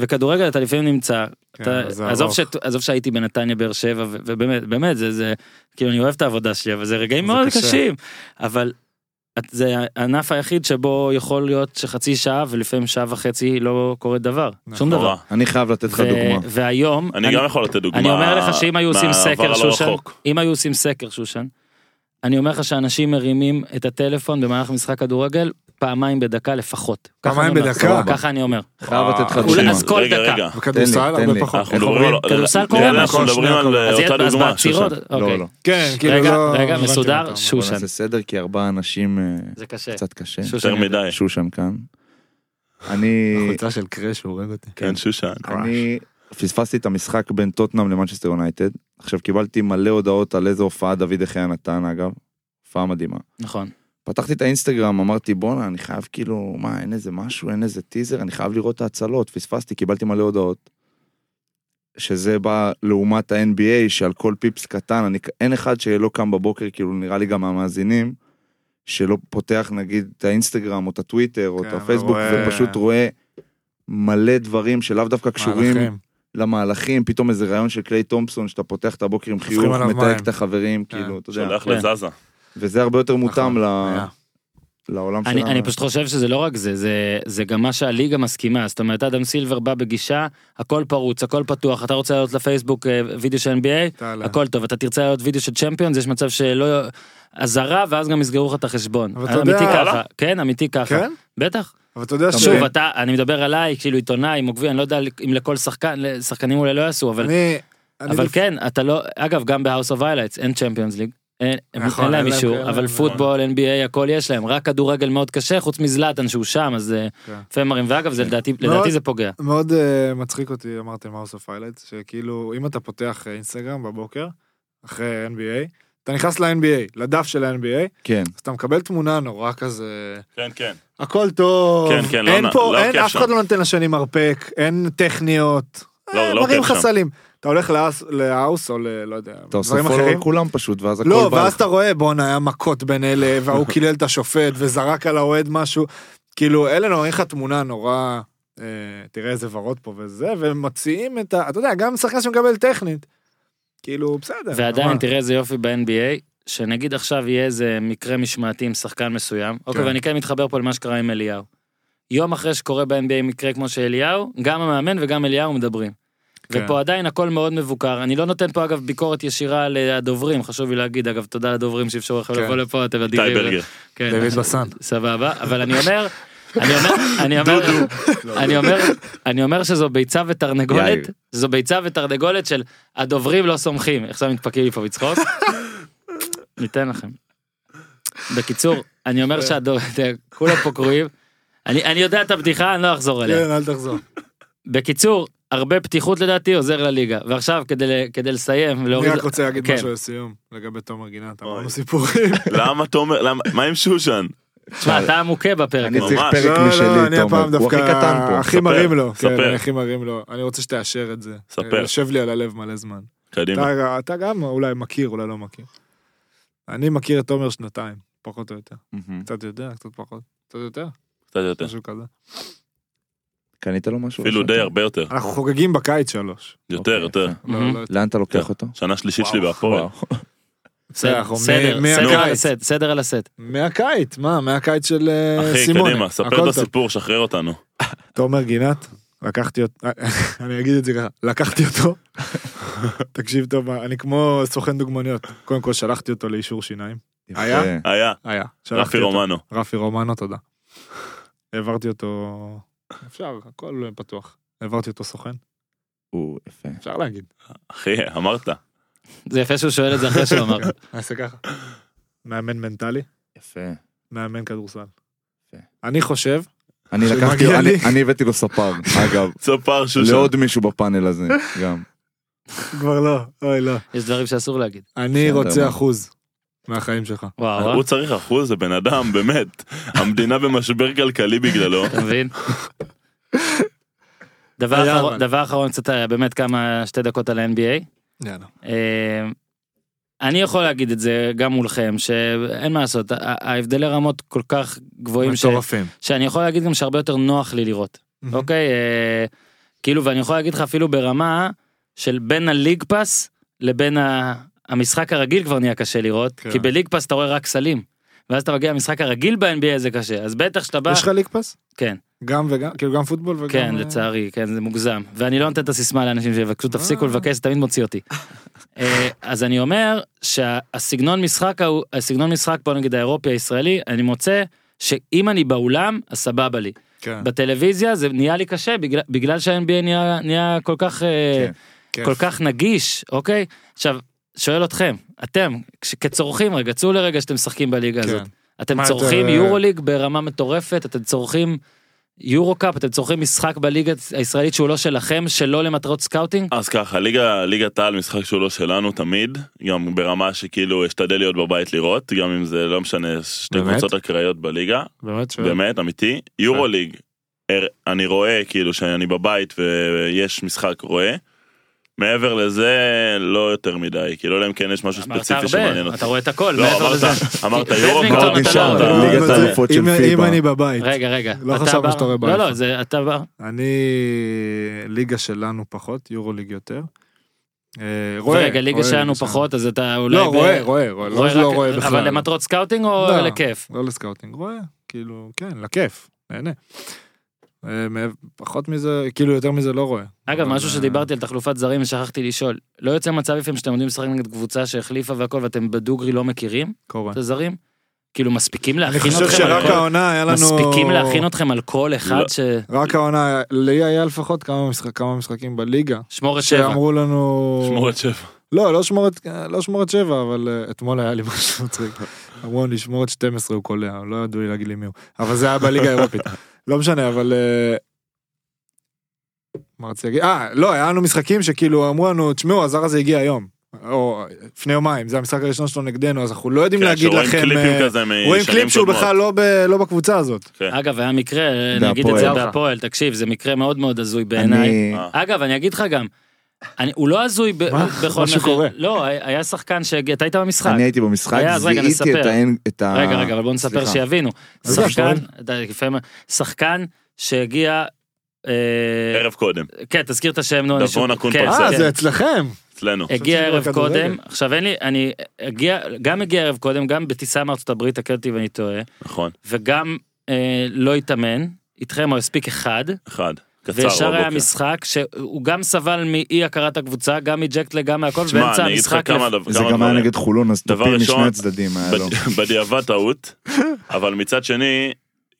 A: וכדורגל אתה לפעמים נמצא,
C: כן,
A: אתה-
C: אבל זה
A: עזוב
C: ארוך.
A: ש- עזוב שהייתי בנתניה באר שבע ו- ובאמת באמת זה זה כאילו אני אוהב את העבודה שלי אבל זה רגעים
C: זה
A: מאוד
C: קשה.
A: קשים אבל את- זה הענף היחיד שבו יכול להיות שחצי שעה ולפעמים שעה וחצי לא קורה דבר שום דבר.
B: נורא.
E: אני חייב לתת לך
A: ו-
E: דוגמה.
A: והיום
B: אני גם יכול לתת דוגמה.
A: לא. אני אומר לך שאם היו עושים
B: מהעבר
A: סקר
B: הלא
A: שושן,
B: רחוק.
A: אם היו עושים סקר שושן, אני אומר לך שאנשים מרימים את הטלפון במהלך משחק כדורגל פעמיים בדקה לפחות. ככה
C: פעמיים
A: אני אומר.
C: בדקה?
B: אוקיי.
A: ככה אני אומר.
E: חייב לתת לך
B: אה,
A: אולי-
E: דוגמה. לא,
A: אז כל
B: רגע,
A: דקה.
B: רגע.
C: בכדורסל
E: תן לי,
C: הרבה
E: תן לי.
C: פחות.
B: אנחנו מדברים על...
A: כדורסל
B: נראה לי
A: קורה,
B: אנחנו
C: נכון,
B: מדברים
C: שני
B: על
C: הכל.
B: אה,
A: אז יהיה-
B: אותה
A: אז
B: דוגמה,
A: בעצירות,
B: שושן.
A: אוקיי.
E: לא, לא.
C: כן, כאילו
A: רגע,
C: לא...
A: רגע,
C: הבנתי
A: מסודר,
C: אותם.
E: בוא
A: שושן.
E: נעשה סדר כי ארבעה אנשים אה,
A: זה קשה.
E: קצת קשה.
A: שושן
B: יותר
A: יודע.
B: מדי.
E: שושן כאן. אני...
C: החולצה של קרש הורג אותי.
B: כן, שושן.
E: אני פספסתי את המשחק בין טוטנאם למנצ'סטר יונייטד. עכשיו קיבלתי מלא הודעות על איזה הופעה דוד יחיא נתן אגב. הופעה מדהימה.
A: נכון.
E: פתחתי את האינסטגרם אמרתי בואנה אני חייב כאילו מה אין איזה משהו אין איזה טיזר אני חייב לראות את ההצלות פספסתי קיבלתי מלא הודעות. שזה בא לעומת ה-NBA שעל כל פיפס קטן אני אין אחד שלא קם בבוקר כאילו נראה לי גם מהמאזינים. שלא פותח נגיד את האינסטגרם או את הטוויטר או את
C: כן,
E: הפייסבוק
C: ורואה-
E: ופשוט רואה מלא דברים שלאו דווקא קשורים
C: מהלכים.
E: למהלכים, פתאום איזה רעיון של קליי תומפסון, שאתה פותח את הבוקר עם
C: הופכים
E: חיוך,
C: עליו מים.
E: מתייג את החברים,
C: כן.
E: כאילו, אתה יודע,
B: שולח
A: כן.
B: לזזה.
E: וזה הרבה יותר
C: נכון,
E: מותאם ל-
C: היה.
E: לעולם
A: אני,
E: שלנו.
A: אני פשוט חושב שזה לא רק זה, זה, זה גם מה שהליגה מסכימה, זאת אומרת אדם סילבר בא בגישה, הכל פרוץ, הכל פתוח, אתה רוצה לעלות לפייסבוק אה, וידאו של NBA,
C: תעלה.
A: הכל טוב, אתה תרצה לעלות וידאו של צ'מפיונס, יש מצב שלא... אזהרה ואז גם יסגרו לך את החשבון.
C: אבל אתה
A: אמיתי
C: יודע-
A: ככה,
C: וואלה?
A: כן, אמיתי ככה.
C: כן?
A: בטח.
C: אבל אתה יודע
E: אתה
C: ש...
A: שוב, אתה, אני מדבר עליי, כאילו עיתונאי, עם עוקבים, אני לא יודע אם לכל שחקן, שחקנים אולי לא יעשו, אבל
C: אני... אני
A: אבל
C: דווקא-
A: כן אתה לא אגב גם בהאוס אוף איילייטס אין צ'מפיונס ליג. אין הם-
C: נכון,
A: אין להם
C: אין להם
A: אישור
C: כאלה,
A: אבל
C: נכון.
A: פוטבול NBA הכל יש להם רק כדורגל מאוד קשה חוץ מזלאטן שהוא שם אז אה,
C: כן.
A: פמרים ואגב זה לדעתי לדעתי זה פוגע.
C: מאוד אה, מצחיק אותי, אמרתם House of Highlights, שכאילו, אם אתה פותח אה, אינסטגרם בבוקר, אחרי NBA, אתה נכנס ל-NBA, לדף של ה-NBA,
E: כן.
C: אז אתה מקבל תמונה נורא כזה,
B: כן, כן.
C: הכל טוב,
B: כן, כן, לא
C: אין
B: נ-
C: פה,
B: לא
C: אין,
B: כיף
C: אף אחד
B: שם.
C: לא נותן לשני מרפק, אין טכניות,
B: לא,
C: אה,
B: לא
C: מראים
B: כיף שם.
C: חסלים. אתה הולך להאוס- להאוס או ל... לא יודע,
E: אתה עושה
C: דברים
E: פולו
C: אחרים.
E: על כולם פשוט, ואז הכל
C: לא,
E: בא
C: ואז
E: לך.
C: אתה רואה, בואנה, היה מכות בין אלה, וההוא קילל את השופט, וזרק על האוהד משהו. כאילו, אלה נוראים לך תמונה נורא, אה, תראה איזה ורוד פה וזה, ומציעים את ה... אתה יודע, גם שחקן שמקבל טכנית. כאילו, בסדר.
A: ועדיין
C: מה?
A: תראה איזה יופי ב-NBA שנגיד עכשיו יהיה איזה מקרה משמעתי עם שחקן מסוים אוקיי ואני כן מתחבר פה למה שקרה עם אליהו. יום אחרי שקורה ב-NBA מקרה כמו שאליהו גם המאמן וגם אליהו מדברים.
C: כן.
A: ופה עדיין הכל מאוד מבוקר אני לא נותן פה אגב ביקורת ישירה לדוברים חשוב לי להגיד אגב תודה לדוברים שאפשרו לכם
C: כן.
A: לבוא לפה אתם
B: איתי
A: אדירים.
B: ברגר.
A: כן,
C: דוד בסן.
A: סבבה אבל אני אומר. אני אומר, אני אומר, אני אומר, אני אומר שזו ביצה
E: יאיר.
A: ותרנגולת, זו ביצה ותרנגולת של הדוברים לא סומכים, עכשיו מתפקעים לי פה מצחוק, ניתן לכם. בקיצור, אני אומר שהדוברים, כולם פה קרואים, אני אני יודע את הבדיחה, אני לא אחזור עליה.
C: כן, אל תחזור.
A: בקיצור, הרבה פתיחות לדעתי עוזר לליגה, ועכשיו כדי ל- כדי לסיים
C: אני
A: ולהוריד,
C: רק רוצה להגיד
A: כן.
C: משהו לסיום, לגבי תומר גינת, אמרנו
B: אוי.
C: סיפורים.
B: למה תומר, למה- מה עם שושן?
A: תשמע, אתה מוכה בפרק,
E: אני
A: הזה.
E: צריך
B: ממש.
E: פרק
C: לא, לא, אני
E: משלי,
C: הפעם
E: תומר. הוא הכי קטן
C: דווקא,
E: פה.
C: הכי מרים לו, כן,
B: ספר.
C: אני הכי מרים לו, אני רוצה שתאשר את זה,
B: ספר.
C: יושב לי על הלב מלא זמן,
B: קדימה.
C: אתה, אתה גם אולי מכיר, אולי לא מכיר. אני מכיר את תומר שנתיים, פחות או יותר.
E: מהמם.
C: קצת יודע, קצת פחות. קצת יותר,
B: קצת יותר.
C: משהו כזה.
E: קנית לו משהו?
B: אפילו
E: עכשיו?
B: די הרבה יותר.
C: אנחנו חוגגים בקיץ שלוש.
B: יותר, יותר. כן.
E: אוקיי.
C: לא,
A: מהמם.
C: לא יותר.
E: לאן אתה לוקח אותו?
B: שנה שלישית שלי בהפועל.
E: וואו.
C: בסדר,
A: סדר,
C: אנחנו מ-
A: סדר, סדר על
C: מהקיץ.
A: הסט, סדר על הסט.
C: מהקיץ, מה, מהקיץ של אה,
B: אחי,
C: סימון.
B: קדימה, ספר
C: הכל
B: את
C: טוב.
B: הסיפור, שחרר אותנו.
C: תומר גינת, לקחתי אותו, אני אגיד את זה ככה, לקחתי אותו, תקשיב טוב, אני כמו סוכן דוגמניות, קודם כל שלחתי אותו לאישור שיניים,
E: יפה.
C: היה?
B: היה,
C: היה, שלחתי
B: רפי
C: אותו.
B: רומנו.
C: רפי רומנו, תודה. העברתי אותו, אפשר, הכל פתוח. העברתי אותו סוכן,
E: הוא יפה.
C: אפשר להגיד.
B: אחי, אמרת.
A: זה יפה שהוא שואל את זה אחרי שהוא אמר.
C: נעשה ככה. מאמן מנטלי,
E: יפה.
C: מאמן כדורסל.
E: יפה.
C: אני חושב,
E: אני
C: שמגיע
E: לקחתי,
C: לי.
E: אני- אני הבאתי לו ספר, אגב.
B: ספר שושן.
E: לעוד מישהו בפאנל הזה, גם.
C: כבר לא, אוי לא.
A: יש דברים שאסור להגיד. אה?
C: אני
E: בסדר,
C: רוצה
E: מה?
C: אחוז מהחיים שלך.
A: וואו,
B: הוא צריך אחוז, זה בן אדם, באמת. המדינה במשבר כלכלי בגללו.
A: אתה מבין? דבר
C: היה,
A: אחרון-
C: אבל.
A: דבר אחרון קצת אה, באמת כמה שתי דקות על ה-NBA.
C: יאללה.
A: אה, אני יכול להגיד את זה גם מולכם שאין מה לעשות ה- ההבדלי רמות כל כך גבוהים ש-
C: מטורפים.
A: שאני יכול להגיד גם שהרבה יותר נוח לי לראות
C: מהמם.
A: אוקיי אה, כאילו ואני יכול להגיד לך אפילו ברמה של בין הליג פאס לבין ה- המשחק הרגיל כבר נהיה קשה לראות
C: כן.
A: כי בליג פאס אתה רואה רק סלים ואז אתה מגיע למשחק הרגיל ב-NBA זה קשה אז בטח שאתה בא
C: יש לך ליג פס?
A: כן.
C: גם וגם, כאילו גם פוטבול וגם...
A: כן
C: אה,
A: לצערי כן זה מוגזם ואני לא נותן את הסיסמה לאנשים שיבקשו תפסיקו
C: אה.
A: לבקש זה תמיד מוציא אותי. אה, אז אני אומר שהסגנון משחק ההוא הסגנון משחק פה נגיד האירופי הישראלי אני מוצא שאם אני באולם אז סבבה לי
C: כן,
A: בטלוויזיה זה נהיה לי קשה בגלל, בגלל שה-NBA נהיה, נהיה כל כך אה,
E: כן.
C: כיף.
A: כל כך נגיש אוקיי עכשיו שואל אתכם אתם כש- כצורכים רגע צאו לרגע שאתם משחקים בליגה
C: כן.
A: הזאת אתם
C: מה,
A: צורכים
C: אתה-
A: יורו ליג ברמה מטורפת אתם צורכים יורו קאפ אתם צורכים משחק בליגה הישראלית שהוא לא שלכם שלא למטרות סקאוטינג
B: אז ככה, ליגה- ליגת העל, משחק שהוא לא שלנו תמיד, גם ברמה שכאילו אשתדל להיות בבית לראות, גם אם זה לא משנה, שתי
C: באמת?
B: קבוצות אקראיות בליגה,
C: באמת שואל.
B: באמת, אמיתי. יורו ליג, אני רואה כאילו שאני בבית ויש משחק רואה. מעבר לזה, לא יותר מדי, כאילו אלא אם כן יש משהו
A: אמרת
B: ספציפי שמעניין
A: הרבה
B: אותי.
A: אתה רואה את הכל
B: לא,
A: מעבר
B: אמרת-
A: לזה.
B: אמרת
A: כי
B: יורו
A: בדמינגטון
B: מאוד
A: אתה
B: נשאר,
A: לא-
E: אבל ליגת
C: אבל זה-
E: האלופות של
C: אה, אם-
E: פיבה.
C: אם אני בבית,
A: רגע רגע
C: לא
A: אתה
C: חשבנו
A: בא-
C: שאתה רואה
A: לא
C: באייפון.
A: לא זה אתה בא-
C: אני ליגה שלנו פחות, יורו ליג יותר. אה, רואה.
A: רגע ליגה
C: רואה,
A: שלנו
C: ליגה
A: פחות אז אתה אולי
C: לא,
A: ב-
C: רואה, רואה, רואה, לא לא
A: רק-
C: רואה בכלל.
A: אבל למטרות סקאוטינג או
C: לא.
A: לכיף
C: לא לסקאוטינג, רואה. כאילו, כן, לכיף, נהנה. אה, מעבר- פחות מזה, כאילו יותר מזה לא רואה.
A: אגב,
C: אבל,
A: משהו
C: אה,
A: שדיברתי על תחלופת זרים ושכחתי לשאול, לא יוצא מצב לפעמים שאתם עומדים לשחק נגד קבוצה שהחליפה והכל ואתם בדוגרי לא מכירים
C: קורה.
A: את הזרים? כאילו מספיקים
C: אני
A: להכין
C: חושב
A: אתכם על
C: שרק
A: כל...
C: העונה היה לנו...
A: מספיקים להכין אתכם על כל אחד
B: לא.
A: ש...
C: רק העונה, לי היה לפחות כמה משחק- כמה משחקים בליגה.
A: שמור את שבע.
C: שאמרו לנו...
B: שמורת שבע.
C: לא, לא שמורת, לא שמורת שבע, אבל אה, אתמול היה לי משהו מצחיק. אמרו לי, שמורת 12 הוא קולע, לא ידעו לי להגיד לי מי הוא. אבל זה היה בליגה האירופית. לא משנה, אבל... אה, מה רציתי להגיד? אה, לא, היה לנו משחקים שכאילו אמרו לנו, תשמעו, הזר הזה הגיע היום. או לפני יומיים, זה המשחק הראשון שלו נגדנו, אז אנחנו לא יודעים
B: כן,
C: להגיד
B: שרואים
C: לכם...
B: קליפים
C: אה,
B: כזה משנים
C: רואים קליפ שהוא
B: קודמות.
C: בכלל לא ב- לא בקבוצה הזאת.
A: אגב, היה מקרה, נגיד את
E: בהפועל.
A: זה בהפועל, תקשיב, זה מקרה מאוד מאוד הזוי בעיניי.
E: אני-
B: אה.
A: אגב, אני אגיד לך גם, אני, הוא לא הזוי ב,
C: מה?
A: בכל
C: מה שקורה.
A: לא, היה שחקן שהגיע, אתה היית במשחק.
E: אני הייתי במשחק,
A: היה, אז רגע,
E: זיהיתי
A: נספר.
E: את האין... את ה-
C: אה,
A: רגע, רגע, אבל בוא נספר
E: סליחה.
A: שיבינו.
C: לא,
E: אז זה
A: שחקן,
E: הפועל?
A: אתה יפה מאוד, שחקן שהגיע... אה,
B: ערב קודם,
A: כן, תזכיר את השם, נו. אני שוב-
B: דורון אקון
A: כן,
B: פרסם.
C: אה,
A: כן.
C: זה אצלכם.
B: אצלנו.
A: הגיע
C: חשבתי
A: ערב
C: שזה בכדורגל.
A: קודם, עכשיו אין לי, אני הגיע, גם הגיע ערב קודם, גם בטיסה מארצות הברית, תקן אותי ואני טועה,
B: נכון,
A: וגם אה, לא התאמן, איתכם הוא הספיק אחד,
B: אחד. קצר
A: וישר היה
B: בבוקר.
A: משחק שהוא גם סבל מאי הכרת הקבוצה, גם מג'קלה, גם מהכל,
B: שמע,
A: באמצע
B: אני אגיד לך
A: המשחק,
B: כמה
A: לפ-
B: דבר-
E: זה
B: כמה
E: גם היה
B: דברים.
E: נגד חולון, אז
B: דבר
E: טופים
B: ראשון,
E: משני הצדדים היה לא. לו.
B: בד- בדיעבד טעות, אבל מצד שני,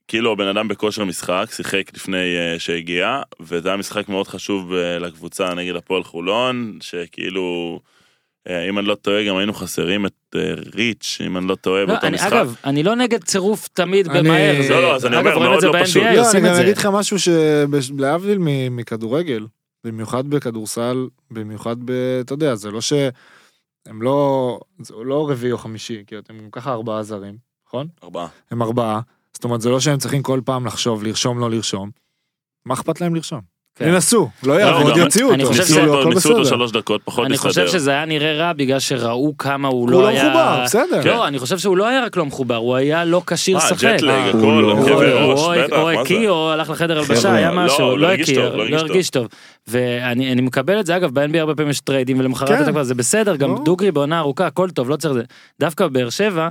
B: כאילו הבן אדם בכושר משחק, שיחק לפני אה, שהגיע, וזה היה משחק מאוד חשוב אה, לקבוצה נגד הפועל חולון, שכאילו, אה, אם אני לא טועה, גם היינו חסרים את אה, ריץ', אם אני לא טועה,
A: לא,
B: באותו
A: אני,
B: משחק.
A: אגב, אני לא נגד צירוף תמיד
C: אני-
A: במהר, זה-
B: לא, לא, אז אני
A: אגב,
B: אומר,
A: רואים את
B: מאוד
A: זה
B: לא פשוט.
A: ב-NBA,
C: לא, אני
A: עושים
C: גם
A: את זה.
C: אגיד לך משהו שלהבדיל מכדורגל, במיוחד בכדורסל, במיוחד ב... אתה יודע, זה לא ש... הם לא... זה לא רביעי או חמישי, כי אתם גם ככה ארבעה זרים, נכון?
B: ארבעה.
C: הם ארבעה, זאת אומרת, זה לא שהם צריכים כל פעם לחשוב, לרשום, לא לרשום. מה אכפת להם לרשום?
A: כן.
C: ינסו, לא
B: לא,
C: יעבוד,
B: גם-
C: יוציאו
A: אני
C: אותו,
A: חושב
B: ניסו
A: שזה-
C: כאילו,
B: אותו,
C: הכל
B: ניסו אותו
C: בסדר.
B: שלוש דקות, פחות
A: אני חושב
B: הסתדר.
A: שזה היה נראה רע בגלל שראו כמה הוא
C: הוא
A: לא
C: לא
A: היה...
C: מחובר, בסדר.
A: לא, אני חושב שהוא לא היה רק לא מחובר, הוא היה לא כשיר
B: אה,
A: לשחק.
B: ג'טלג,
C: אה,
E: הוא
B: הכל,
E: לא-
A: הוא-
B: כאבי
A: הוא
B: ראש,
A: או-
B: בטח,
A: או
B: מה זה?
A: הקיא או הלך לחדר הלבשה,
E: חבר'ה,
A: היה
B: לא,
A: משהו,
B: הוא
A: לא
B: לא הרגיש
A: הקיא,
B: טוב, לא
A: לא
B: הרגיש
A: הרגיש טוב. ואני אני מקבל את זה, אגב, ב-NBA הרבה פעמים יש טריידים ולמחרת
C: כן.
A: אתה כבר, זה בסדר, גם
C: ברור.
A: דוגרי בעונה ארוכה, הכל טוב, לא צריך זה. דווקא בבאר שבע,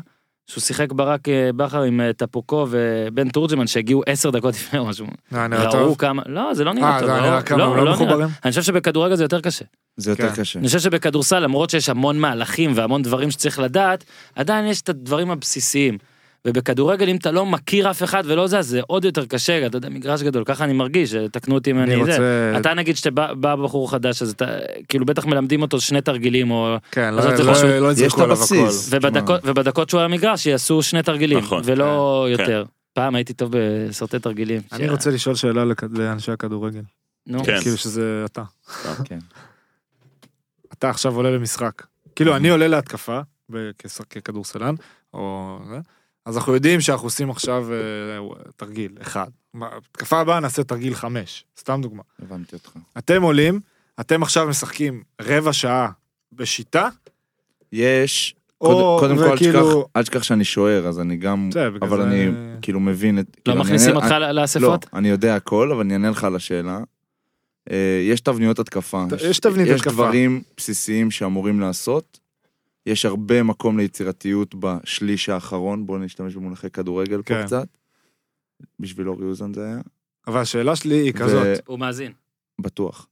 A: שהוא שיחק ברק אה, בכר עם אה, טפוקו ובן תורג'מן שהגיעו עשר דקות לפני או משהו,
C: אה, נראה
A: ראו
C: טוב.
A: כמה, לא, זה לא נראה
C: אה,
A: טוב,
C: זה נראה כמה,
A: לא,
C: הם לא
A: לא נראה.
C: מחוברים.
A: אני חושב שבכדורגל זה יותר קשה.
E: זה יותר
C: כן.
E: קשה.
A: אני חושב שבכדורסל למרות שיש המון מהלכים והמון דברים שצריך לדעת עדיין יש את הדברים הבסיסיים. ובכדורגל אם אתה לא מכיר אף אחד ולא זה אז זה עוד יותר קשה אתה יודע מגרש גדול ככה אני מרגיש תקנו אותי אם
C: אני
A: אני זה.
C: רוצה...
A: אתה נגיד שאתה בא בחור חדש אז אתה כאילו בטח מלמדים אותו שני תרגילים או
C: כן,
A: אז
C: לא-
A: זה
C: לא-
A: חשוב.
C: לא
E: יש
C: יזרקו
E: את
C: עליו הכל.
E: הבסיס.
A: ובדקות ובדקות שהוא על המגרש יעשו שני תרגילים
B: נכון,
A: ולא
B: כן.
A: יותר. פעם הייתי טוב בסרטי תרגילים.
C: אני
A: ש-
C: רוצה לשאול שאלה לכ- לאנשי הכדורגל.
A: נו.
B: כן.
C: כאילו שזה אתה.
E: כן.
C: אתה עכשיו עולה למשחק. כאילו, אני עולה להתקפה, ב- כש- ככדורסלן, או זה, אז אנחנו יודעים שאנחנו עושים עכשיו אה, תרגיל אחד. מה, התקפה הבאה נעשה תרגיל חמש, סתם דוגמה.
E: הבנתי אותך.
C: אתם עולים, אתם עכשיו משחקים רבע שעה בשיטה,
E: יש,
C: או
E: קוד- קודם כל אל תשכח-
C: וכאילו...
E: אל תשכח שאני שוער, אז אני גם,
C: זה, בגלל
E: אבל
C: זה-
E: אני כאילו מבין את...
A: לא
E: כאילו, אני
A: מכניסים
E: אענה-
A: אותך ל- לאספות?
E: לא, אני יודע הכל, אבל אני אענה לך על השאלה. אה, יש תבניות התקפה.
C: ת- יש תבנית
E: יש
C: התקפה.
E: דברים בסיסיים שאמורים לעשות. יש הרבה מקום ליצירתיות בשליש האחרון, בואו נשתמש במונחי כדורגל
C: כן.
E: פה קצת. בשביל אורי אוזן זה היה.
C: אבל השאלה שלי היא כזאת.
A: הוא מאזין.
E: בטוח.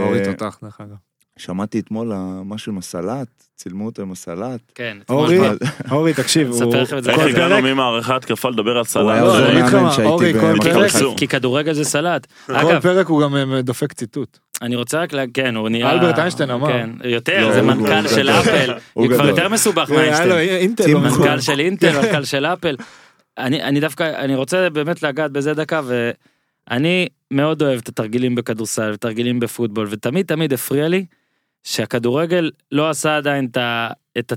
C: אורי תותח, דרך אגב.
E: ושמעתי אתמול אה, משהו עם הסלט, צילמו אותו עם הסלט.
A: כן.
C: אורי,
A: אתמול-
C: אורי, תקשיב,
A: נספר
C: הוא...
A: לכם את זה.
B: איך
A: כל
B: הגענו ממערכה התקפה לדבר על
E: הוא
B: סלט?
E: היה
C: לא,
E: עוזר
C: אני אגיד לך
E: מאמן
C: מה, אורי,
E: שהייתי
C: כל
E: במכבי
C: פרק-
E: חיפה.
B: התקבצו.
A: כי כדורגל זה סלט.
C: כל
A: אגב,
C: פרק הוא גם אה, דופק ציטוט.
A: אני רוצה רק ל... כן, הוא נהיה...
C: אלברט איינשטיין אמר.
A: כן, יותר,
E: לא,
A: זה
E: הוא
A: מנכ"ל
E: גדול.
A: של אפל.
E: הוא
A: הוא כבר
E: גדול.
A: יותר מסובך
C: היה לו
A: מאיינשטיין.
C: אינטל.
E: טים
C: אה, לא מזמן.
A: מנכ"ל של אינטל, מנכ"ל של אפל. אני אני דווקא, אני רוצה באמת לגעת בזה דקה, ואני מאוד אוהב את התרגילים בכדורסל, ותרגילים בפוטבול, ותמיד תמיד הפריע לי שהכדורגל לא עשה עדיין את ה... את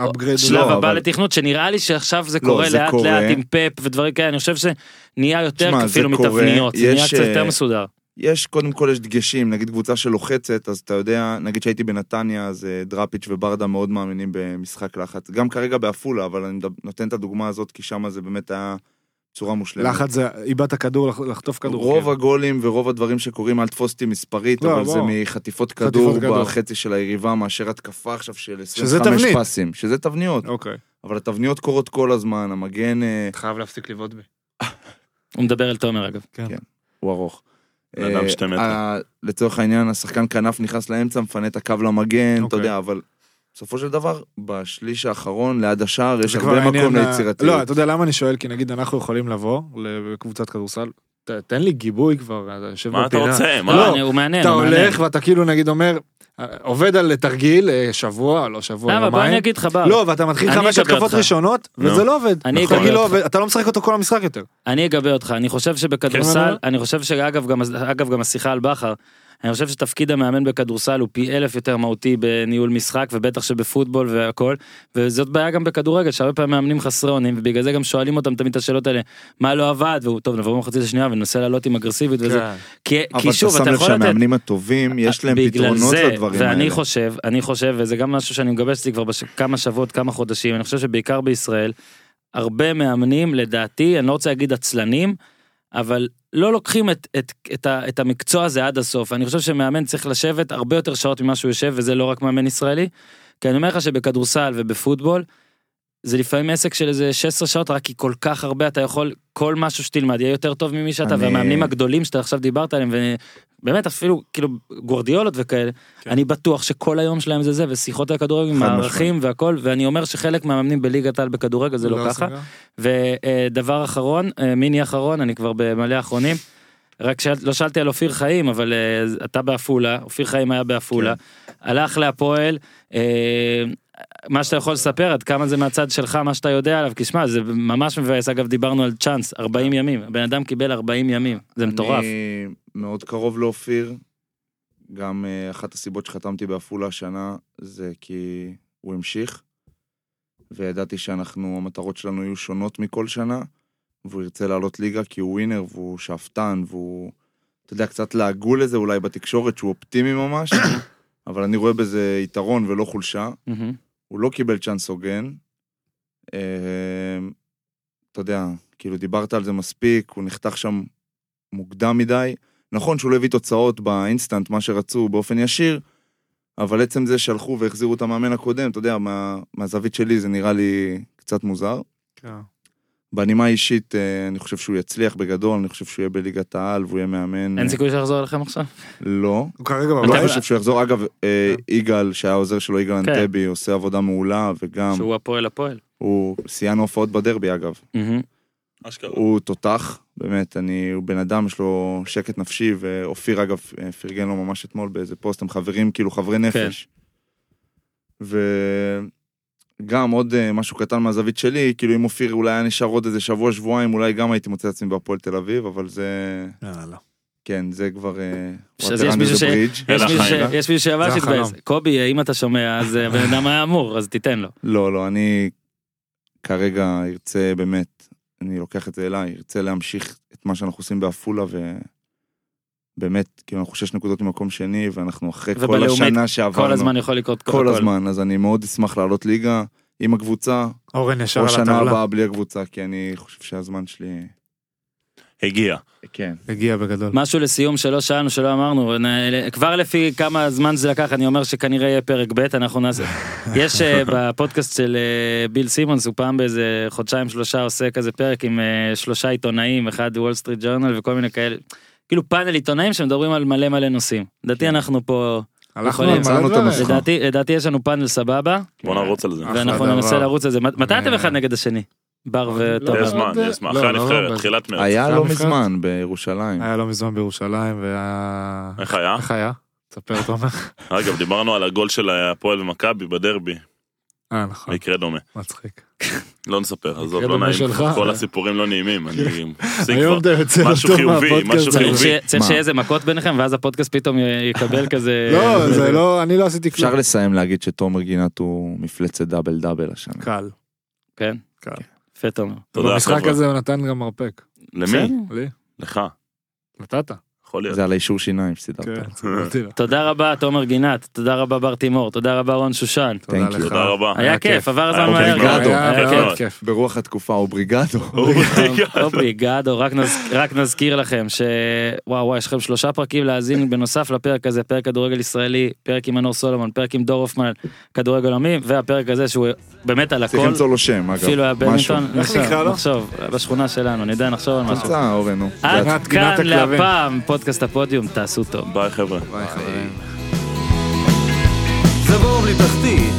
C: upgrade
A: השלב
E: לא,
A: הבא
E: אבל-
A: לתכנות, שנראה לי שעכשיו זה
E: לא,
A: קורה
E: זה
A: לאט
E: קורה.
A: לאט עם פאפ ודברים כאלה, אני חושב שנהיה יותר
E: שמע, זה
A: אפילו
E: קורה,
A: מתבניות, זה נהיה
E: יש,
A: קצת יותר
E: אה,
A: מסודר.
E: יש, קודם כל יש דגשים, נגיד קבוצה שלוחצת, אז אתה יודע, נגיד שהייתי בנתניה, אז אה, דראפיץ' וברדה מאוד מאמינים במשחק לחץ. גם כרגע בעפולה, אבל אני מדב- נותן את הדוגמה הזאת, כי שם זה באמת היה צורה מושלמת.
C: לחץ זה איבדת כדור, לח- לחטוף כדור.
E: רוב
C: כן.
E: הגולים ורוב הדברים שקורים, אל תפוס אותי מספרית,
C: לא,
E: אבל זה
C: בוא.
E: מחטיפות כדור
C: כדור.
E: בחצי של היריבה, מאשר התקפה עכשיו של
C: שזה
E: 25
C: תבנית.
E: פסים, שזה תבניות.
C: אוקיי.
E: אבל התבניות קורות כל הזמן, המגן אה,
F: אתה חייב להפסיק לבעוט בי.
A: הוא מדבר אל תומר אגב.
C: כן.
E: כן. הוא ארוך.
B: בן אדם
E: אה,
B: שתי מטר.
E: ה- לצורך העניין, השחקן כנף נכנס לאמצע, מפנה את הקו למגן, אתה
C: אוקיי.
E: יודע, אבל בסופו של דבר, בשליש האחרון, ליד השער, יש
C: זה כבר
E: הרבה
C: העניין
E: מקום
C: ה- לא,
E: ליצירתיות.
C: אתה יודע למה אני שואל? כי נגיד אנחנו יכולים לבוא לקבוצת כדורסל, ת- תן לי גיבוי כבר, אתה יושב
B: מה אתה
C: בפינה.
B: רוצה? מה?
A: לא, אני- הוא מעניין,
C: אתה
A: הוא מעניין.
C: הולך ואתה כאילו נגיד אומר, אה, עובד על תרגיל אה, שבוע, לא שבוע,
A: למה, בוא אני
C: יומיים.
A: אגיד לך בר.
C: לא, ואתה מתחיל
A: אני
C: חמש
A: אגבה
C: התקפות
A: אותך.
C: ראשונות, וזה
B: נו.
C: לא עובד.
A: אני
C: התרגיל
A: אגבה
C: לא
A: אותך.
C: עובד, אתה לא משחק אותו כל המשחק יותר.
A: אני אגבה אותך, אני חושב שבכדורסל,
C: כן.
A: אני חושב שאגב גם, אגב, גם השיחה על בכר, אני חושב שתפקיד המאמן בכדורסל הוא פי אלף יותר מהותי בניהול משחק, ובטח שבפוטבול והכל, וזאת בעיה גם בכדורגל, שהרבה פעמים מאמנים חסרי אונים, ובגלל זה גם שואלים אותם תמיד את השאלות האלה, מה לא עבד, והוא, טוב, נבוא במחצית השנייה וננסה לעלות עם אגרסיבית וזה,
C: כן.
A: כי,
E: אבל
A: כי
E: אתה
A: שוב,
E: שם
A: אתה
E: לב
A: יכול לתת...
E: שהמאמנים הטובים, יש להם
A: בגלל
E: פתרונות
A: זה,
E: לדברים
A: ואני
E: האלה.
A: חושב, אני חושב, וזה גם משהו שאני מגבש אצלי כבר בש... כמה שבועות, כמה חודשים, אני חושב שבעיקר בישראל, הרבה מאמנים, לדעתי, אני לא רוצה להגיד עצלנים, אבל לא לוקחים את, את, את, ה- את המקצוע הזה עד הסוף. אני חושב שמאמן צריך לשבת הרבה יותר שעות ממה שהוא יושב, וזה לא רק מאמן ישראלי. כי אני אומר לך שבכדורסל ובפוטבול, זה לפעמים עסק של איזה 16 שעות, רק כי כל כך הרבה אתה יכול, כל משהו שתלמד יהיה יותר טוב ממי שאתה,
E: אני-
A: והמאמנים הגדולים שאתה עכשיו דיברת עליהם, ובאמת אפילו כאילו גוורדיולות וכאלה, אני בטוח שכל היום שלהם זה זה, ושיחות על כדורגל עם
E: חד
A: הערכים והכל, ואני אומר שחלק מהמאמנים בליגת העל בכדורגל זה לא ככה.
C: עושים ככה.
A: ודבר אחרון, אה, מיני אחרון, אני כבר במלא אחרונים, רק שאל, לא שאלתי על אופיר חיים, אבל אה, אתה בעפולה, אופיר חיים היה בעפולה, הלך להפועל, אה, מה שאתה יכול לספר, עד כמה זה מהצד שלך, מה שאתה יודע עליו, כי שמע, זה ממש מבאס, אגב, דיברנו על צ'אנס, 40 ימים, הבן אדם קיבל 40 ימים, זה מטורף.
E: אני מאוד קרוב לאופיר. גם אה, אחת הסיבות שחתמתי בעפולה השנה זה כי הוא המשיך, וידעתי שאנחנו, המטרות שלנו יהיו שונות מכל שנה, והוא ירצה לעלות ליגה כי הוא ווינר והוא שאפתן, והוא, אתה יודע, קצת לעגו לזה אולי בתקשורת שהוא אופטימי ממש, אבל אני רואה בזה יתרון ולא חולשה.
A: מהמם.
E: הוא לא קיבל צ'אנס הוגן. אה, אתה יודע, כאילו דיברת על זה מספיק, הוא נחתך שם מוקדם מדי. נכון שהוא לא הביא תוצאות באינסטנט, מה שרצו באופן ישיר, אבל עצם זה שהלכו והחזירו את המאמן הקודם, אתה יודע, מה, מהזווית שלי זה נראה לי קצת מוזר.
C: כן.
E: בנימה האישית, אה, אני חושב שהוא יצליח בגדול, אני חושב שהוא יהיה בליגת העל והוא יהיה מאמן.
A: אין סיכוי שיחזור אליכם עכשיו?
E: לא.
C: הוא כרגע
E: לא
A: אבל-
C: בבית.
E: חושב שהוא יחזור. אגב, אה, יגאל, שהיה עוזר שלו, יגאל
A: כן.
E: אנטבי, עושה עבודה מעולה, וגם...
A: שהוא הפועל הפועל.
E: הוא שיאן הופעות בדרבי אגב.
A: מהמם.
B: אשכרה.
E: הוא תותח, באמת, אני, הוא בן אדם, יש לו שקט נפשי, ואופיר אגב אה, פרגן לו ממש אתמול באיזה פוסט, הם חברים כאילו חברי
A: כן.
E: נפש. וגם עוד אה, משהו קטן מהזווית שלי, כאילו אם אופיר אולי היה נשאר עוד איזה שבוע, שבועיים, אולי גם הייתי מוצא את עצמי בהפועל תל אביב, אבל זה, לא,
C: יאללה.
E: כן, זה כבר... אה,
A: אז
E: water
A: יש
E: under
A: מישהו
E: the
A: ש-
E: bridge.
A: יש
B: אלה
A: מישהו ש-
B: החיים,
A: יש מישהו שעבר
C: זה
A: שהתבאס.
C: החלום.
A: קובי, אם אתה שומע, אז הבן אדם היה אמור, אז תיתן לו.
E: לא, לא, אני כרגע ארצה באמת, אני לוקח את זה אליי, ארצה להמשיך את מה שאנחנו עושים בעפולה, ובאמת, כאילו, אנחנו שש נקודות ממקום שני, ואנחנו אחרי כל
A: ובלאומית,
E: השנה שעברנו.
A: כל הזמן יכול לקרות הכל.
E: כל הזמן, אז אני מאוד אשמח לעלות ליגה עם הקבוצה,
C: אורן ישר
E: או
C: על
E: שנה
C: הטבלה.
E: הבאה בלי הקבוצה, כי אני חושב שהזמן שלי...
B: הגיע.
E: כן.
C: הגיע בגדול.
A: משהו לסיום שלא שאלנו שלא אמרנו נ- כבר לפי כמה זמן זה לקח אני אומר שכנראה יהיה פרק ב' אנחנו נעשה יש אה, בפודקאסט של אה, ביל סימונס הוא פעם באיזה חודשיים שלושה עושה כזה פרק עם אה, שלושה עיתונאים אחד וול סטריט ג'ורנל וכל מיני כאלה כאילו פאנל עיתונאים שמדברים על מלא מלא נושים לדעתי אנחנו פה
C: הלכנו
A: יכולים.
C: על מלא
E: מצאנו את
C: דברים.
E: הנוסחה.
A: לדעתי לדעתי יש לנו פאנל סבבה
B: בוא
C: כן.
B: נרוץ על זה.
C: אחלה
A: ואנחנו
C: דבר.
A: ננסה לרוץ על זה מת- מתי
C: אה.
A: אתם אחד נגד השני בר
C: לא,
B: יש
A: ותומר.
C: לא.
B: זמן, יש זמן. אחרי
C: לא, לא,
B: הנבחרת,
C: לא,
B: תחילת מרץ.
E: היה
C: זה
E: לא
C: הנבחרת?
E: מזמן בירושלים.
C: היה לא מזמן בירושלים, והיה...
B: איך היה?
C: איך היה? תספר תומר.
B: אגב, דיברנו על הגול של הפועל ומכבי בדרבי,
C: אה, נכון.
B: מקרה דומה.
C: מצחיק.
B: לא נספר, עזוב,
C: מקרה
B: לא
C: דומה
B: נעים.
C: שלך. כן.
B: כל הסיפורים לא נעימים, אני מפסיק כבר.
C: היום אתה יוצא
B: משהו
C: אותו
B: חיובי,
C: מהפודקאסט
B: משהו
C: הזה.
A: צריך
B: חיובי.
A: שיהיה- צריך
E: מה?
A: שיהיה איזה מכות ביניכם ואז הפודקאסט פתאום י- יקבל כזה
C: לא, זה לא, אני לא עשיתי כלום.
E: אפשר לסיים להגיד שתומר גינת הוא מפלצת דאבל דאבל השנה.
C: קל.
A: כן
C: קל.
A: יפה תומר.
B: תודה,
C: במשחק
B: חבר'ה.
C: אה. הזה הוא נתן גם מרפק.
B: למי?
C: לי.
B: לך.
C: נתת.
B: יכול להיות.
E: זה על האישור שיניים שסידרת.
C: כן, צודקתי לה.
A: תודה רבה, תומר גינת, תודה רבה, בר תימור, תודה רבה, רון שושן.
C: תודה
E: Thank you.
C: לך.
B: תודה רבה.
A: היה
C: היה
A: כיף,
C: כיף. אוקיי,
A: עבר הזמן
B: היה
A: מהר.
B: כיף מאוד,
A: היה
C: היה
B: כיף.
C: מאוד כיף.
E: ברוח התקופה, אובריגדו.
A: אובריגדו, רק, נז... רק נזכיר לכם ש... וואו וואו, יש לכם שלושה פרקים להאזין בנוסף לפרק הזה, פרק כדורגל ישראלי, פרק עם מנור סולומון, פרק עם דור הופמן, כדורגל עולמי, והפרק הזה שהוא באמת על
E: צריך
A: הכל,
E: למצוא לו שם, אגב.
A: אפילו היה
E: משהו.
A: בדמינטון,
C: איך נקרא
A: נחשוב,
C: לו?
A: נחשוב, בשכונה שלנו, נדע נחשוב על משהו.
E: תמצא, אורן, נו.
A: עד
C: גינת- גינת
A: כאן
C: הכלבים.
A: להפעם, פודקאסט הפודיום, תעשו טוב.
B: ביי חבר'ה.
C: ביי, חברים.
D: זה בור בלי תחתית,